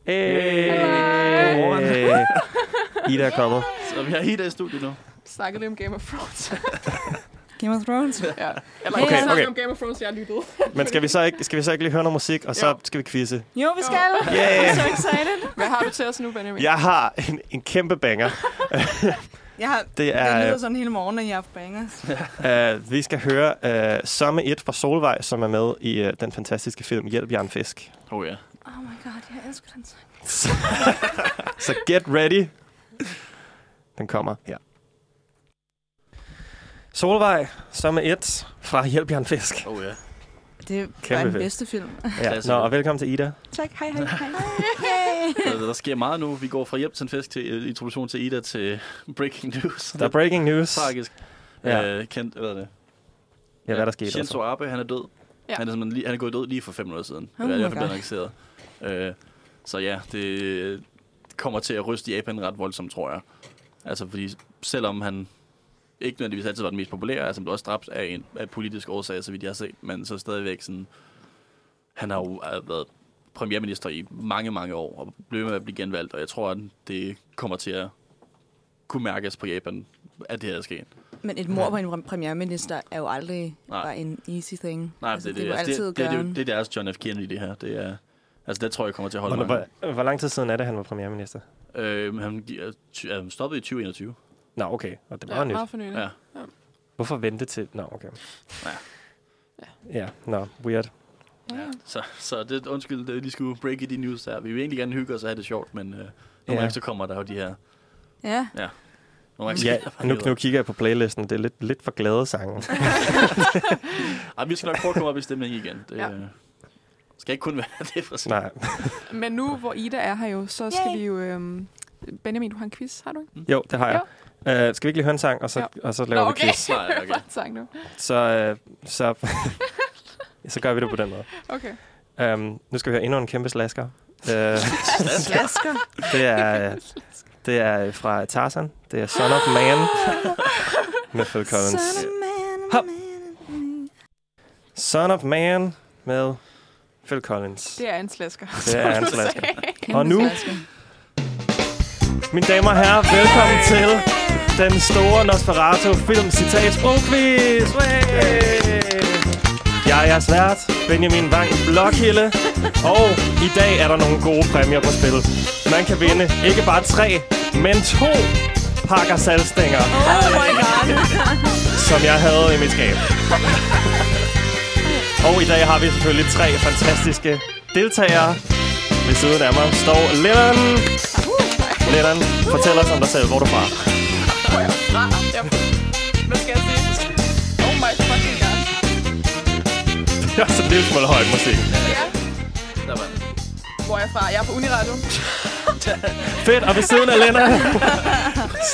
Speaker 4: Ja.
Speaker 2: Ja.
Speaker 4: Hey! [laughs]
Speaker 2: Hey! Ida er kommet.
Speaker 3: Så vi har Ida i studiet nu.
Speaker 4: Snakkede lidt om Game of Thrones.
Speaker 5: Game of Thrones.
Speaker 4: Ja. Eller
Speaker 5: Okay,
Speaker 4: okay, okay.
Speaker 2: okay.
Speaker 4: om Game of Thrones, jeg lyttede.
Speaker 2: Men skal vi, så ikke, skal vi så ikke lige høre noget musik, og så
Speaker 4: Jo.
Speaker 2: skal vi quizze?
Speaker 5: Jo, vi skal.
Speaker 2: Yeah.
Speaker 5: Jeg er så excited.
Speaker 4: Hvad har du til os nu, Benjamin?
Speaker 2: Jeg har en, en kæmpe banger.
Speaker 5: [laughs] Jeg har,
Speaker 2: Det
Speaker 5: det,
Speaker 2: er-
Speaker 5: det lyder sådan hele morgen, at jeg har haft bangers.
Speaker 2: [laughs] Uh, vi skal høre uh, Somme 1 fra Solvej, som er med i uh, den fantastiske film Hjælp Jørgen Fisk.
Speaker 3: Oh ja.
Speaker 5: Oh my god, jeg elsker den sang.
Speaker 2: Så, [laughs] så get ready. Den kommer her. Solvej, som er et fra Hjælp Jørgen Fisk.
Speaker 3: Oh ja.
Speaker 5: Det var
Speaker 2: Kæmpe
Speaker 5: den
Speaker 2: fedt.
Speaker 5: bedste film.
Speaker 2: Ja.
Speaker 3: Klassiker.
Speaker 2: Nå, og velkommen til Ida.
Speaker 5: Tak, hej, hej, hej.
Speaker 3: Altså, der sker meget nu. Vi går fra hjem til en fest til øh, introduktion til Ida til breaking news.
Speaker 2: Der er breaking news.
Speaker 3: tragisk.
Speaker 2: Ja.
Speaker 3: Ja. Øh, kendt, hvad er det?
Speaker 2: Ja, hvad der skete.
Speaker 3: Shinzo
Speaker 2: Altså.
Speaker 3: Abe, han er død.
Speaker 4: Ja.
Speaker 3: Ja. Han, er simpelthen lige, han er gået død lige for fem minutter siden.
Speaker 5: Oh
Speaker 3: Oh Eller i
Speaker 5: my
Speaker 3: hvert fald
Speaker 5: God.
Speaker 3: blevet annonceret. Øh, så ja, det kommer til at ryste Japan ret voldsomt, tror jeg. Altså fordi selvom han ikke nødvendigvis altid var den mest populære, altså han blev også dræbt af en af politisk årsag, så vidt jeg har set, men så stadigvæk sådan, han har jo øh, været premierminister i mange, mange år, og blev med at blive genvalgt, og jeg tror, at det kommer til at kunne mærkes på Japan, at det her er sket.
Speaker 5: Men et mor på en premierminister er jo aldrig
Speaker 3: Nej.
Speaker 5: bare en easy thing.
Speaker 3: Nej,
Speaker 5: altså,
Speaker 3: det,
Speaker 5: det,
Speaker 3: det,
Speaker 5: er jo
Speaker 3: altså,
Speaker 5: altid
Speaker 3: det, det, det, er jo-
Speaker 5: gøren.
Speaker 3: det, er deres John F. Kennedy, det her. Det er, altså, det tror jeg kommer til at holde
Speaker 2: Hvor,
Speaker 3: mig.
Speaker 2: hvor, hvor lang tid siden er det, han var premierminister?
Speaker 3: Øh, han, gi- er ty- er han stoppede i 2021.
Speaker 2: Nå, okay. Og det var
Speaker 4: ja,
Speaker 2: nyt.
Speaker 4: meget fornøjeligt.
Speaker 3: Ja.
Speaker 2: Hvorfor vente til... Nå, okay.
Speaker 3: Ja.
Speaker 2: Ja, nå, weird.
Speaker 3: ja. Så, så det, undskyld, det, de skulle break i de news der. Vi vil egentlig gerne hygge os og have det sjovt, men øh, nogle
Speaker 2: Ja.
Speaker 3: gange så kommer der jo de her...
Speaker 5: Ja,
Speaker 3: Nogle gange, så
Speaker 2: Ja,
Speaker 3: sker der bare
Speaker 2: nu,
Speaker 3: noget.
Speaker 2: nu kigger jeg på playlisten. Det er lidt, lidt for glade sange.
Speaker 3: Ej, vi skal nok prøve at komme op i stemning igen. Det
Speaker 4: Ja.
Speaker 3: ja. skal ikke kun være [laughs] det for sig.
Speaker 2: Nej.
Speaker 4: Men nu, hvor Ida er her jo, så skal
Speaker 5: Yay.
Speaker 4: vi jo... Øhm, Benjamin, du har en quiz, har du ikke?
Speaker 2: Jo, det har jeg. Uh, skal vi ikke lige høre en sang, og så, og så laver
Speaker 4: Nå,
Speaker 2: vi
Speaker 4: okay.
Speaker 2: quiz?
Speaker 4: [laughs]
Speaker 3: Nej, okay.
Speaker 4: Bare en sang nu.
Speaker 2: så, øh, så, [laughs] så gør vi det på den måde.
Speaker 4: Okay.
Speaker 2: Um, nu skal vi høre endnu en kæmpe slasker. Uh,
Speaker 5: slasker.
Speaker 2: det, er, det er fra Tarzan. Det er Son of Man med Phil Collins.
Speaker 5: [gasps] Son of man,
Speaker 2: Hop.
Speaker 5: man, man.
Speaker 2: Son of Man med Phil Collins.
Speaker 4: Det er en slasker.
Speaker 2: Det er en
Speaker 4: som du
Speaker 2: slasker.
Speaker 4: sagde.
Speaker 5: Kæmpe
Speaker 2: Og nu-
Speaker 5: slasker.
Speaker 2: Mine damer og herrer, velkommen til den store Nosferatu film citat sprogquiz. Jeg er jeres vært, Benjamin Wang Blokhilde, og i dag er der nogle gode præmier på spil. Man kan vinde ikke bare tre, men to pakker salgstænger,
Speaker 5: Oh my god.
Speaker 2: som jeg havde i mit skab. Og i dag har vi selvfølgelig tre fantastiske deltagere. Ved siden af mig står Lennon.
Speaker 4: Uh.
Speaker 2: Lennon, fortæl os om dig selv. Hvor er du fra?
Speaker 4: Ah, jeg, hvad skal jeg sige? Oh my fucking god.
Speaker 2: [laughs] Det er også en lille smule højt musik.
Speaker 4: Ja.
Speaker 3: Der var den.
Speaker 4: Hvor er jeg fra? Jeg er på Uniradio.
Speaker 2: Fedt, og ved siden af Lennart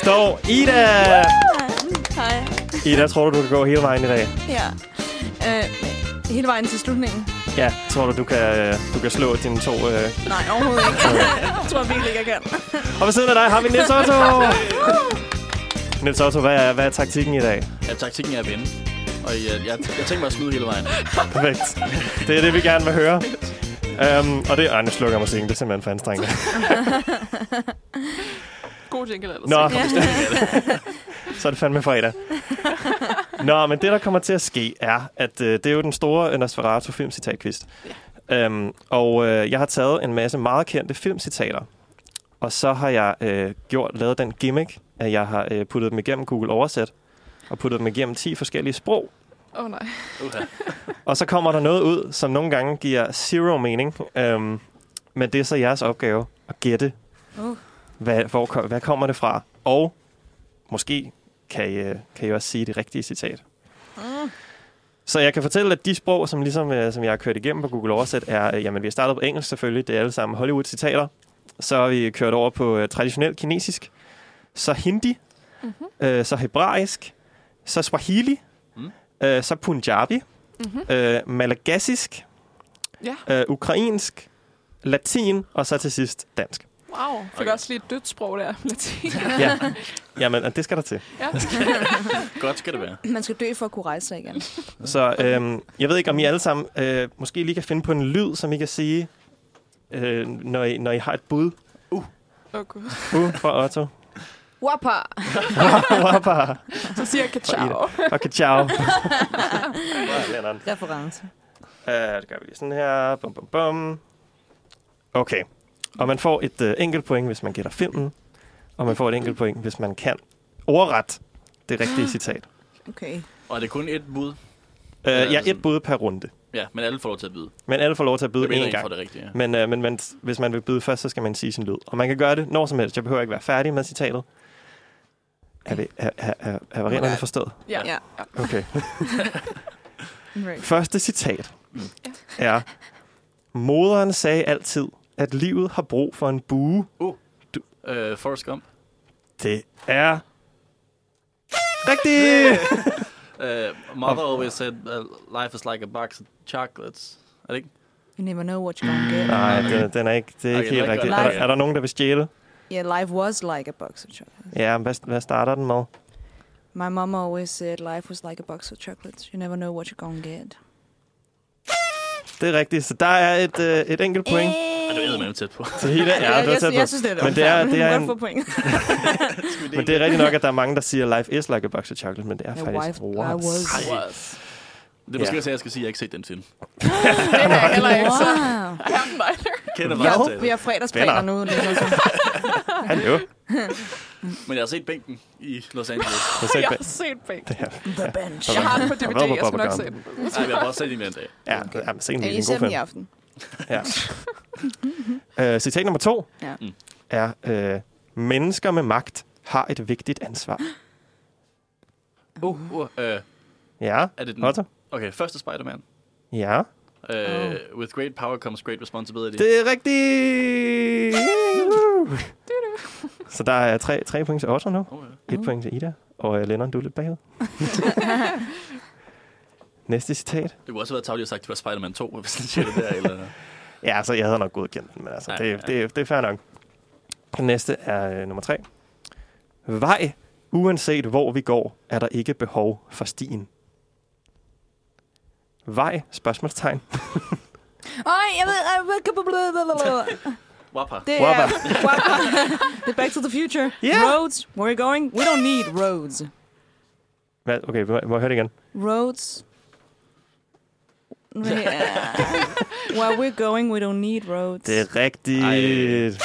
Speaker 2: står Ida.
Speaker 5: Hej.
Speaker 2: Ida, tror du, du kan gå hele vejen i dag?
Speaker 5: Ja. Øh, hele vejen til slutningen.
Speaker 2: Ja. Tror du, du kan, øh, du kan slå dine to... Øh...
Speaker 5: Nej, overhovedet
Speaker 3: [laughs]
Speaker 5: ikke. jeg tror virkelig ikke, jeg kan.
Speaker 2: Og ved siden af dig har vi Nils Otto. Nils Otto, hvad er, hvad er taktikken i dag?
Speaker 3: Ja, taktikken er at vinde. Og øh, jeg, jeg, jeg tænkte mig at snyde hele vejen.
Speaker 2: Perfekt. Det er det, vi gerne vil høre. Um, og det... Ej, nu slukker jeg musikken. Det er simpelthen for anstrengende.
Speaker 4: [laughs] God jingle ellers.
Speaker 2: Nå, [laughs] så er det fandme fredag. Nå, men det, der kommer til at ske, er, at øh, det er jo den store Nosferatu filmcitatquiz. Ja. Øhm, og øh, jeg har taget en masse meget kendte filmcitater, og så har jeg øh, gjort lavet den gimmick, at jeg har øh, puttet dem igennem Google Oversæt, og puttet dem igennem 10 forskellige sprog.
Speaker 4: Åh oh, nej.
Speaker 3: Uh-huh.
Speaker 2: Og så kommer der noget ud, som nogle gange giver zero mening, øhm, men det er så jeres opgave at gætte,
Speaker 5: Uh.
Speaker 2: hvad, hvor, kom- hvad kommer det fra? Og måske kan I, øh, kan I også sige det rigtige citat. Så jeg kan fortælle, at de sprog, som, ligesom, øh, som jeg har kørt igennem på Google Oversæt, er, øh, jamen vi har startet på engelsk selvfølgelig, det er alle sammen Hollywood-citater. Så har vi kørt over på øh, traditionel kinesisk, så hindi, mm-hmm. øh, så hebraisk, så swahili,
Speaker 3: Mm.
Speaker 2: øh, så punjabi,
Speaker 4: Mm-hmm.
Speaker 2: øh, malagasisk,
Speaker 4: Ja.
Speaker 2: øh, ukrainsk, latin, og så til sidst dansk.
Speaker 4: Wow. Fik
Speaker 3: Okay.
Speaker 4: også lige et dødt sprog der. Latin.
Speaker 2: Ja. Jamen, og det skal der til.
Speaker 4: ja.
Speaker 3: Godt skal det være.
Speaker 5: Man skal dø for at kunne rejse sig igen.
Speaker 2: Så øhm, jeg ved ikke, om I alle sammen øh, måske lige kan finde på en lyd, som I kan sige, øh, når, I, når I har et bud
Speaker 4: Åh oh, gud.
Speaker 2: uh, fra Otto.
Speaker 5: Whopper.
Speaker 2: Wapa.
Speaker 4: Så siger jeg ciao.
Speaker 2: okay, ciao. Øh, Lennon.
Speaker 5: Reference.
Speaker 2: Uh, det gør vi lige sådan her. Bum, bum, bum. Okay. Og man får et uh, enkelt point, hvis man gætter filmen. Og man får et enkelt point, hvis man kan ordret det rigtige citat.
Speaker 5: Okay.
Speaker 3: Og er det kun et bud?
Speaker 2: Uh,
Speaker 3: Ja,
Speaker 2: ja,
Speaker 3: altså-
Speaker 2: et bud per runde.
Speaker 3: Ja, men alle får lov til at byde.
Speaker 2: Men alle får lov til at byde
Speaker 3: Jeg mener
Speaker 2: én
Speaker 3: ikke for
Speaker 2: gang.
Speaker 3: det rigtige. Ja.
Speaker 2: Men, uh, men man, hvis man vil byde først, så skal man sige sin lyd. Og man kan gøre det når som helst. Jeg behøver ikke være færdig med citatet. Er, det, er, er, er, er varianterne forstået?
Speaker 4: Ja.
Speaker 5: Ja.
Speaker 2: Okay.
Speaker 5: [laughs] Right.
Speaker 2: Første citat
Speaker 3: Mm.
Speaker 2: er... Moderen sagde altid, at livet har brug for en bue.
Speaker 3: Øh, Forrest Gump.
Speaker 2: Det er rigtigt!
Speaker 3: [laughs] Øh, mother always said, uh, life is like a box of chocolates. Er det ikke?
Speaker 5: You never know what you're gonna get.
Speaker 2: Nej, den, den er ikke, det er
Speaker 3: Okay,
Speaker 2: ikke
Speaker 3: det
Speaker 2: helt
Speaker 3: er ikke
Speaker 2: rigtigt.
Speaker 3: godt.
Speaker 2: Er, der- er der nogen, der vil stjæle?
Speaker 5: Yeah, life was like a box of chocolates.
Speaker 2: Ja, men hvad, hvad starter den med?
Speaker 5: My mama always said life was like a box of chocolates. You never know what you're gonna get.
Speaker 2: Det er rigtigt, så der er et, øh, et enkelt point
Speaker 3: Er du eddermame tæt på?
Speaker 2: til hele. Ja, det var
Speaker 5: jeg,
Speaker 2: tæt
Speaker 5: jeg,
Speaker 2: på.
Speaker 5: jeg, synes, det er lidt
Speaker 2: Men det er-
Speaker 5: [laughs] unfair.
Speaker 2: det er
Speaker 5: Godt
Speaker 2: en-
Speaker 5: få point.
Speaker 2: Men det er rigtigt nok, at der er mange, der siger, life is like a box of chocolate, men det er
Speaker 5: My
Speaker 2: faktisk
Speaker 5: wife- I was.
Speaker 2: was.
Speaker 3: Det er måske
Speaker 2: Ja.
Speaker 3: også, at jeg skal sige, at jeg ikke har set den film.
Speaker 4: Det har
Speaker 5: [laughs]
Speaker 4: jeg heller ikke sagt.
Speaker 5: Wow.
Speaker 4: I haven't
Speaker 2: [laughs]
Speaker 4: either.
Speaker 3: Kender
Speaker 5: Jo,
Speaker 3: meget til
Speaker 5: vi
Speaker 3: det.
Speaker 5: har fredagsplaner nu. Ligesom. [laughs]
Speaker 2: Hallo.
Speaker 3: Men jeg har set bænken i Los [laughs] Angeles.
Speaker 2: Jeg sagde
Speaker 4: Jeg
Speaker 2: bag-
Speaker 4: har
Speaker 2: [laughs]
Speaker 4: set Bang.
Speaker 5: The bench.
Speaker 4: Jeg har den på DVD,
Speaker 2: Rubber
Speaker 4: jeg skal nok
Speaker 2: bubblegum.
Speaker 4: se den.
Speaker 3: Nej, jeg har også set den en dag.
Speaker 2: Ja, det er sikkert
Speaker 5: Jeg
Speaker 2: en
Speaker 5: lige
Speaker 2: god
Speaker 5: ser dem i
Speaker 2: film.
Speaker 5: aften. [laughs]
Speaker 2: Ja. Øh, citat nummer to
Speaker 5: Ja.
Speaker 3: Mm.
Speaker 2: er, øh, mennesker med magt har et vigtigt ansvar.
Speaker 5: [gasps]
Speaker 3: Uh, uh, øh,
Speaker 2: Ja,
Speaker 3: er det den?
Speaker 2: Otto?
Speaker 3: Okay, første Spider-Man.
Speaker 2: Ja.
Speaker 3: Uh, With great power comes great responsibility.
Speaker 2: Det er rigtigt! Woo! Så der er tre, tre point til Otto nu.
Speaker 3: Oh, ja.
Speaker 2: Et point til Ida. Og uh, Lennon, du er lidt bagud. Næste citat.
Speaker 3: Det kunne også have været tavligt at sagt, at det var Spider-Man 2, [laughs] hvis den siger det der. Eller...
Speaker 2: Ja, altså, jeg havde nok godkendt den, men altså,
Speaker 3: Ja,
Speaker 2: det,
Speaker 3: ja.
Speaker 2: Det, det er fair nok. Den næste er uh, nummer tre. Vej, uanset hvor vi går, er der ikke behov for stien. Vej, spørgsmålstegn.
Speaker 5: Ej, jeg ved... jeg [laughs] ved-
Speaker 3: Wapa.
Speaker 5: Det [laughs] er...
Speaker 2: Whopper.
Speaker 5: Whopper. Det er Back to the Future.
Speaker 2: Ja.
Speaker 5: Roads. Where are you going? We don't need roads.
Speaker 2: Hvad? Okay, vi må, vi må høre det igen.
Speaker 5: [laughs] Roads. Yeah. Where we're going, we don't need roads.
Speaker 2: Det er rigtigt.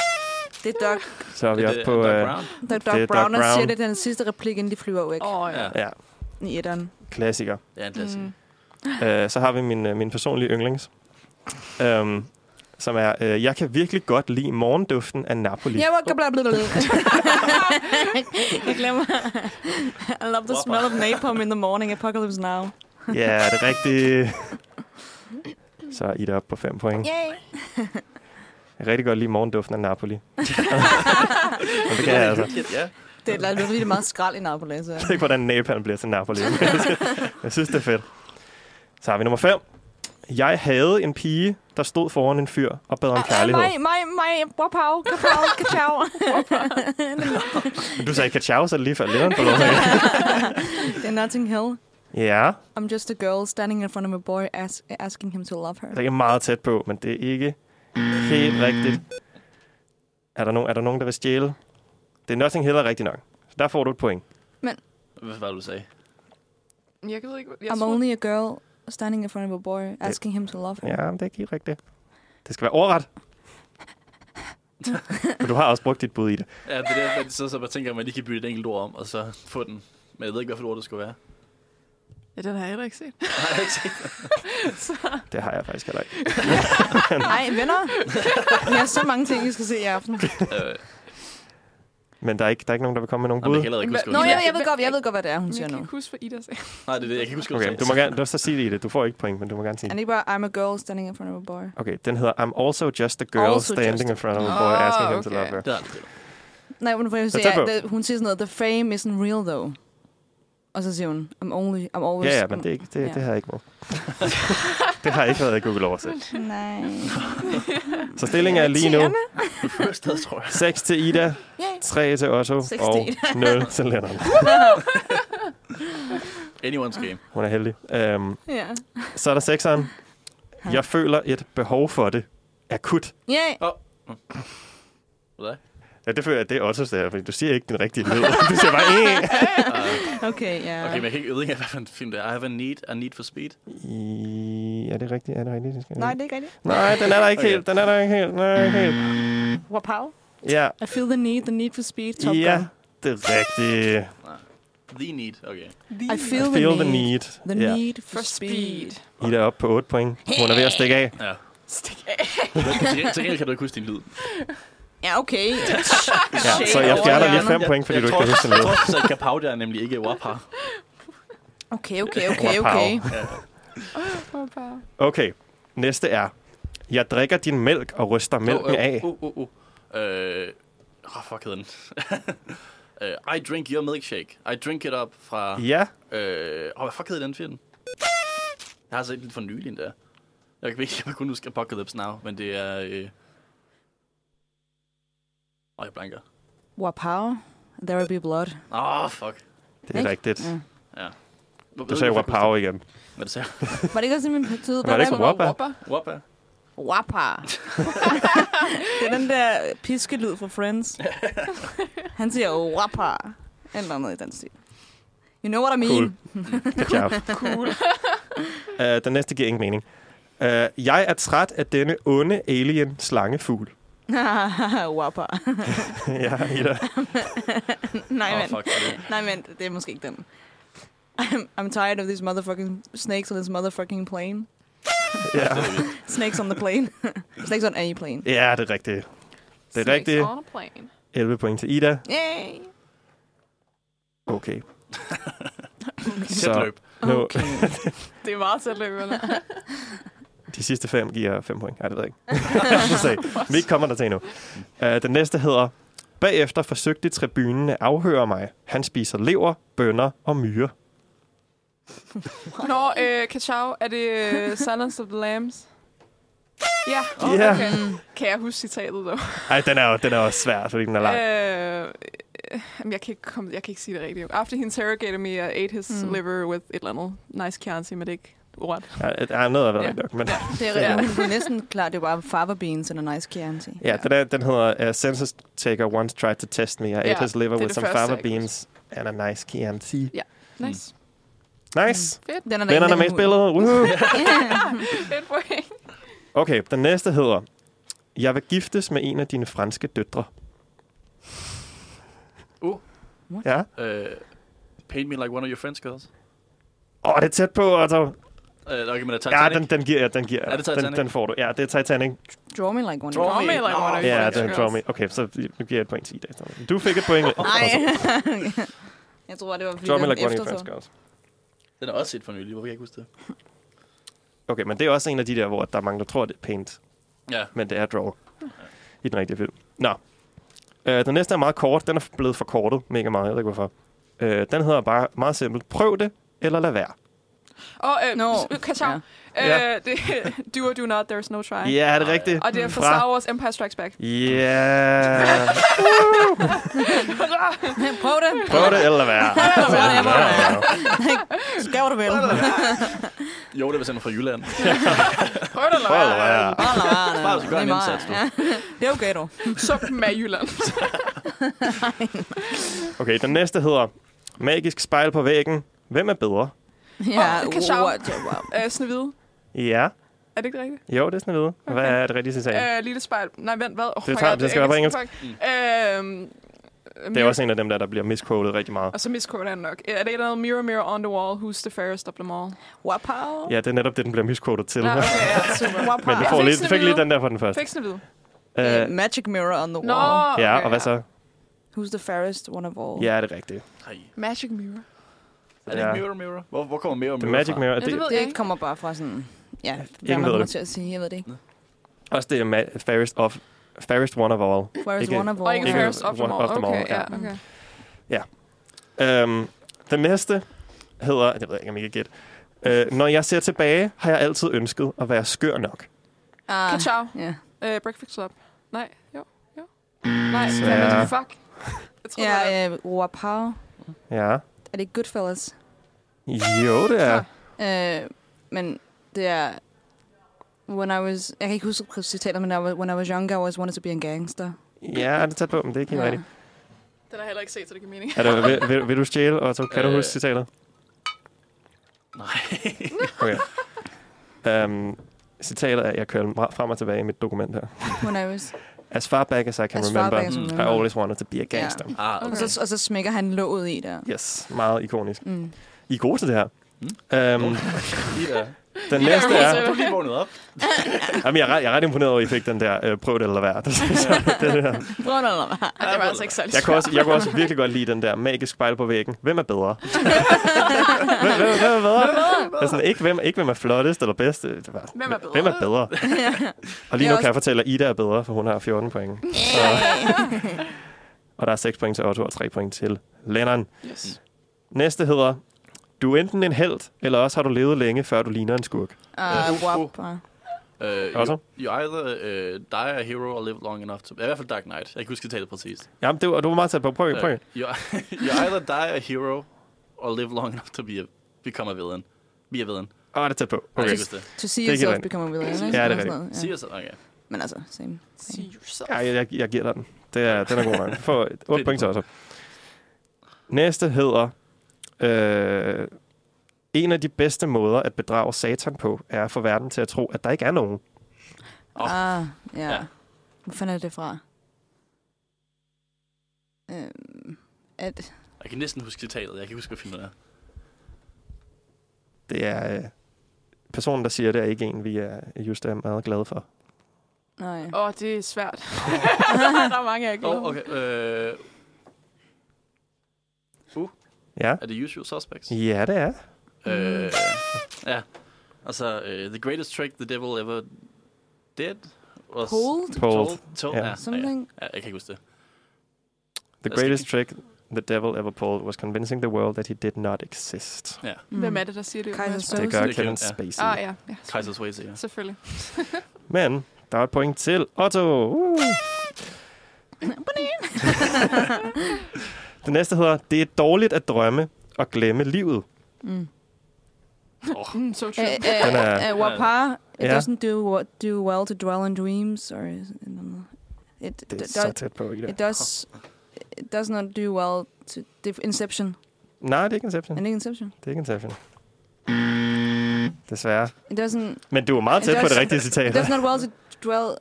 Speaker 5: det er Doc,
Speaker 2: Så er vi
Speaker 3: Er
Speaker 2: oppe
Speaker 3: det
Speaker 2: på...
Speaker 3: Doc
Speaker 2: øh,
Speaker 3: Brown?
Speaker 5: Doc,
Speaker 2: er
Speaker 5: Doc
Speaker 2: Doc
Speaker 5: Brown, der siger
Speaker 2: Brown.
Speaker 5: det, den sidste replik, inden de flyver væk
Speaker 4: Åh, ja.
Speaker 3: Ja.
Speaker 2: ja,
Speaker 5: i etteren.
Speaker 2: klassiker.
Speaker 3: Ja, det er sådan.
Speaker 2: Øh, så har vi min, øh, min personlige yndlings, øhm, som er, øh, jeg kan virkelig godt lide morgenduften af Napoli.
Speaker 5: Jeg var bla bla bla. Jeg glemmer. I love the smell of napalm in the morning. Apocalypse now.
Speaker 2: Ja, yeah, det er rigtigt. Så er Ida oppe på 5 point.
Speaker 5: Yay.
Speaker 2: Jeg kan rigtig godt lide morgenduften af Napoli. Men det kan jeg altså. Jeg
Speaker 3: Ja.
Speaker 5: Det er der er virkelig meget skrald i Napoli. Så.
Speaker 2: ved ikke, hvordan napalm bliver til Napoli. men jeg synes- jeg synes, det er fedt. Så har vi nummer 5. Jeg havde en pige, der stod foran en fyr og bad om kærlighed.
Speaker 5: Mig, mig, mig, wapow, kapow, kachow.
Speaker 2: Men Du sagde kachau, så er det lige før leveren på lov.
Speaker 5: [laughs] Det er Notting Hill.
Speaker 2: Ja,
Speaker 5: I'm just a girl standing in front of a boy as asking him to love her.
Speaker 2: Altså, Det er meget tæt på, men det er ikke
Speaker 3: Mm.
Speaker 2: helt rigtigt. Er der, nogen, er der nogen, der vil stjæle? Det er Nothing Hill er rigtigt nok. Så der får du et point.
Speaker 3: Hvad var det, du sagde?
Speaker 4: Jeg ved ikke, jeg
Speaker 5: I'm
Speaker 4: tror...
Speaker 5: only a girl standing in front of a boy asking him to love her.
Speaker 2: Ja, men det er ikke helt rigtigt. Det skal være overret. men du har også brugt dit bud i det.
Speaker 3: Ja, det er der, man sidder så bare tænker, at man lige kan bytte et enkelt ord om, og så få den. Men jeg ved ikke, hvad for et ord det skulle være.
Speaker 4: Ja, den har jeg heller ikke set.
Speaker 3: Nej, jeg har ikke set.
Speaker 2: Det har jeg faktisk heller ikke.
Speaker 5: Nej, venner. [laughs] Jeg har så mange ting, vi skal se i aften.
Speaker 3: Øh,
Speaker 2: Men der er ikke, der er ikke nogen, der vil komme med nogen
Speaker 3: nej, men jeg
Speaker 2: bud.
Speaker 3: kan heller ikke huske,
Speaker 5: Nå,
Speaker 3: hvad
Speaker 5: jeg,
Speaker 3: hun
Speaker 5: jeg, ved godt, jeg ved godt, hvad det er, hun
Speaker 4: Men
Speaker 5: siger
Speaker 4: jeg
Speaker 5: nu.
Speaker 4: kan ikke huske, hvad Ida sagde.
Speaker 3: sagde. Nej, det er det. Jeg kan ikke huske, hvad
Speaker 2: Okay,
Speaker 3: hun
Speaker 2: du må
Speaker 3: sagde.
Speaker 2: gerne, du så sige det i det. Du får ikke point, men du må gerne sige
Speaker 5: Er
Speaker 2: det.
Speaker 5: det ikke bare, I'm a girl standing in front of a boy?
Speaker 2: Okay, den hedder I'm also just a girl
Speaker 5: Also just
Speaker 2: standing
Speaker 5: a-
Speaker 2: in front of a boy asking him to
Speaker 4: okay.
Speaker 2: love her.
Speaker 3: Det har jeg aldrig set.
Speaker 5: Nej, hun, for jeg
Speaker 2: Jeg
Speaker 5: siger,
Speaker 2: tager på.
Speaker 5: at det- hun siger sådan noget, the fame isn't real though. Og så siger hun, I'm only, I'm always...
Speaker 2: Ja, ja, men det, er ikke, det,
Speaker 5: Ja.
Speaker 2: det har jeg ikke med. det har ikke været i Google oversæt.
Speaker 5: [laughs] Nej.
Speaker 2: Så stillingen er lige nu
Speaker 3: Du fører stadig, tror jeg.
Speaker 2: 6 til Ida,
Speaker 5: Yay.
Speaker 2: 3 til Otto
Speaker 5: Seks til
Speaker 2: og
Speaker 5: [laughs]
Speaker 2: 0 til Lennon.
Speaker 3: Anyone's game.
Speaker 2: Hun er heldig. Um,
Speaker 5: Ja.
Speaker 2: så er der sekseren. Jeg føler et behov for det. Akut.
Speaker 5: Yay.
Speaker 3: Hvad?
Speaker 2: Ja, det føler jeg, det er også det her, fordi du siger ikke den rigtige
Speaker 5: [laughs]
Speaker 2: lyd. du siger bare, "Eh."
Speaker 5: Okay, ja.
Speaker 3: Okay, men jeg, kan ikke, jeg ved ikke, hvad for en film det er. I have a need, a need for speed.
Speaker 2: I- Er det rigtigt? Er det rigtigt? Det skal jeg-
Speaker 5: Nej, det er ikke rigtigt.
Speaker 2: Nej, den er der ikke
Speaker 3: Okay.
Speaker 2: helt. Den er der ikke helt. Den er der ikke helt.
Speaker 4: [laughs]
Speaker 5: Wapow.
Speaker 2: Ja,
Speaker 5: I feel the need, the need for speed, Top
Speaker 2: ja
Speaker 5: Gun.
Speaker 2: det er rigtigt.
Speaker 3: The need, okay.
Speaker 5: I feel,
Speaker 2: Feel
Speaker 5: the,
Speaker 2: the
Speaker 5: need.
Speaker 2: need.
Speaker 5: The
Speaker 2: Ja.
Speaker 5: need for,
Speaker 4: For speed.
Speaker 2: Ida er oppe på 8 point. Hun er ved at stikke af.
Speaker 3: Ja.
Speaker 4: Stik af.
Speaker 3: Til gengæld- Til gengæld kan du ikke huske din lyd.
Speaker 5: Ja, okay.
Speaker 2: Ja, så jeg fjerner lige 5 point, fordi
Speaker 3: jeg
Speaker 2: du ikke
Speaker 3: tror-
Speaker 2: kan huske
Speaker 3: Jeg
Speaker 2: den lyd.
Speaker 3: tror, så Kapaudia er nemlig ikke
Speaker 2: [laughs]
Speaker 3: Wapa.
Speaker 5: Okay, okay, okay,
Speaker 2: Wapow.
Speaker 5: okay.
Speaker 2: Okay, næste er. Jeg drikker din mælk og ryster mælken af.
Speaker 3: Uh, uh, uh. Øh, oh, fuck hed den. [laughs] Øh, I drink your milkshake. I drink it up fra...
Speaker 2: Ja,
Speaker 3: Øh, oh, hvad fuck hed den film? Jeg har set den for nylig endda. Jeg kan ikke, jeg kunne huske Apocalypse Now, men det er... Øh... Åh, jeg blanker.
Speaker 5: Wapow. There will be blood.
Speaker 3: Åh, oh, fuck.
Speaker 2: det er
Speaker 5: Ikke?
Speaker 2: rigtigt.
Speaker 5: Mm.
Speaker 2: Du sagde Wapow
Speaker 5: [laughs]
Speaker 2: igen.
Speaker 3: Hvad det sagde
Speaker 5: Var det ikke også simpelthen betyder?
Speaker 2: Var det ikke
Speaker 5: Wapow?
Speaker 2: Wappa?
Speaker 3: Wapa?
Speaker 5: Wappa. [laughs] det er den der piskelyd fra
Speaker 2: [laughs]
Speaker 5: Friends. Han siger jo wappa. Eller noget i den stil. You know what I mean?
Speaker 2: Cool. Good job. [laughs]
Speaker 4: Cool.
Speaker 2: Uh, den næste giver ingen mening. Uh, jeg er træt af denne onde alien slangefugl. [laughs]
Speaker 5: [laughs] wappa.
Speaker 2: ja, Ida.
Speaker 5: Nej,
Speaker 3: Åh,
Speaker 5: men.
Speaker 3: fuck.
Speaker 2: [laughs]
Speaker 3: er det-
Speaker 5: Nej, men det er måske ikke den. I'm, I'm tired of these motherfucking snakes on this motherfucking plane.
Speaker 2: Ja.
Speaker 5: Snakes on the
Speaker 2: [laughs]
Speaker 5: plane. snakes on any plane.
Speaker 2: ja, det er rigtigt. Det er rigtigt.
Speaker 4: On a plane.
Speaker 2: 11 point til Ida.
Speaker 5: Yay!
Speaker 2: Okay.
Speaker 3: Tæt løb.
Speaker 2: nu,
Speaker 4: Det er meget selvløbende.
Speaker 2: de sidste fem giver 5 point. Nej, det ved jeg
Speaker 5: [laughs]
Speaker 2: ikke. Så, Vi kommer der til endnu. Uh, den næste hedder... Bagefter forsøgte tribunen at afhøre mig. Han spiser lever, bønner og myre.
Speaker 4: Nå, øh, Kachau, er det øh, Silence of the Lambs? Ja,
Speaker 2: Ja.
Speaker 4: okay. Kan jeg huske citatet, dog?
Speaker 2: Ej, den er, jo, den er også svær, fordi den er lang.
Speaker 4: Øh, øh, jamen, jeg, kan ikke komme, jeg kan ikke sige det rigtigt. After he interrogated me, I ate his
Speaker 5: Mm.
Speaker 4: mm. liver with et eller andet nice Chianti, men det er ikke ordet.
Speaker 2: Ja, der er noget, der er
Speaker 4: Ja.
Speaker 2: rigtig nok, men...
Speaker 5: Det er,
Speaker 4: Ja.
Speaker 5: ja. det er næsten klart, det var fava beans and a nice Chianti.
Speaker 2: Ja, den, er, den hedder uh, Census Taker Once Tried to Test Me. I ate
Speaker 4: Ja,
Speaker 2: his liver
Speaker 4: det er
Speaker 2: with
Speaker 4: det
Speaker 2: some
Speaker 4: første, Mm.
Speaker 2: fava
Speaker 4: jeg kan
Speaker 2: beans and a nice Chianti.
Speaker 4: Nice.
Speaker 2: Nice.
Speaker 5: Den er
Speaker 2: Mm. Vennerne er med i spillet. Woohoo.
Speaker 4: Et point.
Speaker 2: Okay, den næste hedder... Jeg vil giftes med en af dine franske døtre.
Speaker 3: Uh.
Speaker 5: What?
Speaker 2: Ja.
Speaker 3: Øh, paint me like one of your friends, girls.
Speaker 2: Åh, oh, det er tæt på, altså.
Speaker 3: Øh, okay, men det er
Speaker 2: Ja,
Speaker 3: Titanic.
Speaker 2: den, den giver jeg, den giver jeg.
Speaker 3: Er det
Speaker 2: den,
Speaker 3: Titanic?
Speaker 2: den får du. Ja, det er Titanic.
Speaker 5: Draw me like one.
Speaker 3: Draw
Speaker 4: Draw
Speaker 3: me.
Speaker 4: me like
Speaker 3: Nå,
Speaker 4: one of your
Speaker 2: Ja,
Speaker 4: friends,
Speaker 2: den
Speaker 4: girls.
Speaker 2: draw me. Okay, så nu giver jeg et point til Ida. Du fik et
Speaker 4: [laughs]
Speaker 2: point. Altså,
Speaker 5: Nej. jeg tror, det var fordi
Speaker 2: Draw me
Speaker 5: den
Speaker 2: like one of your
Speaker 5: eftertog.
Speaker 2: friends, girls.
Speaker 3: Den er også set for nylig. Hvorfor kan jeg ikke huske det?
Speaker 2: Okay, men det er også en af de der, hvor der er mange, der tror, det er paint.
Speaker 3: Ja.
Speaker 2: men det er draw i den rigtige film. Nå. Øh, den næste er meget kort. Den er blevet forkortet mega meget. Jeg ved ikke, hvorfor. Øh, den hedder bare meget simpelt. Prøv det, eller lad være.
Speaker 4: Og øh,
Speaker 5: Nå,
Speaker 4: no. Kachau,
Speaker 2: Ja.
Speaker 4: yeah. øh, det, [laughs] do or do not, there's no try.
Speaker 2: Ja, er det rigtigt?
Speaker 4: Og det er fra
Speaker 2: Fra-
Speaker 4: Star Wars Empire Strikes Back.
Speaker 2: Ja.
Speaker 5: [laughs] Prøv det.
Speaker 2: [laughs] Prøv det, eller lad være.
Speaker 5: Prøv det, prøv det. Skal du vel?
Speaker 3: Jo, det var sendt fra Jylland.
Speaker 4: [laughs] Prøv det,
Speaker 2: Prøv det, eller lad være.
Speaker 5: Bare lad være,
Speaker 3: Bare hvis du gør en
Speaker 5: Det er meget-
Speaker 3: indsats, du.
Speaker 5: ja. Det er okay, du.
Speaker 4: Sup dem af
Speaker 2: [laughs]
Speaker 4: Jylland.
Speaker 2: Okay, den næste hedder Magisk spejl på væggen. Hvem er bedre?
Speaker 5: Ja,
Speaker 4: Åh, Kachau.
Speaker 5: what- wow.
Speaker 4: Øh, Snevide.
Speaker 2: Ja.
Speaker 4: Er det ikke rigtigt?
Speaker 2: Jo, det er sådan noget. Hvad er det rigtige citat?
Speaker 4: Øh, lille spejl. Nej, vent, hvad? Oh,
Speaker 2: Det tager- det skal være på Mm.
Speaker 4: Øhm,
Speaker 2: Det er også en af dem, der, der bliver misquoted rigtig meget.
Speaker 4: Og så misquote han nok. Er det et eller andet mirror, mirror on the wall, who's the fairest of them all?
Speaker 5: Wapow.
Speaker 2: Ja, det er netop det, den bliver misquoted til.
Speaker 4: Nå, okay, ja.
Speaker 2: [laughs]
Speaker 5: Wapow.
Speaker 2: Men du får
Speaker 4: fik
Speaker 2: lige,
Speaker 4: sådan
Speaker 2: fik lige
Speaker 4: noget.
Speaker 2: den der for den første.
Speaker 4: Fik Snevide.
Speaker 2: Øh,
Speaker 5: Uh, Magic mirror on the
Speaker 4: Nå,
Speaker 5: wall.
Speaker 4: okay,
Speaker 2: Ja, og hvad så?
Speaker 5: Who's the fairest one of all?
Speaker 2: Ja, det er rigtigt.
Speaker 3: Nej.
Speaker 4: Magic mirror.
Speaker 3: Er det
Speaker 2: Ja.
Speaker 3: ikke Mirror Mirror? Hvor, hvor kommer Mirror
Speaker 2: The
Speaker 3: Mirror
Speaker 2: Magic
Speaker 3: fra?
Speaker 2: Mirror,
Speaker 4: Ja, det ved jeg
Speaker 5: Det
Speaker 4: ikke.
Speaker 5: kommer bare fra sådan... Ja, hvad
Speaker 2: Ingen
Speaker 5: man
Speaker 2: ved
Speaker 5: kommer
Speaker 2: det.
Speaker 5: til at sige. Jeg ved det ikke.
Speaker 2: Også det er ma- fairest, of, fairest one of all.
Speaker 5: Where is
Speaker 2: Ikke-
Speaker 5: one of
Speaker 4: Og
Speaker 5: all?
Speaker 4: ikke
Speaker 2: Ikke
Speaker 4: fairest of them
Speaker 2: one
Speaker 4: all.
Speaker 2: of them all,
Speaker 4: Okay,
Speaker 2: ja.
Speaker 4: ja,
Speaker 5: Mm-hmm.
Speaker 4: okay.
Speaker 2: Um, den næste hedder, det ved jeg ikke, om I kan gætte. Uh, når jeg ser tilbage, har jeg altid ønsket at være skør nok.
Speaker 5: Ah,
Speaker 4: Kachau.
Speaker 5: Ja.
Speaker 4: Øh, Breakfast Club. Nej, jo, jo. Nej,
Speaker 2: Mm. Så-
Speaker 4: fandme,
Speaker 2: Ja.
Speaker 4: fuck. Jeg tror, det er-
Speaker 5: Ja, øh, Wapow.
Speaker 2: Ja.
Speaker 5: Er det Goodfellas?
Speaker 2: Jo, det er.
Speaker 5: Øh, men det er... When I was... Jeg kan ikke huske præcis citatet, men I was, when I was younger, I always wanted to be a gangster.
Speaker 2: Ja, det er tæt på, men det er ikke helt
Speaker 1: Ja.
Speaker 2: rigtigt.
Speaker 4: Den har jeg heller ikke set, så det giver mening.
Speaker 2: Er du, vil, vil, vil du stjæle, og så kan du
Speaker 3: Øh.
Speaker 2: huske citatet?
Speaker 3: Nej.
Speaker 2: Okay. Um, citatet er, jeg kører meget frem og tilbage i mit dokument her.
Speaker 5: When I was...
Speaker 2: As far back as I can
Speaker 5: As far
Speaker 2: remember,
Speaker 5: back as I
Speaker 3: Mm.
Speaker 2: I
Speaker 5: remember.
Speaker 2: always wanted to be a gangster. Yeah.
Speaker 3: Ah,
Speaker 5: Og
Speaker 3: okay.
Speaker 5: så, og så smækker han låget i der.
Speaker 2: Yes, meget ikonisk.
Speaker 5: Mm.
Speaker 2: I er gode til det her.
Speaker 3: Mm.
Speaker 2: Mm. Um,
Speaker 3: Lige der.
Speaker 2: den
Speaker 4: Ja,
Speaker 2: næste
Speaker 4: gode
Speaker 2: er...
Speaker 4: til det.
Speaker 3: Du er lige vågnet op.
Speaker 2: Jamen, jeg, er ret, jeg er ret imponeret over, at I fik den der, øh, prøv det eller [laughs] hvad. det der.
Speaker 5: Prøv nu, eller hvad?
Speaker 4: Ej, det var altså ikke særlig
Speaker 2: Jeg kunne,
Speaker 4: svært.
Speaker 2: også, jeg kunne også virkelig godt lide den der magisk spejl på væggen. [laughs] Hvem er bedre? hvem, hvem, hvem er bedre? Det er sådan, ikke, hvem, ikke hvem er flottest eller bedst. Det var,
Speaker 4: Hvem er bedre?
Speaker 2: Hvem er [laughs] bedre? og lige
Speaker 5: Jeg
Speaker 2: nu
Speaker 5: er
Speaker 2: kan jeg fortælle, at Ida er bedre, for hun har 14 point. Og- og der er 6 point til Otto og 3 point til Lennon.
Speaker 4: Yes.
Speaker 2: Næste hedder, du er enten en held, eller også har du levet længe, før du ligner en skurk.
Speaker 5: Ah,
Speaker 3: Uh, uh.
Speaker 5: wapper.
Speaker 3: Uh,
Speaker 2: Otto?
Speaker 3: you, you either uh, die a hero or live long enough to... I hvert fald Dark Knight. Jeg kan ikke huske tallet præcist.
Speaker 2: Jamen, det var, du var meget tæt på. Prøv,
Speaker 3: Øh,
Speaker 2: prøv.
Speaker 3: [laughs] you, you either die a hero or live long enough to be a, become a villain. Be a villain.
Speaker 2: Åh, det er tæt på.
Speaker 3: Okay.
Speaker 2: Okay.
Speaker 3: Jeg huske det.
Speaker 5: To see
Speaker 2: Det er ikke
Speaker 5: yourself
Speaker 2: rent.
Speaker 5: become a villain.
Speaker 2: Ja, det er
Speaker 5: rigtigt.
Speaker 3: Sig os okay.
Speaker 5: Men altså, same.
Speaker 4: See yourself.
Speaker 2: Ja, jeg, jeg, jeg giver dig den. Det er, den er god nok. Få 8
Speaker 3: Fedt.
Speaker 2: point til også. Næste hedder... Øh, en af de bedste måder at bedrage satan på, er at få verden til at tro, at der ikke er nogen.
Speaker 3: Åh.
Speaker 5: Ah,
Speaker 3: Ja.
Speaker 5: ja. Hvor fanden er det fra? Øhm, at...
Speaker 3: Jeg kan næsten huske citatet. Jeg kan ikke huske, hvad filmen er.
Speaker 2: Det er... Øh, personen, der siger det, er ikke en, vi er just er meget glade for.
Speaker 5: Nej.
Speaker 4: Åh, oh, det er
Speaker 2: [laughs]
Speaker 4: svært. der er mange, jeg ikke
Speaker 3: Åh, oh, okay. Uh,
Speaker 2: Ja,
Speaker 3: er det Usual Suspects?
Speaker 2: ja det er.
Speaker 3: Øh, ja. Altså, uh, the greatest trick the devil ever did was...
Speaker 5: Cold?
Speaker 2: Told.
Speaker 3: Told. told.
Speaker 2: Ja.
Speaker 3: Ja. Ja, ja.
Speaker 5: Something?
Speaker 3: ja, jeg kan ikke huske det.
Speaker 2: The
Speaker 3: Jeg skal
Speaker 2: greatest
Speaker 3: ikke-
Speaker 2: trick the devil ever pulled was convincing the world that he did not exist.
Speaker 5: Mm.
Speaker 4: Hvem er det, der siger det?
Speaker 5: Kaiser
Speaker 4: Mads?
Speaker 5: Soze.
Speaker 2: Det gør
Speaker 3: Det kan-
Speaker 2: Kevin
Speaker 3: ja.
Speaker 2: Spacey.
Speaker 4: Ah, ja. ja.
Speaker 3: Kaiser's Way, ja.
Speaker 4: Selvfølgelig.
Speaker 2: Men der er et point til Otto.
Speaker 5: [laughs]
Speaker 2: Uh. det næste hedder, det er dårligt at drømme og glemme livet.
Speaker 5: Mm.
Speaker 4: Mm, so
Speaker 5: Øh,
Speaker 4: true. [laughs]
Speaker 5: øh,
Speaker 2: Den er-
Speaker 5: øh, Wapar, it
Speaker 2: Ja.
Speaker 5: doesn't do, what, do well to dwell on dreams, or is it, it,
Speaker 2: Det er
Speaker 5: do-
Speaker 2: så tæt på, Ida.
Speaker 5: it does, it does not do well to, det er Inception.
Speaker 2: Nej, det er ikke Inception.
Speaker 5: Er det ikke Inception?
Speaker 2: Det er ikke Inception. Desværre.
Speaker 5: It doesn't,
Speaker 2: Men du er meget tæt
Speaker 5: Det er
Speaker 2: på det
Speaker 5: også-
Speaker 2: rigtige
Speaker 5: it
Speaker 2: citat.
Speaker 5: does not well to dwell...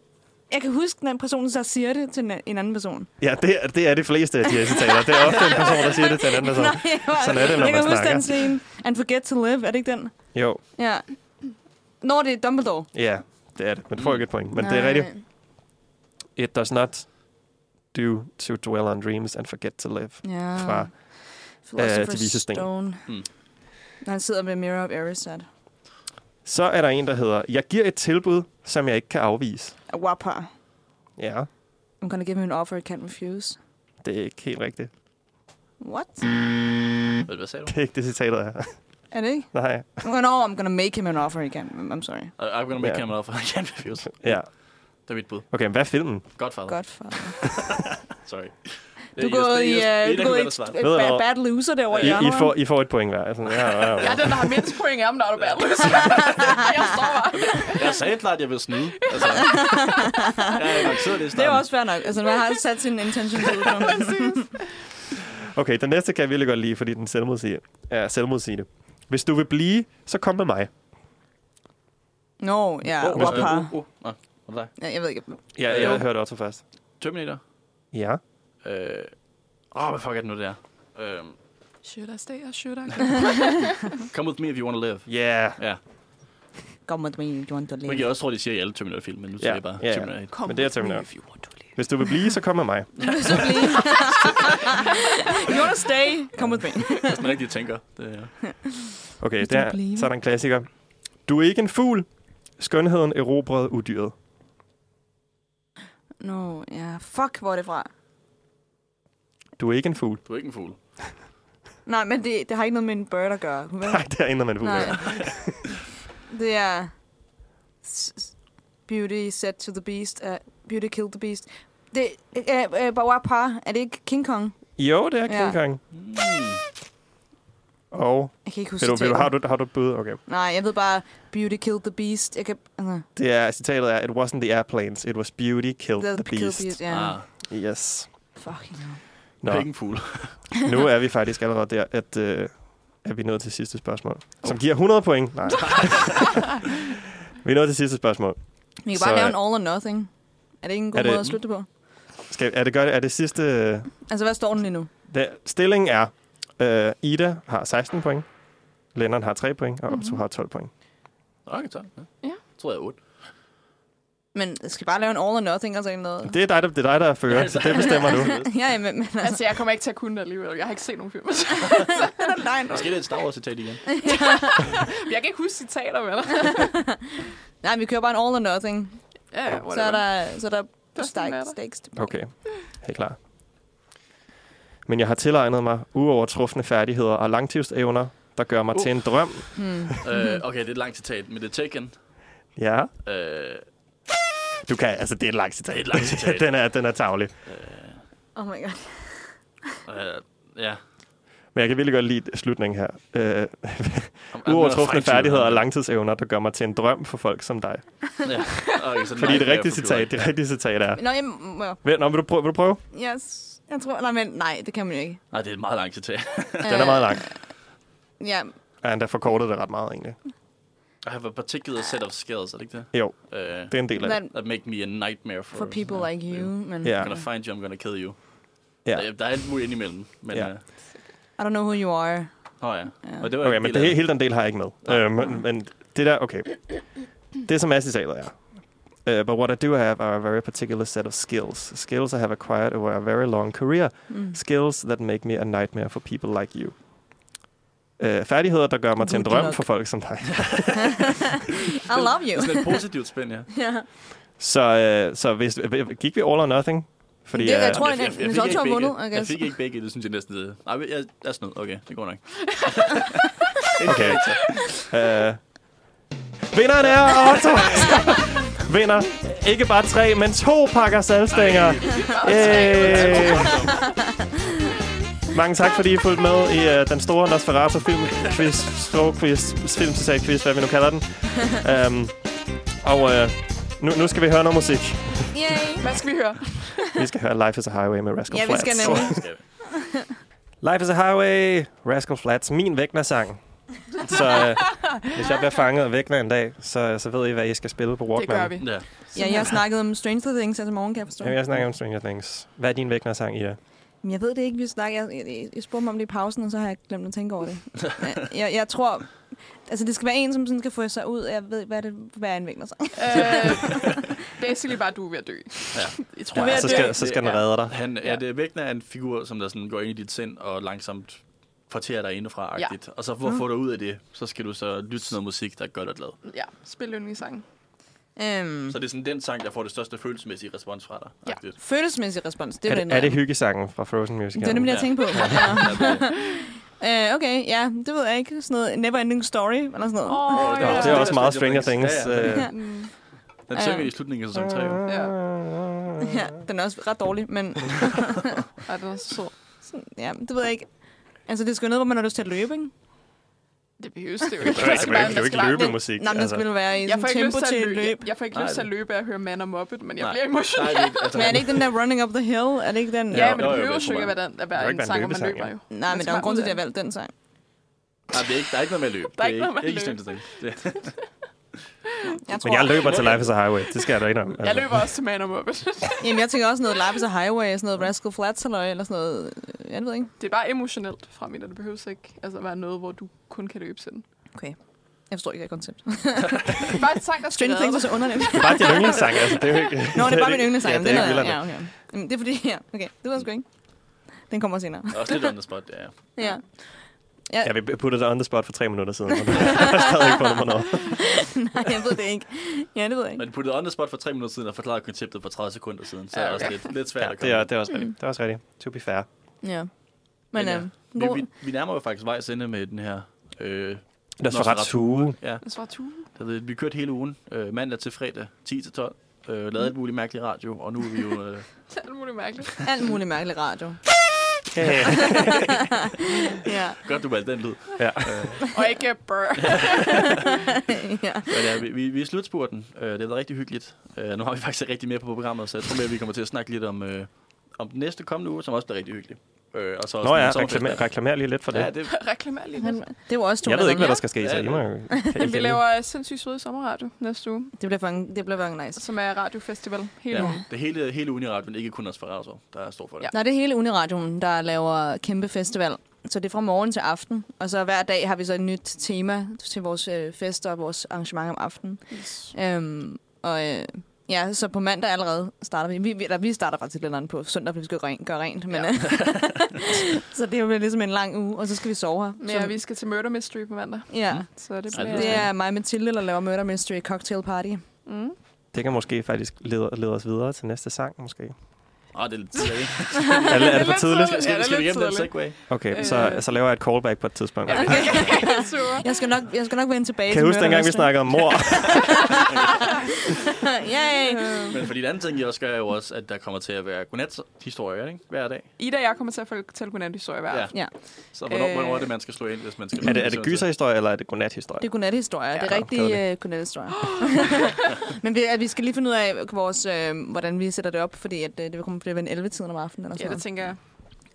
Speaker 5: Jeg kan huske den person, der siger det til en- en anden person.
Speaker 2: Ja, det er, det er de fleste af de her citater. Det er ofte en person, der siger det til en anden person.
Speaker 5: Nej, hvor-
Speaker 2: [laughs] Sådan er det, når
Speaker 5: jeg
Speaker 2: man
Speaker 5: kan huske
Speaker 2: snakker.
Speaker 5: den scene. And forget to live, er det ikke den?
Speaker 2: Jo,
Speaker 5: Ja. Når det er Dumbledore.
Speaker 2: ja, det er det. Men du får ikke et point. Men det er
Speaker 5: Nej.
Speaker 2: rigtigt. It does not do to dwell on dreams and forget to live.
Speaker 5: Ja. Uh,
Speaker 2: Fra,
Speaker 5: Philosopher's
Speaker 2: De Vises Sten.
Speaker 5: Stone.
Speaker 3: Mm.
Speaker 5: Når han sidder med Mirror of Erised.
Speaker 2: Så er der en, der hedder, jeg giver et tilbud, som jeg ikke kan afvise.
Speaker 5: A whopper.
Speaker 2: Ja,
Speaker 5: I'm gonna give him an offer I can't refuse.
Speaker 2: det er ikke helt rigtigt.
Speaker 5: What?
Speaker 3: Hvad, hvad sagde
Speaker 2: [laughs]
Speaker 3: du?
Speaker 2: Det er ikke det, citatet er. [laughs]
Speaker 5: Er det ikke?
Speaker 2: Nej.
Speaker 5: Oh, no, I'm gonna make him an offer again. I'm I'm sorry.
Speaker 3: I- I'm gonna make
Speaker 2: Ja.
Speaker 3: him an [laughs] offer I can't refuse.
Speaker 2: Ja.
Speaker 3: Det er mit bud.
Speaker 2: Okay, men hvad er filmen?
Speaker 3: Godfather.
Speaker 5: Godt for
Speaker 3: Sorry.
Speaker 5: Du går i, øh, du går i
Speaker 3: svaret.
Speaker 2: Ved I hvad?
Speaker 5: bad, bad loser derovre i
Speaker 2: I, I,
Speaker 5: hjørnet.
Speaker 2: får, I får et point hver. Sådan, ja, ja,
Speaker 4: Jeg
Speaker 2: ja.
Speaker 4: er den, der har mindst point i Amnat og Bertløs. jeg står bare.
Speaker 3: Jeg sagde klart, at jeg ville snyde.
Speaker 5: [laughs]
Speaker 3: Altså, jeg er nok siddet i
Speaker 5: Det er jo
Speaker 3: starten.
Speaker 5: også fair nok. Altså, man har sat sin intention
Speaker 2: [laughs]
Speaker 5: til udkommet.
Speaker 2: Okay, den næste kan jeg virkelig godt lide, fordi den selvmodsiger. Er selvmodsigende. Hvis du vil blive, så kom med mig.
Speaker 5: Nå, ja,
Speaker 3: Åh, hvis-
Speaker 5: whopper.
Speaker 3: åh, åh, nå, hvad var det?
Speaker 5: Ja, jeg ved ikke.
Speaker 2: Ja,
Speaker 3: Øh,
Speaker 2: jeg
Speaker 3: jo.
Speaker 2: hørte også først.
Speaker 3: Terminator.
Speaker 2: Ja.
Speaker 3: Øh, Åh, hvad fuck er det nu, det er? Øh,
Speaker 4: Should I stay or should I
Speaker 3: come with me if you want to live.
Speaker 2: Ja.
Speaker 3: Ja,
Speaker 5: Come with me, if you want to
Speaker 3: men jeg
Speaker 5: live.
Speaker 3: også tror, de siger i alle Terminator-film, men nu siger
Speaker 2: Ja,
Speaker 3: jeg bare
Speaker 2: ja, ja.
Speaker 3: Terminator 1.
Speaker 4: Come
Speaker 2: Men det er
Speaker 4: with me
Speaker 2: Terminator.
Speaker 4: if you want to live.
Speaker 2: Hvis du vil blive, så kom med mig.
Speaker 5: Hvis du bliver. you wanna stay, come with me.
Speaker 3: Det er sådan rigtig tænker. Det er,
Speaker 2: Okay,
Speaker 5: Hvis du vil
Speaker 2: der,
Speaker 5: blive.
Speaker 2: så er der en klassiker. Du er ikke en fugl. Skønheden erobrede udyret.
Speaker 5: Nå, ja. Fuck, hvor er det fra?
Speaker 2: Du er ikke en fugl.
Speaker 3: du er ikke en fugl.
Speaker 5: Nej, men det, det har ikke noget med en bird at gøre. Vel?
Speaker 2: Nej, [laughs] der ændrer man en fugl.
Speaker 5: Nej.
Speaker 2: Nej.
Speaker 5: [laughs] det er... s- s- Beauty set to the beast. Uh, beauty killed the beast. Det er uh, uh, bare par. Er det ikke King Kong?
Speaker 2: Jo, det er King
Speaker 5: Ja.
Speaker 2: Kong.
Speaker 3: Mm.
Speaker 2: Og
Speaker 5: Jeg kan ikke huske
Speaker 2: vil du, vil du,
Speaker 5: citatet.
Speaker 2: har, du, har du et bud? Okay.
Speaker 5: Nej, jeg ved bare, beauty killed the beast. Jeg kan... Uh,
Speaker 2: Det er, citatet er, it wasn't the airplanes, it was beauty killed the, beast.
Speaker 5: ja.
Speaker 3: Ah,
Speaker 2: Yes.
Speaker 5: Fucking hell.
Speaker 2: Nå,
Speaker 3: Pengefugl.
Speaker 2: nu er vi faktisk allerede der, at, øh, at vi er nået til sidste spørgsmål. Som giver 100 point. Nej. vi er nået til sidste spørgsmål.
Speaker 5: Vi kan
Speaker 2: Så,
Speaker 5: bare lave en
Speaker 2: øh,
Speaker 5: all or nothing. Er det ikke en
Speaker 2: er
Speaker 5: god
Speaker 2: det-
Speaker 5: måde at slutte det på?
Speaker 2: Skal, er, det, gør, er det sidste... øh,
Speaker 5: Altså, hvad står den lige nu?
Speaker 2: Der, stillingen er, øh, Ida har 16 point, Lennon har 3 point, og Opto har 12 point.
Speaker 3: Okay, tak. Ja.
Speaker 4: Ja.
Speaker 3: Tror jeg er 8.
Speaker 5: Men skal vi bare lave en all or nothing og så en noget?
Speaker 2: Det er dig, der, det er, dig, der fører,
Speaker 3: Altså.
Speaker 2: så det bestemmer du.
Speaker 5: [laughs] ja, ja, men, men [laughs] altså,
Speaker 4: Altså, jeg kommer ikke til at kunne det alligevel. Jeg har ikke set nogen film. [laughs]
Speaker 5: det er da løgn.
Speaker 3: Måske er det et Star Wars-citat igen.
Speaker 4: jeg kan ikke huske citater,
Speaker 5: [laughs]
Speaker 4: vel?
Speaker 5: Nej, vi kører bare en all or nothing.
Speaker 4: Ja, ja,
Speaker 5: Så
Speaker 4: der...
Speaker 5: er der, så er der
Speaker 4: sådan, det er
Speaker 5: stakes,
Speaker 4: der.
Speaker 5: stakes tilbage.
Speaker 2: Okay, helt klar. Men jeg har tilegnet mig uovertrufne færdigheder og langtidsevner, der gør mig uh. til en drøm.
Speaker 5: Hmm.
Speaker 3: øh, okay, det er et langt citat, men det er Taken.
Speaker 2: Ja,
Speaker 3: Øh,
Speaker 2: du kan, altså det er et langt citat.
Speaker 3: Det er et langt
Speaker 2: [laughs]
Speaker 3: citat.
Speaker 2: den, er, den er tavlig.
Speaker 5: Oh my god.
Speaker 3: øh, ja.
Speaker 2: Men jeg kan virkelig godt lide slutningen her. Øh,
Speaker 3: Om- om-
Speaker 2: uovertrufne
Speaker 3: fejltyder.
Speaker 2: færdigheder og langtidsevner, der gør mig til en drøm for folk som dig. [laughs]
Speaker 3: Ja. Okay, så den
Speaker 2: Fordi
Speaker 3: er
Speaker 2: det
Speaker 3: ikke
Speaker 2: rigtige
Speaker 3: mere forkludret.
Speaker 2: citat, det rigtige citat er...
Speaker 5: Nå, jeg, må,
Speaker 2: Vent, nå, vil du prøve? Vil du prøve?
Speaker 5: yes, jeg tror... Nej, men nej, det kan man jo ikke.
Speaker 3: Nej, det er et meget langt citat.
Speaker 2: [laughs] Den er meget lang.
Speaker 5: Øh, Ja,
Speaker 2: Ja, han der forkortede det ret meget, egentlig.
Speaker 3: I have a particular set of skills, er det ikke det?
Speaker 2: Jo,
Speaker 3: Øh,
Speaker 2: det er en del af det.
Speaker 5: men
Speaker 3: that make me a nightmare for,
Speaker 5: for people like you, men
Speaker 2: Ja.
Speaker 3: I'm gonna find you, I'm gonna kill you.
Speaker 2: Ja.
Speaker 3: Der, der er alt muligt indimellem. Men,
Speaker 2: Ja.
Speaker 3: ja. øh,
Speaker 5: I don't know who you are.
Speaker 3: oh, ja.
Speaker 5: Ja.
Speaker 3: Og det var
Speaker 2: Okay,
Speaker 3: en
Speaker 2: men
Speaker 3: del af
Speaker 2: det, hele den del har jeg ikke med. Øh, men, men det der, okay. Det som er citatet er. Uh, but what I do have are a very particular set of skills. Skills I have acquired over a very long career.
Speaker 5: Mm.
Speaker 2: Skills that make me a nightmare for people like you. Uh, færdigheder, der gør mig til en
Speaker 5: Good
Speaker 2: drøm
Speaker 5: luck.
Speaker 2: for folk som dig. [laughs]
Speaker 5: I love
Speaker 3: Det
Speaker 5: you.
Speaker 3: er sådan et positivt spænd,
Speaker 5: [laughs]
Speaker 3: ja.
Speaker 5: ja.
Speaker 2: så, uh, så hvis, gik vi all or nothing? Fordi,
Speaker 5: Det- jeg
Speaker 2: øh,
Speaker 5: tror, at Niels
Speaker 3: fik
Speaker 5: Otto har
Speaker 3: ikke
Speaker 5: vundet, I
Speaker 3: begge. Jeg
Speaker 5: guess.
Speaker 3: fik ikke begge, det synes jeg næsten... det- Nej, men jeg er snød. Okay, det går nok.
Speaker 2: Okay. uh, vinderen er Otto. Vinder ikke bare tre, men to pakker salgstænger. Yay. Mange tak, fordi I fulgte med i uh, den store Nosferatu film quiz, store quiz, filmsocial quiz, hvad vi nu kalder den. Um, og uh, nu, nu skal vi høre noget musik.
Speaker 5: [laughs] Yay.
Speaker 4: Hvad skal vi høre?
Speaker 2: Vi skal høre Life is a Highway med Rascal
Speaker 5: Ja, vi
Speaker 2: Flatts.
Speaker 5: skal nemlig.
Speaker 2: Life is a Highway, Rascal Flats, min væknersang. så øh, hvis jeg bliver fanget og vækner en dag, så, så ved I, hvad I skal spille på
Speaker 4: Det
Speaker 2: Walkman.
Speaker 4: gør vi.
Speaker 3: Ja.
Speaker 5: Ja, jeg har snakket om Stranger Things her til morgen, kan jeg forstå.
Speaker 2: Jamen, jeg snakker om Stranger Things. Hvad er din væknersang, Ida?
Speaker 5: Men jeg ved det ikke, vi snakker. Jeg, jeg, jeg spurgte mig om det i pausen, og så har jeg glemt at tænke over
Speaker 2: [laughs]
Speaker 5: det. Jeg, jeg, jeg tror... Altså, det skal være en, som sådan skal få sig ud. Jeg ved, hvad det hvad er en vækner sig.
Speaker 4: [laughs] Øh, basically bare, du er ved at dø.
Speaker 3: Ja.
Speaker 4: Jeg tror,
Speaker 3: Ja,
Speaker 4: jeg,
Speaker 2: Ja,
Speaker 4: at
Speaker 2: så
Speaker 4: det-
Speaker 2: skal, så skal den redde dig.
Speaker 3: Han, ja.
Speaker 4: Ja.
Speaker 3: det Vægner er en figur, som der sådan går ind i dit sind og langsomt kvarterer dig indefra agtigt. Ja. Og så for
Speaker 4: Mm.
Speaker 3: at få dig ud af det, så skal du så lytte til noget musik, der gør dig glad.
Speaker 4: Ja, spil yndlingssangen.
Speaker 5: Øhm,
Speaker 3: Så det er sådan den sang, der får det største følelsesmæssige respons fra dig.
Speaker 4: Ja.
Speaker 3: Agtigt.
Speaker 5: følelsesmæssig respons, det er,
Speaker 2: Er,
Speaker 5: jo
Speaker 2: det-
Speaker 5: den,
Speaker 2: er det hyggesangen fra Frozen Music?
Speaker 5: det er nemlig, jeg
Speaker 3: Ja.
Speaker 5: tænker på. Ja. Øh, okay, ja, det ved jeg ikke. Sådan noget Never Ending Story, eller sådan noget.
Speaker 4: Åh, oh,
Speaker 2: Nå,
Speaker 4: ja.
Speaker 2: det er også meget Stranger Things.
Speaker 3: Ja, ja.
Speaker 2: øh.
Speaker 4: Mm. [laughs]
Speaker 3: Den synger i slutningen af sæson 3. jo.
Speaker 4: Ja.
Speaker 5: Ja, den er også ret dårlig, men [laughs]
Speaker 4: Ej, det var så sød.
Speaker 5: sådan, ja, det ved jeg ikke. Altså, det skal jo noget, hvor man har lyst til at løbe, ikke?
Speaker 4: Det behøves det jo ikke.
Speaker 2: Det er jo ikke-
Speaker 4: Altså,
Speaker 2: det er
Speaker 4: man-
Speaker 2: jo
Speaker 4: der
Speaker 2: ikke
Speaker 4: skal bare-
Speaker 2: løbemusik.
Speaker 5: Nej, men altså. det
Speaker 2: Altså.
Speaker 5: ville være i
Speaker 4: Jeg
Speaker 5: sådan
Speaker 4: får ikke
Speaker 5: tempo
Speaker 4: lyst til at løbe.
Speaker 5: løb.
Speaker 4: Jeg får ikke
Speaker 3: Nej,
Speaker 4: lyst til at
Speaker 3: det-
Speaker 4: løbe af at høre Man og Muppet, men jeg
Speaker 3: Nej.
Speaker 4: bliver emotionel.
Speaker 3: Nej, det,
Speaker 4: [laughs]
Speaker 3: altså,
Speaker 5: Men er det ikke den der Running Up the Hill? Er det ikke den?
Speaker 4: Ja,
Speaker 3: Jo,
Speaker 4: men
Speaker 3: jo, jo,
Speaker 4: det behøver
Speaker 3: det
Speaker 4: jo
Speaker 3: tror
Speaker 4: ikke
Speaker 3: jeg.
Speaker 4: at være, den, at
Speaker 2: Det
Speaker 4: være
Speaker 2: kan
Speaker 4: en
Speaker 2: ikke være en
Speaker 4: sang, hvor man
Speaker 2: løbesang,
Speaker 4: løber jo.
Speaker 5: Nej, men der er jo en grund til, at jeg valgte den sang.
Speaker 3: Nej, det er ikke, der er ikke noget med at løbe.
Speaker 4: Der er ikke noget med
Speaker 3: det
Speaker 4: at
Speaker 3: er ikke,
Speaker 4: løbe.
Speaker 3: Stranger Things. Det er-
Speaker 5: Jeg tror,
Speaker 2: Men jeg løber til Life is a Highway. Det skal jeg da ikke Altså, om.
Speaker 4: Jeg løber også til Man og Muppet.
Speaker 5: Jamen, jeg tænker også noget Life is a Highway, sådan noget Rascal Flatts eller, eller sådan noget. øh, Jeg ved ikke.
Speaker 4: Det er bare emotionelt fra mig, og det behøves ikke altså, at være noget, hvor du kun kan løbe til den.
Speaker 5: Jeg forstår ikke det her koncept.
Speaker 4: Det er bare en sang, der skal
Speaker 5: Stranger Things er så underligt.
Speaker 2: Det er bare din yndlingssang. Altså, det er jo ikke...
Speaker 5: Nå, det er bare min yndlingssang.
Speaker 2: Ja,
Speaker 5: Jamen,
Speaker 2: det er
Speaker 5: den
Speaker 2: ikke
Speaker 5: ja, okay. Jamen, det er fordi, ja, okay. Det ved jeg sgu ikke. Den kommer senere.
Speaker 4: [laughs]
Speaker 3: Også lidt on the spot, ja.
Speaker 5: [laughs] Ja.
Speaker 2: Ja, vi puttede dig on the spot for tre minutter
Speaker 5: [laughs]
Speaker 2: siden. Og du har stadig ikke fundet mig noget.
Speaker 5: Nej, jeg ved det ikke. Ja, det ved jeg ikke.
Speaker 3: Men puttede on the spot for tre minutter siden og forklarede konceptet for 30 sekunder siden, så
Speaker 4: Ja,
Speaker 3: er det også
Speaker 4: okay.
Speaker 3: lidt, lidt svært
Speaker 2: Ja, det
Speaker 3: at komme.
Speaker 2: er, det er også
Speaker 5: Mm.
Speaker 2: rigtigt. Det er også rigtigt. To be fair.
Speaker 5: Ja. Men,
Speaker 3: Men ja,
Speaker 5: øhm,
Speaker 3: Vi,
Speaker 5: hvor-
Speaker 3: vi, vi nærmer jo faktisk vejs ende med den her. Øh,
Speaker 2: Nosferatu.
Speaker 3: ja,
Speaker 4: Jeg svarer Tue.
Speaker 3: der ved- vi kørte hele ugen, øh, mandag til fredag, 10 til 12. Øh, lavede alt muligt mærkeligt radio, og nu er vi jo... Øh,
Speaker 4: Det er alt muligt [laughs] mærkeligt.
Speaker 5: Alt muligt mærkelig radio.
Speaker 2: Yeah.
Speaker 5: Ja.
Speaker 3: godt, du valgte den lyd.
Speaker 4: Og ikke øh, brr.
Speaker 5: ja.
Speaker 3: Men, ja, vi, vi, vi er i slutspurten. Øh, det har været rigtig hyggeligt. Øh, nu har vi faktisk rigtig mere på programmet, så jeg tror mere, vi kommer til at snakke lidt om, øh, om den næste kommende uge, som også bliver rigtig hyggelig. Øh, og så også
Speaker 2: Nå ja,
Speaker 3: en sommerfest
Speaker 2: reklamer,
Speaker 3: bagefter.
Speaker 2: reklamer lige lidt for det.
Speaker 3: Ja, det,
Speaker 4: Reklamer lige
Speaker 5: Han,
Speaker 4: lidt.
Speaker 5: det er jo også to
Speaker 2: jeg ved ikke, hvad der
Speaker 4: mere.
Speaker 2: skal ske, så
Speaker 3: Ja,
Speaker 2: I må jo...
Speaker 4: Men vi laver øh, sindssygt søde sommerradio næste uge,
Speaker 5: Det bliver fucking, det bliver fucking nice.
Speaker 4: som er radiofestival hele ugen.
Speaker 3: ja, det hele, hele Uniradio, men ikke kun os Ferraro, der er stor for det.
Speaker 4: Ja.
Speaker 3: Ja.
Speaker 5: Nej, det er hele Uniradioen, der laver kæmpe festival. Så det er fra morgen til aften. Og så hver dag har vi så et nyt tema til vores øh, fester og vores arrangement om aftenen.
Speaker 4: Yes.
Speaker 5: Øhm, og øh, ja, så på mandag allerede starter vi. Vi, vi, eller, vi starter faktisk lidt andet på søndag, fordi vi skal ren, gøre rent. Men,
Speaker 4: Ja.
Speaker 5: ja. [laughs] så det bliver ligesom en lang uge, og så skal vi sove her.
Speaker 4: Men
Speaker 5: så,
Speaker 4: ja, vi skal til Murder Mystery på mandag,
Speaker 5: ja.
Speaker 4: så det
Speaker 3: Så
Speaker 4: bliver...
Speaker 5: Det er mig og Mathilde, der laver Murder Mystery Cocktail Party.
Speaker 4: Mm.
Speaker 2: Det kan måske faktisk lede, lede os videre til næste sang, måske.
Speaker 3: Ah, det er lidt
Speaker 4: [laughs]
Speaker 3: tidligt.
Speaker 2: Er, det- er det for
Speaker 4: lidt
Speaker 2: tidligt?
Speaker 4: tidligt.
Speaker 3: Skal,
Speaker 4: det er
Speaker 3: skal vi
Speaker 4: lidt
Speaker 3: igennem den
Speaker 4: tidligt.
Speaker 3: segway?
Speaker 2: Okay,
Speaker 4: Øh.
Speaker 2: så, så laver jeg et callback på et tidspunkt.
Speaker 3: Ja.
Speaker 4: [laughs] Super.
Speaker 5: Jeg skal nok, jeg skal nok vende tilbage
Speaker 2: Kan
Speaker 5: til
Speaker 2: du huske
Speaker 5: Murder
Speaker 2: dengang, vi
Speaker 5: Mystery.
Speaker 2: snakkede om mor?
Speaker 5: Yay!
Speaker 3: Men fordi den anden ting, jeg også gør, er jo også, at der kommer til at være godnat-historier ikke? hver dag.
Speaker 4: Ida og jeg kommer til at fortælle godnat historie hver
Speaker 3: Ja.
Speaker 4: aften.
Speaker 5: Ja,
Speaker 3: Så hvornår,
Speaker 4: Øh.
Speaker 3: øh... hvornår er det, man skal slå ind, hvis man
Speaker 2: [clears throat]
Speaker 3: skal...
Speaker 2: er det, er det gyserhistorie, eller er det godnathistorie?
Speaker 5: det er godnathistorier. Ja, det
Speaker 2: Ja,
Speaker 5: er rigtige uh, godnathistorier. [laughs] Men vi, at vi skal lige finde ud af, vores, øh, hvordan vi sætter det op, fordi at, øh, det vil komme til at være en 11-tiden om aftenen. Eller
Speaker 4: Ja,
Speaker 5: sådan
Speaker 4: det tænker jeg.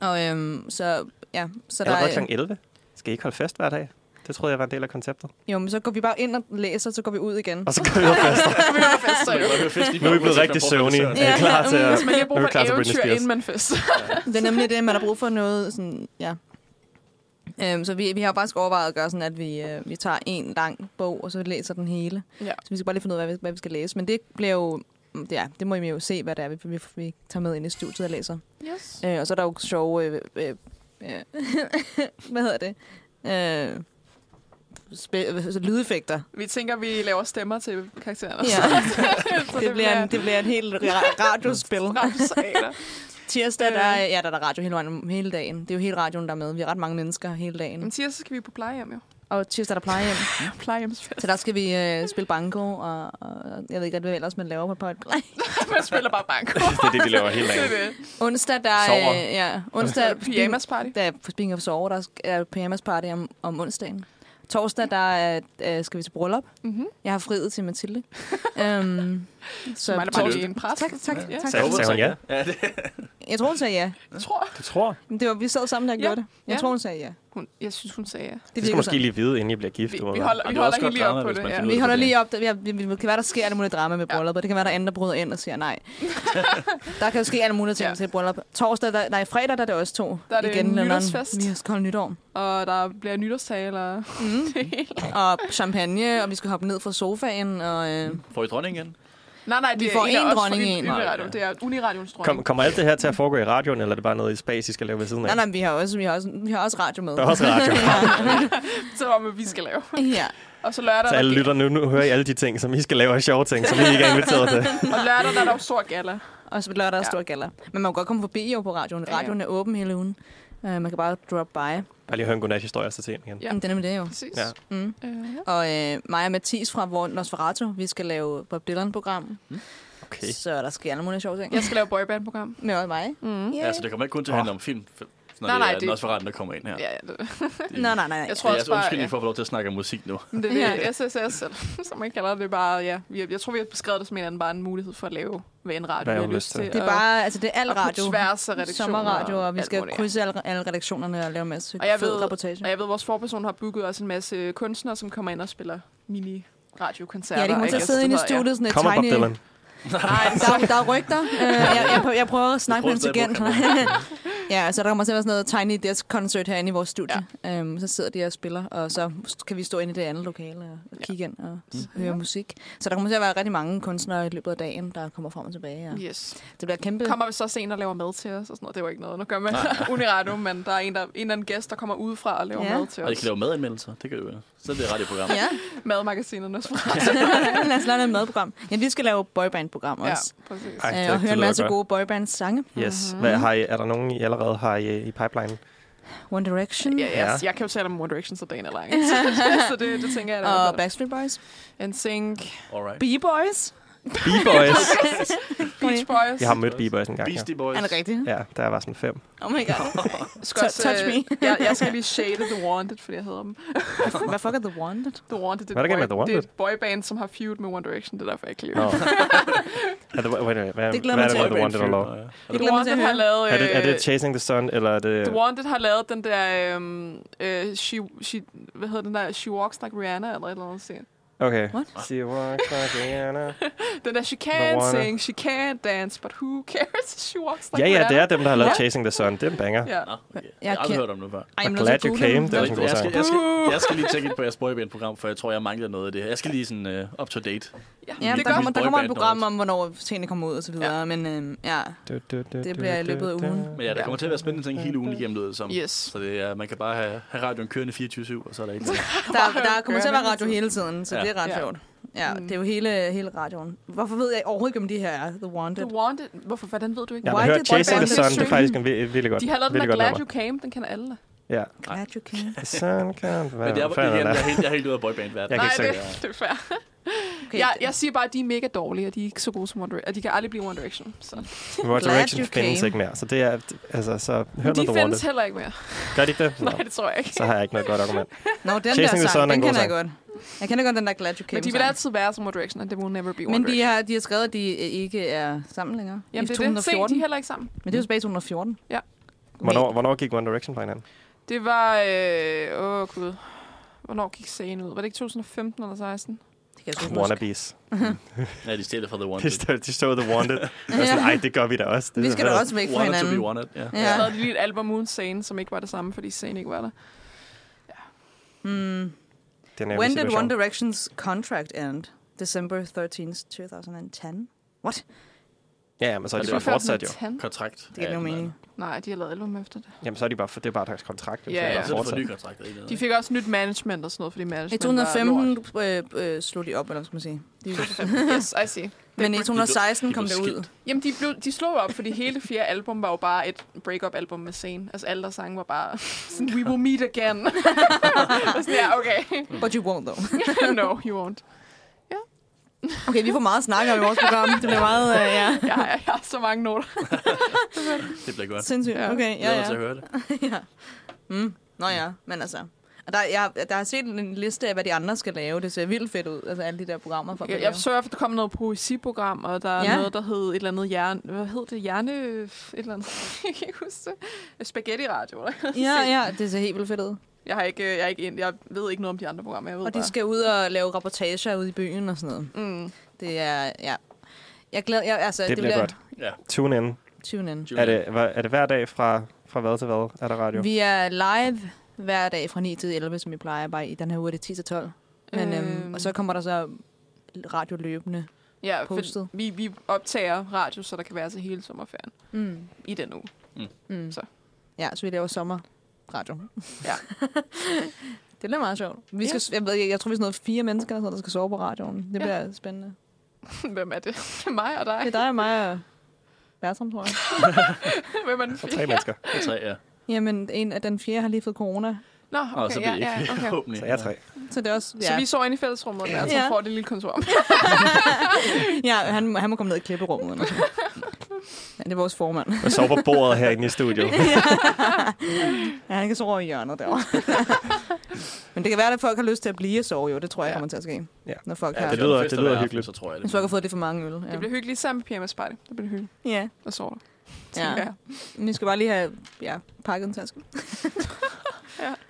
Speaker 5: noget. Og øh, så, ja, så der,
Speaker 2: Allerede
Speaker 5: er-
Speaker 2: kl. 11? Skal I ikke holde fest hver dag? Det troede jeg var en del af konceptet.
Speaker 5: jo, men så går vi bare ind og læser, så går vi ud igen.
Speaker 2: Og så går vi ud og fester. Nu er vi blevet rigtig søvnige. Er I
Speaker 5: Ja.
Speaker 2: klar til at...
Speaker 4: mm, Hvis man lige
Speaker 2: Nu
Speaker 4: bruger
Speaker 2: er
Speaker 4: på
Speaker 2: vi klar
Speaker 4: et
Speaker 2: til Britney
Speaker 4: eventyr,
Speaker 2: Spears.
Speaker 4: inden man fest.
Speaker 5: Det er nemlig det, man har brug for noget sådan, ja. Øhm, så vi, vi har jo faktisk overvejet at gøre sådan, at vi, øh, vi tager en lang bog, og så læser den hele.
Speaker 4: Ja.
Speaker 5: Så vi skal bare lige finde ud af, hvad vi, hvad vi skal læse. Men det bliver jo, mm, det er, det må I jo se, hvad det er, vi, vi, vi tager med ind i studiet og læser.
Speaker 4: Yes.
Speaker 5: Øh, og så er der jo sjove, øh, øh, øh, [laughs] hvad hedder det? Øh, spil, altså, lydeffekter.
Speaker 4: Vi tænker, vi laver stemmer til karaktererne. [laughs]
Speaker 5: Ja. [laughs]
Speaker 4: Så
Speaker 5: Det bliver, en, det bliver et helt ra- radiospil. [laughs]
Speaker 4: ramsaler.
Speaker 5: Tirsdag,
Speaker 4: Øh.
Speaker 5: der, er- ja, der er der radio hele, vejen- hele dagen. Det er jo hele radioen, der er med. Vi er ret mange mennesker hele dagen.
Speaker 4: Men tirsdag skal vi på plejehjem jo.
Speaker 5: Mm. Og tirsdag er der plejehjem.
Speaker 4: Plejehjemsfest.
Speaker 5: Så der skal vi øh, spille banko, og, og jeg ved ikke, rigtig, hvad ellers man laver på et plejehjem.
Speaker 4: [laughs] Man spiller bare banko.
Speaker 2: Det er det, vi laver hele
Speaker 4: Det
Speaker 2: dagen.
Speaker 4: er det.
Speaker 5: Onsdag, der er...
Speaker 2: Sover.
Speaker 5: Øh, ja,
Speaker 4: Så er
Speaker 5: onsdag,
Speaker 4: det [laughs] pyjamas party.
Speaker 5: Der er Speaking of Sover, der er pyjamas party om, om onsdagen. Torsdag, der er, øh, skal vi til bryllup.
Speaker 4: Mhm.
Speaker 5: Jeg har friet til [laughs] Mathilde. øhm,
Speaker 4: Så er det bare
Speaker 5: torsdag-
Speaker 4: lige en pres.
Speaker 5: Tak, tak,
Speaker 4: Ja.
Speaker 5: tak.
Speaker 2: Sagde- sagde hun ja?
Speaker 3: Ja, det
Speaker 5: Jeg tror, hun sagde ja.
Speaker 4: Jeg tror,
Speaker 2: Du tror?
Speaker 5: Men Det var, vi sad sammen, der
Speaker 4: Ja.
Speaker 5: gjorde det. Jeg
Speaker 4: Ja.
Speaker 5: tror, hun sagde ja.
Speaker 4: hun, jeg synes, hun sagde ja.
Speaker 2: Det skal
Speaker 5: virkede
Speaker 2: måske lige vide, inden I bliver gift.
Speaker 4: Vi,
Speaker 2: du må
Speaker 4: vi
Speaker 2: være.
Speaker 4: holder,
Speaker 3: Og
Speaker 4: vi
Speaker 3: det er også
Speaker 4: holder
Speaker 3: godt
Speaker 4: helt lige op
Speaker 3: drama,
Speaker 4: på
Speaker 3: hvis
Speaker 4: det.
Speaker 3: man
Speaker 4: Ja.
Speaker 3: finder ud
Speaker 5: Vi holder
Speaker 3: det.
Speaker 5: lige op. Det, vi, vi, det kan være, der sker alt muligt drama med
Speaker 4: Ja.
Speaker 5: brylluppet. Det kan være, der er andre, der bryder ind og
Speaker 4: [laughs]
Speaker 5: siger nej. der kan jo ske alt muligt ting
Speaker 4: Ja.
Speaker 5: ja. til et bryllup. Torsdag, der, nej, fredag, der er det også to.
Speaker 4: Der er det
Speaker 5: Igen, London.
Speaker 4: nytårsfest.
Speaker 5: Vi har koldt nytår.
Speaker 4: Og der bliver nytårstaler. Mm.
Speaker 5: Og champagne, og vi skal hoppe ned fra sofaen. Og, øh,
Speaker 4: Mm.
Speaker 3: Får I dronning igen?
Speaker 4: nej, nej, det
Speaker 5: Vi
Speaker 4: er
Speaker 5: får
Speaker 4: en af
Speaker 5: én
Speaker 4: os fra
Speaker 5: dronning,
Speaker 4: Uni-
Speaker 5: én.
Speaker 4: Uniradio.
Speaker 3: Nej, ja.
Speaker 4: Det er Uniradions dronning.
Speaker 2: Kom, kommer alt det her til at foregå i radioen, eller er det bare noget i spas, I skal lave ved siden af?
Speaker 5: nej, nej, vi har også, vi har også, vi har også radio med.
Speaker 2: Der er også radio.
Speaker 4: Så om, hvad vi skal lave.
Speaker 5: [laughs] ja.
Speaker 4: Og så lørdag,
Speaker 2: Så alle
Speaker 4: der,
Speaker 2: lytter nu, nu hører I alle de ting, som I skal lave, og sjove ting, som I ikke er inviteret
Speaker 5: [laughs]
Speaker 2: til.
Speaker 4: og lørdag der er der jo stor gala.
Speaker 5: Og så lørdag er
Speaker 4: Ja.
Speaker 5: stor gala. Men man kan godt komme forbi jo på radioen.
Speaker 4: Ja, ja.
Speaker 5: Radioen er åben hele ugen. Uh, man kan bare drop by. Ja.
Speaker 2: Bare lige høre en godnat-historie, og så til igen.
Speaker 4: Ja.
Speaker 5: Den er med det jo.
Speaker 4: Præcis.
Speaker 2: Ja.
Speaker 5: Mm.
Speaker 4: Øh, ja.
Speaker 5: Og øh, mig og Mathis fra Vor- Nosferatu, vi skal lave Bob Dylan-program.
Speaker 2: Okay.
Speaker 5: Så der sker alle mulige sjove ting.
Speaker 4: Jeg skal lave boyband-program.
Speaker 5: Med også mig.
Speaker 4: Mm.
Speaker 5: Yeah.
Speaker 3: Ja, så Altså, det kommer ikke kun til at handle om film. f- Når nej,
Speaker 4: Nej, nej,
Speaker 3: nej, det
Speaker 4: det-
Speaker 3: er Nosferatu, der kommer ind her.
Speaker 4: Ja, ja, det,
Speaker 5: Nej, nej, nej.
Speaker 4: Jeg
Speaker 5: Jeg
Speaker 4: tror
Speaker 3: Det er jeres
Speaker 4: også bare-
Speaker 3: undskyldning
Speaker 4: ja.
Speaker 3: for at få lov til at snakke om musik nu.
Speaker 4: Men det er
Speaker 5: Ja.
Speaker 4: det, SSS, eller som man kalder det, det, er bare, ja. Vi- Jeg tror, vi har beskrevet det som en anden bare en mulighed for at lave, hvad en radio
Speaker 2: Hvad
Speaker 4: vi har
Speaker 2: man
Speaker 4: lyst til.
Speaker 5: det er
Speaker 4: og-
Speaker 5: bare, altså det er al
Speaker 4: og på
Speaker 5: radio.
Speaker 4: tværs af redaktioner
Speaker 5: Sommerradio, og vi
Speaker 4: alt
Speaker 5: skal
Speaker 4: muligt, ja.
Speaker 5: krydse alle, alle redaktionerne og lave en masse
Speaker 4: Og jeg
Speaker 5: fed
Speaker 4: ved-
Speaker 5: reportage.
Speaker 4: Og jeg ved, at vores forperson har booket også en masse kunstnere, som kommer ind og spiller mini radiokoncerter.
Speaker 5: Ja, de kommer til at sidde inde i studiet, sådan et
Speaker 2: Kommer Bob
Speaker 5: tiny...
Speaker 2: Dylan.
Speaker 5: Nej, der, er- der er rygter. Øh, jeg, jeg, prøver, jeg prøver at snakke med
Speaker 3: Jeg
Speaker 5: dem
Speaker 3: troede,
Speaker 5: igen. [laughs] ja, så der kommer til at være sådan noget Tiny Desk Concert herinde i vores studie. Ja. Øhm, så sidder de og spiller, og så kan vi stå inde i det andet lokale og, og kigge ind og mm. høre musik. Så der kommer til at være rigtig mange kunstnere i løbet af dagen, der kommer frem og tilbage. Og
Speaker 4: Ja. Yes.
Speaker 5: Det bliver kæmpe...
Speaker 4: Kommer vi så også en, der laver mad til os og sådan noget? Det var ikke noget. Nu gør man [laughs] Uniradio, men der er en, der, en eller anden gæst, der kommer udefra og laver
Speaker 5: Ja.
Speaker 4: mad til
Speaker 3: Og I
Speaker 4: os.
Speaker 3: kan lave madanmeldelser. Det kan du jo. Så er det et radioprogram.
Speaker 5: Ja,
Speaker 4: Madmagasinerne også fra.
Speaker 5: [laughs] lad os lave et madprogram. Ja, vi skal lave boyband-program
Speaker 4: Ja,
Speaker 5: også.
Speaker 4: præcis.
Speaker 2: Ej,
Speaker 5: Øh,
Speaker 2: det-
Speaker 5: og
Speaker 2: det
Speaker 5: høre en
Speaker 2: lyder
Speaker 5: masse
Speaker 2: godt.
Speaker 5: gode boybands-sange.
Speaker 2: Yes.
Speaker 5: Mm-hmm.
Speaker 2: Hvad, har I, er der nogen, I allerede har i, i pipeline?
Speaker 5: One Direction
Speaker 4: Ja,
Speaker 5: yeah.
Speaker 4: ja.
Speaker 2: Ja.
Speaker 4: Jeg, jeg kan jo tale om One Direction, [laughs] så dagen er lang. så det, det tænker jeg da.
Speaker 5: og Backstreet Boys.
Speaker 4: En sink.
Speaker 3: Alright.
Speaker 5: B-Boys. [laughs]
Speaker 2: B-Boys.
Speaker 4: Beach Boys.
Speaker 2: Jeg har mødt B-Boys en gang. Ja.
Speaker 3: Beastie Boys.
Speaker 5: Er det rigtigt?
Speaker 2: ja, der var sådan
Speaker 5: [laughs]
Speaker 2: fem.
Speaker 5: Oh my god.
Speaker 4: Skal også,
Speaker 5: Touch
Speaker 4: øh,
Speaker 5: me.
Speaker 4: jeg, jeg skal lige shade The Wanted, fordi jeg hedder dem.
Speaker 5: Hvad fuck er The Wanted?
Speaker 4: The Wanted, det
Speaker 2: Hvad er der galt
Speaker 4: er,
Speaker 2: med The
Speaker 4: et boy, det er
Speaker 2: Wanted?
Speaker 4: et boyband, som har feud med One Direction. Det er derfor, jeg ikke lige.
Speaker 2: Nå. er det, wait, wait, wait, hvad,
Speaker 5: Det glæder
Speaker 2: hvad er
Speaker 5: mig
Speaker 2: det med
Speaker 5: til.
Speaker 2: The Wanted og Law?
Speaker 5: Det
Speaker 4: The
Speaker 5: glemmer til
Speaker 4: Wanted
Speaker 5: at
Speaker 4: har
Speaker 5: høre.
Speaker 4: lavet...
Speaker 2: Er det, er det
Speaker 4: øh,
Speaker 2: Chasing the Sun, eller er det...
Speaker 4: The Wanted har lavet den der... øhm, øh, she, she, hvad hedder den der? She Walks Like Rihanna, eller et eller andet scene.
Speaker 2: Okay.
Speaker 5: What?
Speaker 2: See what, Diana.
Speaker 4: Den der, she
Speaker 2: Wanted.
Speaker 4: can sing, she can dance, but who cares? [laughs] She walks like
Speaker 2: Ja, ja,
Speaker 4: Rihanna.
Speaker 2: det er dem, der har lavet
Speaker 4: Ja.
Speaker 2: Chasing the Sun. Det er en banger.
Speaker 4: Ja.
Speaker 3: Nå, okay.
Speaker 5: Jeg
Speaker 3: Jeg har aldrig
Speaker 5: kan-
Speaker 3: hørt om det før.
Speaker 5: Ej,
Speaker 2: I'm
Speaker 5: jeg er nødt til
Speaker 2: glad
Speaker 5: at
Speaker 2: you
Speaker 5: google
Speaker 2: came.
Speaker 5: den.
Speaker 2: Det er også en god
Speaker 3: Jeg skal,
Speaker 2: sang.
Speaker 3: jeg, skal, jeg skal lige tjekke ind på jeres boyband-program, for jeg tror, jeg mangler noget af det her. Jeg skal lige sådan uh, up to date.
Speaker 5: Ja,
Speaker 4: det
Speaker 5: der,
Speaker 4: gør
Speaker 5: kommer, der
Speaker 3: mit
Speaker 5: kommer et
Speaker 3: boyband
Speaker 5: program
Speaker 3: også.
Speaker 5: om, hvornår tingene kommer ud og så videre, men øhm, ja,
Speaker 2: Du, du, du,
Speaker 5: Det bliver i løbet af ugen.
Speaker 3: Men ja, der kommer til at være spændende ting hele ugen igennem, lyder det som.
Speaker 4: Yes.
Speaker 3: Så det er, man kan bare have, have radioen kørende 24-7, og så er der ikke noget.
Speaker 5: der, der kommer til at være
Speaker 4: Gør
Speaker 5: radio
Speaker 4: det.
Speaker 5: hele tiden, så
Speaker 3: Ja.
Speaker 5: det er ret
Speaker 4: Ja.
Speaker 5: sjovt. Ja,
Speaker 4: Mm.
Speaker 5: det er jo hele, hele radioen. Hvorfor ved jeg overhovedet ikke, om de her er The Wanted?
Speaker 4: The Wanted. Hvorfor? Hvordan ved du ikke?
Speaker 2: Jeg
Speaker 5: Why
Speaker 2: har hørt
Speaker 5: did
Speaker 2: Chasing
Speaker 5: boyband
Speaker 2: the Sun. Det er
Speaker 4: stream?
Speaker 2: faktisk en vi- virkelig godt.
Speaker 4: De har lavet den
Speaker 2: virkelig
Speaker 4: der
Speaker 2: godt
Speaker 4: Glad
Speaker 2: nummer.
Speaker 4: You Came, den kender alle.
Speaker 2: Ja.
Speaker 5: Glad you came.
Speaker 2: The sun can't
Speaker 3: Men det er,
Speaker 2: være...
Speaker 3: igen, jeg, er
Speaker 2: Fanden,
Speaker 3: helt, jeg er helt ude af boyband-verdenen.
Speaker 2: Jeg kan
Speaker 4: Nej,
Speaker 2: ikke
Speaker 4: det,
Speaker 2: se
Speaker 4: [laughs] det er fair.
Speaker 5: Okay,
Speaker 4: jeg,
Speaker 5: det-
Speaker 4: jeg siger bare, at de er mega dårlige, og de er ikke så gode som One Direction. Og de kan aldrig blive One Direction. Så.
Speaker 2: One
Speaker 5: Glad
Speaker 2: Direction
Speaker 5: you
Speaker 2: findes
Speaker 5: came.
Speaker 2: ikke mere. Så det er... Altså, så hør
Speaker 4: Men
Speaker 2: noget
Speaker 4: de
Speaker 2: The
Speaker 4: findes
Speaker 2: Wanted.
Speaker 4: heller ikke mere.
Speaker 2: Gør de ikke det? Nå,
Speaker 4: Nej, det tror jeg ikke.
Speaker 2: Så har jeg ikke noget godt argument.
Speaker 5: Nå, den
Speaker 2: Chasing
Speaker 5: der
Speaker 2: the
Speaker 5: sang,
Speaker 2: Sun er en
Speaker 5: den
Speaker 2: god
Speaker 5: kender jeg godt. Jeg kender godt den der Glad You Came
Speaker 4: Men de vil
Speaker 5: sang.
Speaker 4: altid være som One Direction, and they will never be One
Speaker 5: Men de
Speaker 4: Direction.
Speaker 5: har, de har skrevet, at de øh, ikke er sammen længere.
Speaker 4: Jamen,
Speaker 5: I
Speaker 4: det er det. Se,
Speaker 5: 2014.
Speaker 4: de er heller ikke sammen.
Speaker 5: Men det er jo tilbage i 2014.
Speaker 4: Ja.
Speaker 2: Hvornår, hvornår gik One Direction fra hinanden?
Speaker 4: Det var... Øh, åh, gud. Hvornår gik scenen ud? Var det ikke 2015 eller 16?
Speaker 5: Det kan jeg sgu ikke huske.
Speaker 2: Wannabes.
Speaker 3: Ja, de stjæler fra The
Speaker 2: De
Speaker 3: Wanted.
Speaker 2: stod, de stod The Wanted. Jeg var sådan, Ej, det gør vi da også. Det
Speaker 5: Vi
Speaker 2: er
Speaker 5: skal
Speaker 2: fedt.
Speaker 5: da også væk fra
Speaker 3: Wanted to be
Speaker 5: hinanden.
Speaker 3: wanted, ja.
Speaker 4: Ja. Så
Speaker 5: Ja.
Speaker 4: havde de lige et album uden scenen, som ikke var det samme, fordi scenen ikke var der.
Speaker 2: Det
Speaker 5: Mm.
Speaker 2: er en ærgerlig
Speaker 5: When did
Speaker 2: situation.
Speaker 5: One Direction's contract end? December 13th, 2010. What?
Speaker 2: Ja, ja, men så er
Speaker 3: Og
Speaker 2: de
Speaker 3: det
Speaker 2: bare
Speaker 3: var
Speaker 2: fortsat jo.
Speaker 4: 2010?
Speaker 3: Kontrakt.
Speaker 5: Det giver ikke nogen mening.
Speaker 4: Nej, de har lavet album efter det.
Speaker 2: Jamen, så er de bare, for, det er bare deres kontrakt. jo, så
Speaker 4: Ja,
Speaker 2: er de
Speaker 3: Ja,
Speaker 4: ja.
Speaker 2: bare
Speaker 3: så er det for
Speaker 2: fortsat.
Speaker 3: ny kontrakt. ikke noget,
Speaker 4: De
Speaker 3: ikke?
Speaker 4: fik også nyt management og sådan noget, fordi
Speaker 5: I
Speaker 4: management var lort.
Speaker 5: 2015 øh, øh, slog de op, eller hvad skal man [laughs] sige. De,
Speaker 4: Yes, I see.
Speaker 5: men i
Speaker 4: blev-
Speaker 5: 2016 kom
Speaker 3: de
Speaker 5: det
Speaker 3: blev
Speaker 5: ud.
Speaker 4: Jamen, de, blev, de slog op, fordi hele fjerde album var jo bare et break-up-album med scenen. Altså, alle der sange var bare sådan, we will meet again. [laughs] og sådan, ja, okay. [laughs]
Speaker 5: But you won't, though. [laughs]
Speaker 4: no, you won't.
Speaker 5: Okay, vi får meget snak om i vores program. Det bliver meget, øh, ja.
Speaker 4: Jeg har, jeg har så mange noter.
Speaker 3: Det bliver godt.
Speaker 5: Sindssygt.
Speaker 4: Ja.
Speaker 5: Okay, ja,
Speaker 3: Jeg til at
Speaker 5: ja.
Speaker 3: høre det. altså
Speaker 5: [laughs] ja. Mm. Nå ja, men altså. Og der, jeg, der har set en liste af, hvad de andre skal lave. Det ser vildt fedt ud, altså alle de der programmer. For
Speaker 4: Jeg, jeg så i hvert fald, der kom noget poesiprogram, og der er
Speaker 5: Ja.
Speaker 4: ja. noget, der hed et eller andet hjerne... Hvad hed det? Hjerne... Et eller andet. [laughs] jeg kan ikke huske det. Spaghetti-radio. eller?
Speaker 5: [laughs] ja, ja, det ser helt vildt fedt ud.
Speaker 4: Jeg, har ikke, jeg, er ikke, ind- jeg ved ikke noget om de andre programmer. Jeg ved
Speaker 5: Og
Speaker 4: bare.
Speaker 5: de skal ud og lave reportager ude i byen og sådan noget.
Speaker 4: Mm.
Speaker 5: Det er, ja. Jeg glæder, jeg, altså,
Speaker 2: Det bliver godt.
Speaker 3: Ja.
Speaker 2: Tune in.
Speaker 5: Tune in.
Speaker 2: Er det, hva- er det hver dag fra, fra hvad til hvad, er der radio?
Speaker 5: Vi er live hver dag fra 9 til 11, som vi plejer, bare i den her uge er det 10 til 12. Men, øhm.
Speaker 4: Øhm.
Speaker 5: og så kommer der så radio løbende.
Speaker 4: Ja, for
Speaker 5: Postet.
Speaker 4: vi, vi optager radio, så der kan være til hele sommerferien
Speaker 5: Mm.
Speaker 4: i den uge. [laughs]
Speaker 5: Mm.
Speaker 4: Så.
Speaker 5: Ja, så vi laver sommerradio.
Speaker 4: Ja.
Speaker 5: [laughs] det bliver meget sjovt. Vi skal, jeg, ved, ikke, jeg tror, vi er sådan noget fire mennesker, eller sådan, noget, der skal sove på radioen. Det bliver spændende.
Speaker 4: Hvem er det? Det er mig og dig.
Speaker 5: Det er dig og mig og Bertram, tror jeg.
Speaker 4: Hvem er den
Speaker 2: For tre
Speaker 4: fjerde?
Speaker 2: mennesker.
Speaker 3: Det er tre, ja.
Speaker 5: Jamen, en af den fjerde har lige fået corona.
Speaker 4: Nå,
Speaker 3: Nå,
Speaker 4: okay,
Speaker 3: så
Speaker 4: ja,
Speaker 3: bliver
Speaker 4: ja,
Speaker 3: det ikke.
Speaker 4: okay.
Speaker 3: Forhåbentlig.
Speaker 2: Så jeg er tre.
Speaker 5: Så det er også... Ja,
Speaker 4: [laughs] Så vi sover inde i fællesrummet, og altså
Speaker 5: Ja.
Speaker 4: får det lille kontor. [laughs]
Speaker 5: ja han, må- han må komme ned i klipperummet. Eller sådan. ja, det er vores formand.
Speaker 2: Jeg sover på bordet herinde i studiet.
Speaker 5: Ja, han kan sove over i hjørnet derovre. [laughs] Men det kan være, at folk har lyst til at blive og sove, jo. Det tror jeg
Speaker 4: Ja.
Speaker 5: kommer til at ske.
Speaker 2: Ja.
Speaker 5: Når folk
Speaker 3: Ja,
Speaker 5: har...
Speaker 2: det
Speaker 3: er
Speaker 2: lyder-
Speaker 3: en fest
Speaker 2: det lyder
Speaker 3: hver aften,
Speaker 2: hyggeligt.
Speaker 3: Så tror jeg
Speaker 5: Hvis
Speaker 3: det.
Speaker 5: folk har fået lidt for mange øl. Ja.
Speaker 4: Det bliver hyggeligt sammen med pyjamas party. Det bliver hyggeligt.
Speaker 5: ja.
Speaker 4: Og sover der.
Speaker 5: ja.
Speaker 4: tænker jeg.
Speaker 5: Men Vi skal bare lige have ja, pakket en taske.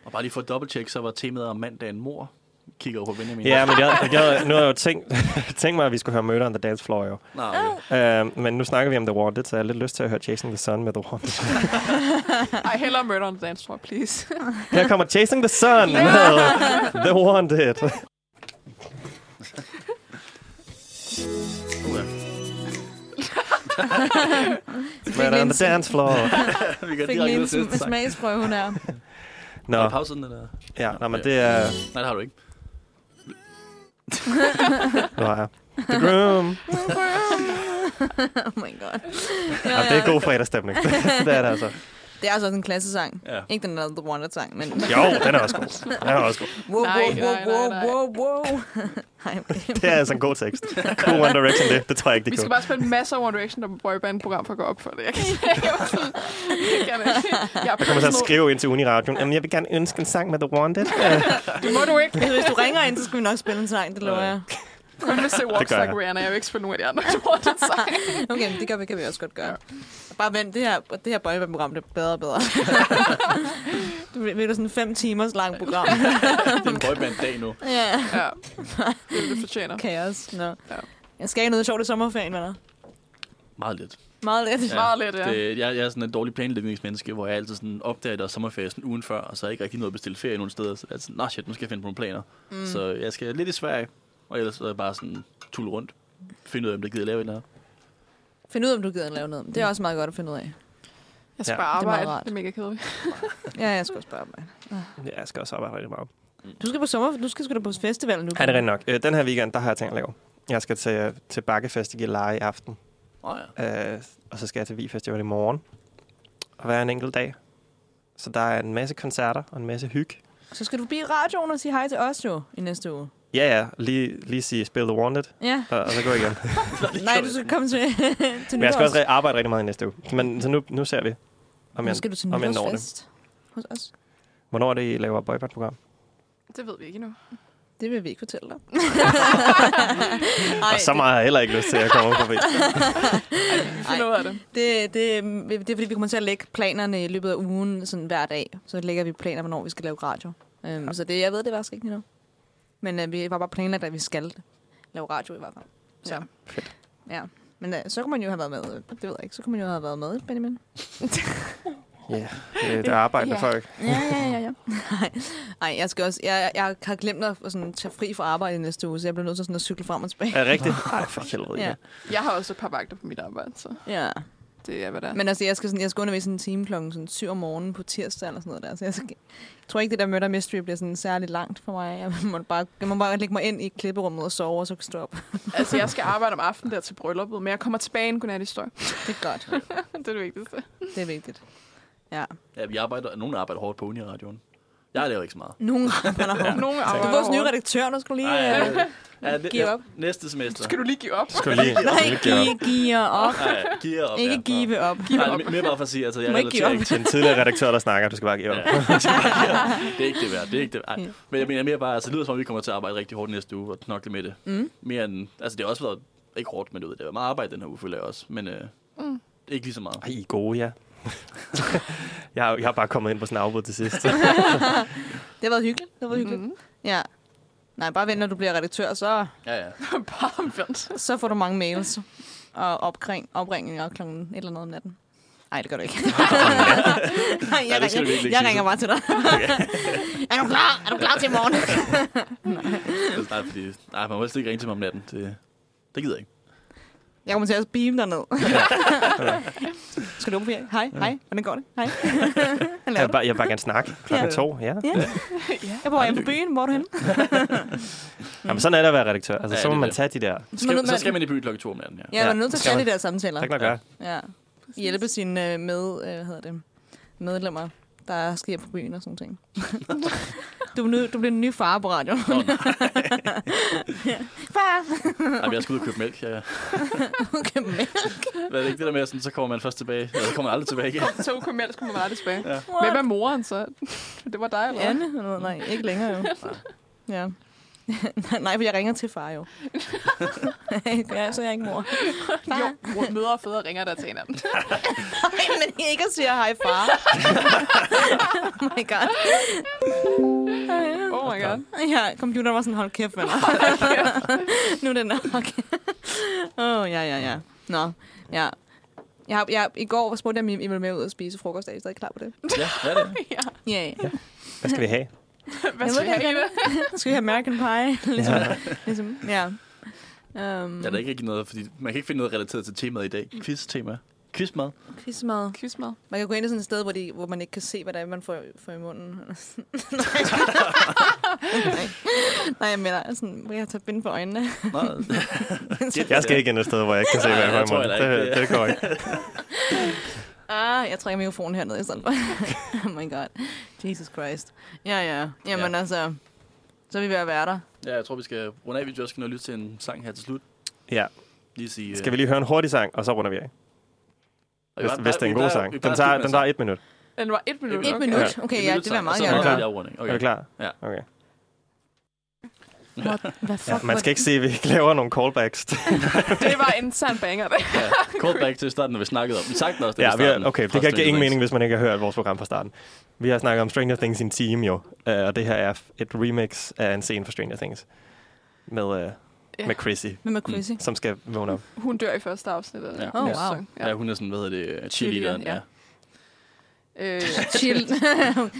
Speaker 3: Og bare lige for at dobbelttjekke, så var temaet om mandagen mor. Kigger over på Benjamin.
Speaker 2: Ja, men jeg, jeg, nu har jeg jo tænkt, [laughs] tænkt mig, at vi skulle høre Murder on the Dance Floor jo.
Speaker 3: Nå, okay.
Speaker 2: Uh, men nu snakker vi om The Wanted, så jeg har lidt lyst til at høre Chasing the Sun med The Wanted.
Speaker 4: Ej, hellere murder on the dance floor, please.
Speaker 2: Her kommer Chasing the Sun med The Wanted.
Speaker 3: Uha. [laughs]
Speaker 2: Murder on the Dance Floor.
Speaker 3: Vi kan
Speaker 5: Fik
Speaker 3: direkte
Speaker 5: lige
Speaker 3: ud
Speaker 5: en
Speaker 3: til næste
Speaker 5: sm-
Speaker 3: sang.
Speaker 5: smagsprøve hun [laughs] er.
Speaker 3: Har
Speaker 2: Nå,
Speaker 3: du pauset den, eller?
Speaker 2: ja, nå, men det er...
Speaker 3: Nej, det har du ikke.
Speaker 2: Nu har jeg. The Groom.
Speaker 5: oh my god.
Speaker 2: Ja, [laughs] det er god fredagsstemning. det er det altså.
Speaker 5: Det er altså også en klassesang.
Speaker 3: Ja.
Speaker 5: Ikke den der The Wanted-sang, men...
Speaker 2: Jo, den er også god. Den er også god.
Speaker 5: Wow,
Speaker 4: Nej,
Speaker 5: wow, wow,
Speaker 4: nej, nej,
Speaker 5: wow,
Speaker 4: nej.
Speaker 5: wow, wow. [laughs] Ej, okay.
Speaker 2: Det er altså en god tekst. Cool One Direction, det, det tror jeg ikke,
Speaker 4: Vi
Speaker 2: det
Speaker 4: skal
Speaker 2: kunne.
Speaker 4: bare spille masser af One Direction og boyband-program for at gå op for det.
Speaker 5: [laughs]
Speaker 4: Jeg kan jeg var sådan- jeg kan ikke. Jeg er
Speaker 2: Jeg kommer til at
Speaker 4: personal.
Speaker 2: skrive ind til Uniradioen, jamen jeg vil gerne ønske en sang med The Wanted.
Speaker 4: Det må du ikke.
Speaker 5: [laughs] Hvis du ringer ind, så skal vi nok spille en sang, det lover
Speaker 3: Ja.
Speaker 5: jeg.
Speaker 4: Kun hvis det er Walks
Speaker 2: gør
Speaker 4: Like
Speaker 2: jeg.
Speaker 4: Rihanna. Jeg vil ikke spille nogen af de andre, der bruger
Speaker 5: [laughs]
Speaker 4: den sang.
Speaker 5: Okay, men det kan vi, kan vi også godt gøre. Bare vent, det her, det her boyband-program, det er bedre og [laughs] bedre. du vil, vil du sådan en fem timers lang program?
Speaker 3: Det er en boyband-dag nu.
Speaker 5: [laughs] ja.
Speaker 4: Ja, det er det, det fortjener.
Speaker 5: Kaos. Nå.
Speaker 4: Ja.
Speaker 5: Jeg skal ikke noget sjovt i sommerferien, venner.
Speaker 3: Meget lidt.
Speaker 5: Meget lidt.
Speaker 4: Ja. Meget let, ja.
Speaker 3: Det, jeg, jeg er sådan en dårlig planlægningsmenneske, hvor jeg altid sådan opdager, at der er sommerferie sådan ugen før, og så er jeg ikke rigtig noget at bestille ferie nogen steder. Så jeg er sådan, nah shit, nu skal jeg finde på nogle planer. Mm. Så jeg skal lidt i Sverige, og ellers så er jeg bare sådan tulle rundt. Finde ud af, om det gider lave eller
Speaker 5: Find ud af, om du gider at lave noget. Det er også meget godt at finde ud af.
Speaker 4: Jeg skal
Speaker 2: Ja.
Speaker 4: bare
Speaker 5: Det er meget
Speaker 4: arbejde.
Speaker 5: rart.
Speaker 4: Det er mega kedeligt.
Speaker 5: Ja, jeg skal også spørge mig.
Speaker 2: Ja, jeg skal også arbejde rigtig meget.
Speaker 5: Du skal på sommer, du skal sgu da på festival nu.
Speaker 2: Ja, det er rigtig nok. Øh, den her weekend, der har jeg tænkt at lave. Jeg skal til, til Bakkefest i Gilleleje i aften.
Speaker 3: Åh oh, ja.
Speaker 2: Øh, og så skal jeg til Vi Festival i morgen. Og hver en enkelt dag. Så der er en masse koncerter og en masse hyg.
Speaker 5: Så skal du blive i radioen og sige hej til os jo i næste uge.
Speaker 2: Ja, ja. Lige, lige sige spil The Wanted,
Speaker 5: Ja.
Speaker 2: og, og så gå
Speaker 5: [laughs]
Speaker 2: igen.
Speaker 5: Nej, du skal komme til, til
Speaker 2: Men jeg skal også
Speaker 5: nytårs.
Speaker 2: re- arbejde rigtig meget i næste uge. Men så nu, nu ser vi, om
Speaker 5: Nu
Speaker 2: jeg,
Speaker 5: skal du til
Speaker 2: om jeg når det.
Speaker 5: nytårsfest hos os.
Speaker 2: Hvornår er det, I laver boybandprogram?
Speaker 4: [laughs] Det ved vi ikke endnu.
Speaker 5: Det vil vi ikke fortælle
Speaker 2: [laughs]
Speaker 5: [laughs] dig.
Speaker 2: Ej, og så meget har jeg heller ikke lyst til, at jeg kommer på
Speaker 5: [laughs]
Speaker 2: ved.
Speaker 4: Vi finder ud af det.
Speaker 5: Det, det, det, det er fordi, vi kommer til at lægge planerne i løbet af ugen sådan hver dag. Så lægger vi planer, hvornår vi skal lave radio. Um, Så det, jeg ved det faktisk ikke endnu. Men uh, vi var bare planlagt, at vi skal lave radio i hvert fald. Så.
Speaker 4: Ja.
Speaker 5: Ja. ja. Men uh, så kunne man jo have været med. Det ved jeg ikke. Så kunne man jo have været med, Benjamin.
Speaker 2: Ja, det, det er arbejde med
Speaker 5: Ja.
Speaker 2: folk.
Speaker 5: Ja, ja, ja. ja. [laughs] Nej, Ej, jeg, skal også, jeg, jeg har glemt at sådan, tage fri fra arbejde i næste uge, så jeg bliver nødt til sådan at cykle frem og tilbage.
Speaker 2: Er det rigtigt? Ej, for helvede.
Speaker 5: Ja.
Speaker 2: Ja.
Speaker 4: Jeg har også et par vagter på mit arbejde, så
Speaker 5: Ja.
Speaker 4: det er, hvad der er.
Speaker 5: Men altså, jeg skal, sådan, jeg skal undervise en time klokken sådan 7 om morgenen på tirsdag eller sådan noget der. Så jeg, skal, jeg tror ikke, det der murder mystery bliver sådan særlig langt for mig. Jeg må bare, jeg må bare lægge mig ind i klipperummet og sove, og så kan stå op.
Speaker 4: Altså, jeg skal arbejde om aftenen der til brylluppet, men jeg kommer tilbage en godnat-historie. [laughs]
Speaker 5: Det er godt.
Speaker 4: det er det vigtigste.
Speaker 5: Det er vigtigt. Ja.
Speaker 3: ja vi arbejder, nogen arbejder hårdt på Uniradioen. Jeg laver ikke så meget.
Speaker 5: Nogle rammer hårdt.
Speaker 4: Nogle
Speaker 5: Du er vores nye redaktør, nu skulle lige...
Speaker 3: Ej,
Speaker 5: Ej,
Speaker 3: ja, ja, ja,
Speaker 5: Give
Speaker 3: ja,
Speaker 5: op.
Speaker 3: næste semester.
Speaker 4: Skal du lige give op?
Speaker 2: Skal lige,
Speaker 5: Nej,
Speaker 2: lige give op.
Speaker 5: give, give op.
Speaker 3: Nej, give op.
Speaker 5: Ikke
Speaker 3: ja.
Speaker 5: give op.
Speaker 3: Nej, det er mere bare for at sige, altså, jeg
Speaker 5: Må ikke give
Speaker 3: relaterer ikke
Speaker 2: Til en tidligere redaktør, der snakker, du skal bare give op.
Speaker 3: Ja. [laughs] det er ikke det værd. Det er ikke det værd. Ej. Men jeg mener mere bare, altså, det lyder som om, vi kommer til at arbejde rigtig hårdt næste uge og knokle med det. Mm. Mere end, altså det har også været, ikke hårdt, men du ved, det har været meget arbejde den her uge, føler jeg også. Men øh, mm. ikke lige så meget.
Speaker 2: Ej, I er gode, ja. [laughs] jeg, har, jeg har bare kommet ind på sådan en afbud til sidst.
Speaker 5: Det har været hyggeligt. Det har været hyggeligt. Ja. Nej, bare vent, når du bliver redaktør, så,
Speaker 3: Ja, ja.
Speaker 4: Bare omvendt.
Speaker 5: så får du mange mails og opkring, opringninger klokken et eller andet om natten. Nej, det gør du
Speaker 3: [laughs]
Speaker 5: ikke. Nej, jeg,
Speaker 3: Nej, det skal du
Speaker 5: ringer,
Speaker 3: virkelig ikke
Speaker 5: jeg
Speaker 3: sige.
Speaker 5: ringer bare til dig. [laughs] er du klar? Er du klar til i morgen?
Speaker 3: Altså, nej, fordi, nej, man må helst ikke ringe til mig om natten. Det, det gider jeg ikke.
Speaker 5: Jeg kommer til at beame dig ned. [laughs] skal du på ferie? Hej, hej. Hvordan går det? Hej. Hvad
Speaker 2: Jeg
Speaker 5: laver
Speaker 2: vil
Speaker 5: du?
Speaker 2: bare, jeg vil bare gerne snakke klokken
Speaker 5: Ja.
Speaker 2: to. Ja. Mm.
Speaker 5: Jeg bor hjemme på byen. Hvor er du henne?
Speaker 2: Jamen, sådan er det at være redaktør. Altså,
Speaker 3: Ja,
Speaker 2: så må
Speaker 3: det er
Speaker 2: man
Speaker 3: det.
Speaker 2: tage de der.
Speaker 5: Men nu-
Speaker 3: Skal, så skal man i byen klokken to om natten, ja.
Speaker 5: Ja, man er
Speaker 2: Ja,
Speaker 5: nødt til at
Speaker 2: skal
Speaker 5: tage
Speaker 2: man.
Speaker 5: de der samtaler.
Speaker 2: Tak nok, ja.
Speaker 5: Ja. Hjælpe sine øh, med, øh, hvad hedder det, medlemmer, der skal hjem på byen og sådan ting.
Speaker 3: [laughs]
Speaker 5: du, er ny, du bliver den nye far på radioen.
Speaker 3: Nå, [laughs] nej,
Speaker 5: Far!
Speaker 3: Ej, men jeg skal ud og købe mælk. Ja, [laughs] ja.
Speaker 5: Okay, mælk.
Speaker 3: Hvad er det ikke det der med, sådan, så kommer man først tilbage. Eller så kommer man aldrig [laughs] tilbage igen.
Speaker 4: Så kom jeg, så kommer man aldrig tilbage.
Speaker 3: Ja.
Speaker 4: Hvem er moren så? [laughs] Det var dig, eller hvad?
Speaker 5: Anne? Eller noget? Nej, ikke længere [laughs] jo. Ja. [laughs] Nej, nej, for jeg ringer til far jo. [laughs] ja, så er jeg ikke mor.
Speaker 4: Jo, mor- mødre og fædre ringer der til hinanden.
Speaker 5: [laughs] Nej, men ikke at sige hej far. [laughs] oh my god.
Speaker 4: Oh my god.
Speaker 5: Ja, computeren var sådan, hold kæft, venner. [laughs] nu er det nok. Åh, oh, ja, ja, ja. Nå, ja. Jeg, har- jeg, I går spurgte jeg, om I I ville med ud og spise frokost. Er I stadig klar på det?
Speaker 3: Ja, hvad er det?
Speaker 4: Ja.
Speaker 5: Ja, ja.
Speaker 2: Hvad skal vi have?
Speaker 4: Hvad skal
Speaker 5: Jeg
Speaker 4: jeg
Speaker 5: ved
Speaker 4: have?
Speaker 5: Skal vi have American Pie? ligesom, ja. Ligesom, ja. Um,
Speaker 3: Ja, der er ikke rigtig noget, fordi man kan ikke finde noget relateret til temaet i dag. Quiz-tema. Quizmad.
Speaker 5: Um, Quizmad.
Speaker 4: Quizmad.
Speaker 5: Man kan gå ind i sådan et sted, hvor, de, hvor man ikke kan se, hvad det er, man får, får i munden. [laughs] Nej. Nej, jeg mener, sådan, hvor jeg tager bind for øjnene.
Speaker 3: [laughs] Nej,
Speaker 2: Jeg skal ikke ind et sted, hvor jeg ikke kan se, hvad
Speaker 3: Nej,
Speaker 2: jeg
Speaker 3: jeg
Speaker 2: har i
Speaker 3: tror
Speaker 2: morgen.
Speaker 3: heller ikke,
Speaker 2: Det, det går ikke.
Speaker 5: Ah, jeg trækker mikrofonen herned i stedet for. [laughs] oh my god. Jesus Christ. Ja, ja. Jamen
Speaker 3: Ja.
Speaker 5: ja. altså, så er vi ved at være der.
Speaker 3: Ja, jeg tror, vi skal runde af. Vi også skal nå at lytte til en sang her til slut.
Speaker 2: Ja.
Speaker 3: Lige sige, øh,
Speaker 2: Skal vi lige høre en hurtig sang, og så runder vi af. Hvis, hvis det er en god sang. Den tager, den tager et minut.
Speaker 4: Den var et minut.
Speaker 3: Et
Speaker 5: Et
Speaker 4: okay.
Speaker 5: minut. Okay, ja, det vil jeg meget
Speaker 2: så-
Speaker 5: gerne.
Speaker 2: klar?
Speaker 3: gerne. afrunding.
Speaker 2: Okay. Er
Speaker 3: Okay.
Speaker 2: vi klar?
Speaker 3: Ja.
Speaker 2: Okay.
Speaker 5: Hvad
Speaker 2: Ja, man skal ikke se, at vi ikke laver nogle callbacks.
Speaker 4: Det var en sand banger. Det.
Speaker 3: Ja. Call back til starten, når vi snakkede om. Vi sagde den også, da
Speaker 2: ja, vi
Speaker 3: startede
Speaker 2: har, okay, det
Speaker 3: fra
Speaker 2: kan give
Speaker 3: Stranger
Speaker 2: ingen
Speaker 3: Things.
Speaker 2: mening, hvis man ikke har hørt vores program fra starten. Vi har snakket om Stranger Things i en time jo, øh, og det her er et remix af en scene fra Stranger Things med, øh,
Speaker 4: Ja.
Speaker 2: med Chrissy,
Speaker 5: Hvem er Chrissy?
Speaker 2: som skal vågne op.
Speaker 4: Hun dør i første afsnit af den
Speaker 3: Ja.
Speaker 4: her
Speaker 5: Oh, wow.
Speaker 4: sæson.
Speaker 3: Ja, hun er sådan, hvad hedder det, cheerleaderen. Ja.
Speaker 4: ja. Øh,
Speaker 5: Chill.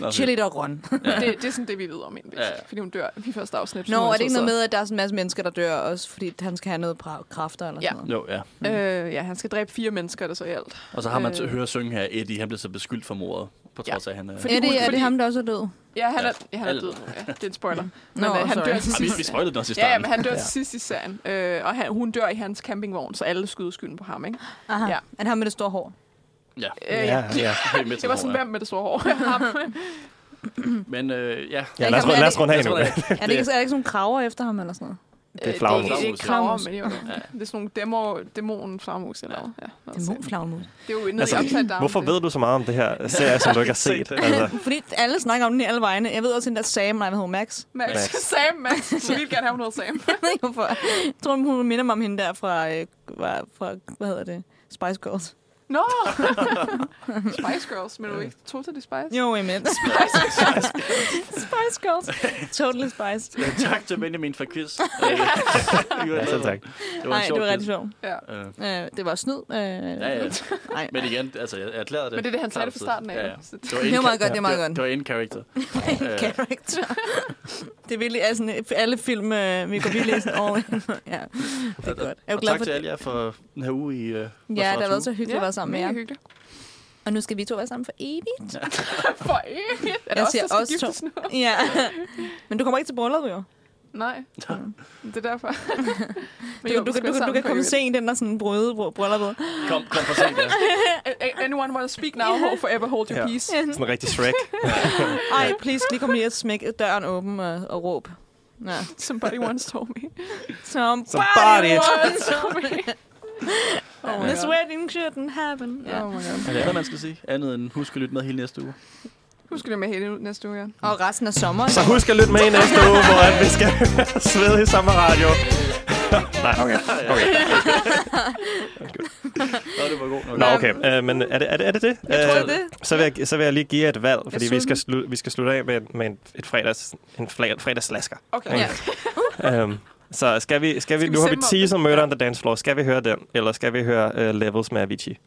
Speaker 3: Nå,
Speaker 5: [laughs] Chill it og run.
Speaker 4: det, det er sådan det, vi ved om hende,
Speaker 3: Ja, ja.
Speaker 4: fordi hun dør i første afsnit.
Speaker 5: Nå,
Speaker 4: Hun
Speaker 5: er det ikke
Speaker 4: så
Speaker 5: noget med, at der er sådan en masse mennesker, der dør også, fordi han skal have noget pra- kræfter eller
Speaker 4: Ja.
Speaker 5: sådan noget?
Speaker 3: [laughs] Jo, ja.
Speaker 4: sidder- Øh, ja, han skal dræbe fire mennesker, der så i alt.
Speaker 3: Og så har man til at
Speaker 4: Øh.
Speaker 3: høre synge her, Eddie, han blev så beskyldt for mordet, på
Speaker 4: Ja.
Speaker 3: trods af, at han er...
Speaker 4: Fordi-
Speaker 5: Ja, det, er
Speaker 4: Fordi-
Speaker 5: det ham, der også er død?
Speaker 4: Ja, han
Speaker 3: Ja.
Speaker 4: er, ja, han er
Speaker 3: Alt.
Speaker 4: død nu. Ja, det er en spoiler. Men
Speaker 5: Nå,
Speaker 4: øh, han
Speaker 5: sorry.
Speaker 4: dør til
Speaker 3: Ej, vi, vi
Speaker 4: sidst.
Speaker 3: spoilede den også i
Speaker 4: Ja, ja,
Speaker 3: starten.
Speaker 4: men han dør
Speaker 2: Ja.
Speaker 4: til sidst i serien, øh, og han, hun dør i hans campingvogn, så alle skyder skylden på ham, ikke?
Speaker 5: Aha.
Speaker 4: Ja.
Speaker 5: Ja. Er det ham med det store [laughs] hår?
Speaker 3: Ja,
Speaker 4: Øh, ja.
Speaker 2: ja.
Speaker 3: helt midt
Speaker 4: Det var sådan, hvem med det store hår? ham.
Speaker 3: Men øh, ja,
Speaker 2: ja lad, os, lad os runde af nu.
Speaker 5: Er det, ikke, er det ikke sådan nogle kraver efter ham eller sådan noget?
Speaker 2: Det er
Speaker 4: Øh,
Speaker 2: flagmus.
Speaker 4: Det er ikke
Speaker 3: Flagmus, ja.
Speaker 4: flagermus, men det er jo- det er sådan nogle demo, dæmonen flagermus, eller
Speaker 3: Ja.
Speaker 4: hvad? ja. noget sådan.
Speaker 5: Dæmonflagmus.
Speaker 4: Det er jo nede
Speaker 2: Altså,
Speaker 4: altså, i Upside Down.
Speaker 2: Hvorfor
Speaker 4: det-
Speaker 2: ved du så meget om det her
Speaker 4: [laughs]
Speaker 2: serie, som du ikke har set? Altså,
Speaker 3: [laughs]
Speaker 5: Fordi alle snakker om den i alle vegne. Jeg ved også, at den der Sam, nej, hvad hedder hun, Max? [laughs]
Speaker 4: Max.
Speaker 2: Max.
Speaker 4: [laughs] Sam, Max. Jeg vil gerne have noget Sam.
Speaker 5: Jeg ved ikke, hvorfor. Jeg tror, hun minder mig om hende der fra, øh, fra, fra hvad hedder det? Spice Girls.
Speaker 4: Nå! Spice Girls, men du er ikke totally Spice?
Speaker 5: Jo, jeg [laughs] mener.
Speaker 4: Spice Girls.
Speaker 5: Spice Girls. Totally
Speaker 3: [laughs]
Speaker 5: Spice.
Speaker 3: Ja, Øh, tak til Benjamin for
Speaker 2: [laughs]
Speaker 3: quiz. Øh, det var
Speaker 2: ja, selv
Speaker 3: en-
Speaker 2: tak.
Speaker 3: Det var en
Speaker 5: Nej,
Speaker 3: sjov
Speaker 5: det var
Speaker 3: quiz.
Speaker 5: rigtig sjovt.
Speaker 4: Ja.
Speaker 3: Øh,
Speaker 5: Øh, det var snyd. Øh,
Speaker 3: Ja, ja.
Speaker 5: Nej.
Speaker 3: Men igen, altså, jeg jeg erklærede det.
Speaker 4: Men det er det, han sagde
Speaker 3: klart
Speaker 4: det fra starten af.
Speaker 5: [laughs]
Speaker 3: Ja, ja.
Speaker 4: Så det-
Speaker 3: Det var
Speaker 5: Det var
Speaker 3: in-
Speaker 5: meget godt, det var meget
Speaker 3: det var-
Speaker 5: godt.
Speaker 3: Det var in
Speaker 5: [laughs]
Speaker 3: character. Øh,
Speaker 5: Character. det er virkelig, altså, alle film, øh, vi går virkelig i sådan all in. ja, det er
Speaker 3: og-
Speaker 5: godt. Jeg er jo
Speaker 3: og
Speaker 5: glad
Speaker 3: tak
Speaker 5: for
Speaker 3: til
Speaker 5: det.
Speaker 3: alle jer for den her uge i... øh, vores
Speaker 5: Ja, det har været
Speaker 3: Radiotue.
Speaker 5: så hyggeligt at være sammen med
Speaker 4: mega
Speaker 5: jer.
Speaker 4: hyggeligt. [laughs]
Speaker 5: Og nu skal vi to være sammen for evigt.
Speaker 4: For evigt. Er det
Speaker 5: Jeg
Speaker 4: også,
Speaker 5: siger
Speaker 4: der skal
Speaker 5: os to.
Speaker 4: giftes nu?
Speaker 5: Ja. [laughs] Men du kommer ikke til bryllup, jo. [laughs]
Speaker 4: Nej, det er derfor. Men
Speaker 5: Du,
Speaker 4: jo,
Speaker 5: du,
Speaker 4: vi skal
Speaker 5: du, du,
Speaker 4: være
Speaker 5: du, du
Speaker 4: sammen
Speaker 5: kan
Speaker 4: for
Speaker 5: komme
Speaker 4: evigt.
Speaker 5: sent ind og sådan bryde br- brylluppet.
Speaker 3: Kom, kom for sent,
Speaker 5: [laughs]
Speaker 3: ja.
Speaker 4: A- Anyone want to speak now or forever hold your
Speaker 2: Ja.
Speaker 4: peace? [laughs]
Speaker 2: Sådan en rigtig Shrek.
Speaker 5: Ej, please, lige kom lige og smæk døren åben og, og råb. Ja.
Speaker 4: Somebody once told me.
Speaker 5: Somebody,
Speaker 2: Somebody
Speaker 5: once
Speaker 4: told
Speaker 5: [laughs]
Speaker 4: me. Oh my
Speaker 5: This
Speaker 4: god.
Speaker 5: wedding shouldn't happen. Ja.
Speaker 4: Oh my god.
Speaker 3: Er det andet, man skal sige? Andet end husk at lytte med hele næste uge.
Speaker 4: Husk det med hele næste uge, ja.
Speaker 5: Og resten af sommeren.
Speaker 2: Så husk at lytte med i næste uge, hvor at vi skal [laughs] høre sved i samme radio. Nej, okay. okay.
Speaker 3: Nå, det var god nok.
Speaker 2: Nå, okay. Øh, men er det er det, er det? det?
Speaker 5: Jeg tror,
Speaker 2: Øh,
Speaker 5: det er det.
Speaker 2: Så vil, jeg, så vil jeg lige give jer et valg, fordi vi
Speaker 5: synes
Speaker 2: skal, slu, vi skal slutte af med, en- med en, et fredags, en flag, fredagslasker.
Speaker 4: Okay.
Speaker 5: Ja.
Speaker 2: Um, så skal vi, skal vi,
Speaker 4: vi
Speaker 2: nu har vi
Speaker 4: stemme om
Speaker 2: teaser
Speaker 4: den?
Speaker 2: Murder on the Dance Floor. Skal vi høre den, eller skal vi høre uh, Levels med Avicii?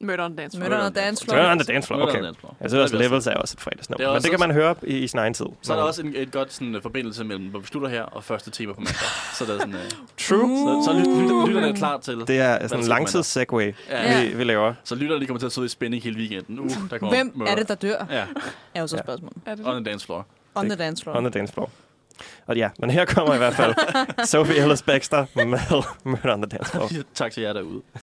Speaker 4: Murder on Dance Floor.
Speaker 5: Møderne og dance floor.
Speaker 2: Murder on the Dance Floor,
Speaker 3: Murder on
Speaker 2: okay.
Speaker 3: the Dance Floor.
Speaker 2: Jeg synes også,
Speaker 3: Det er
Speaker 2: Levels er også et
Speaker 3: Det er
Speaker 2: fredagsnummer. Men
Speaker 3: også-
Speaker 2: det kan man høre i, i sin egen tid.
Speaker 3: Så er der også en, et godt sådan, øh, forbindelse mellem, hvor vi slutter her, og første tema på mandag. Så der er sådan,
Speaker 5: [laughs]
Speaker 3: øh,
Speaker 5: Uh.
Speaker 2: True.
Speaker 3: så, så lyt- lyt- lytterne er klar til.
Speaker 2: Det er sådan en
Speaker 3: skal man da?
Speaker 2: langtids-segway,
Speaker 3: Ja.
Speaker 2: vi, vi laver.
Speaker 3: Så lytterne de kommer til at sidde i spænding hele weekenden. Uh, der kommer
Speaker 5: Hvem
Speaker 3: murder.
Speaker 5: er det, der dør?
Speaker 3: Ja,
Speaker 5: Er jo så
Speaker 2: Ja.
Speaker 5: spørgsmålet.
Speaker 4: Er det
Speaker 3: on
Speaker 4: det?
Speaker 3: the dance floor.
Speaker 5: On the dance floor.
Speaker 2: On the Dance Floor. Og ja, men
Speaker 5: [laughs]
Speaker 2: her kommer i hvert fald Sophie Ellis Baxter med Murder on the Dance Floor.
Speaker 3: tak til jer derude.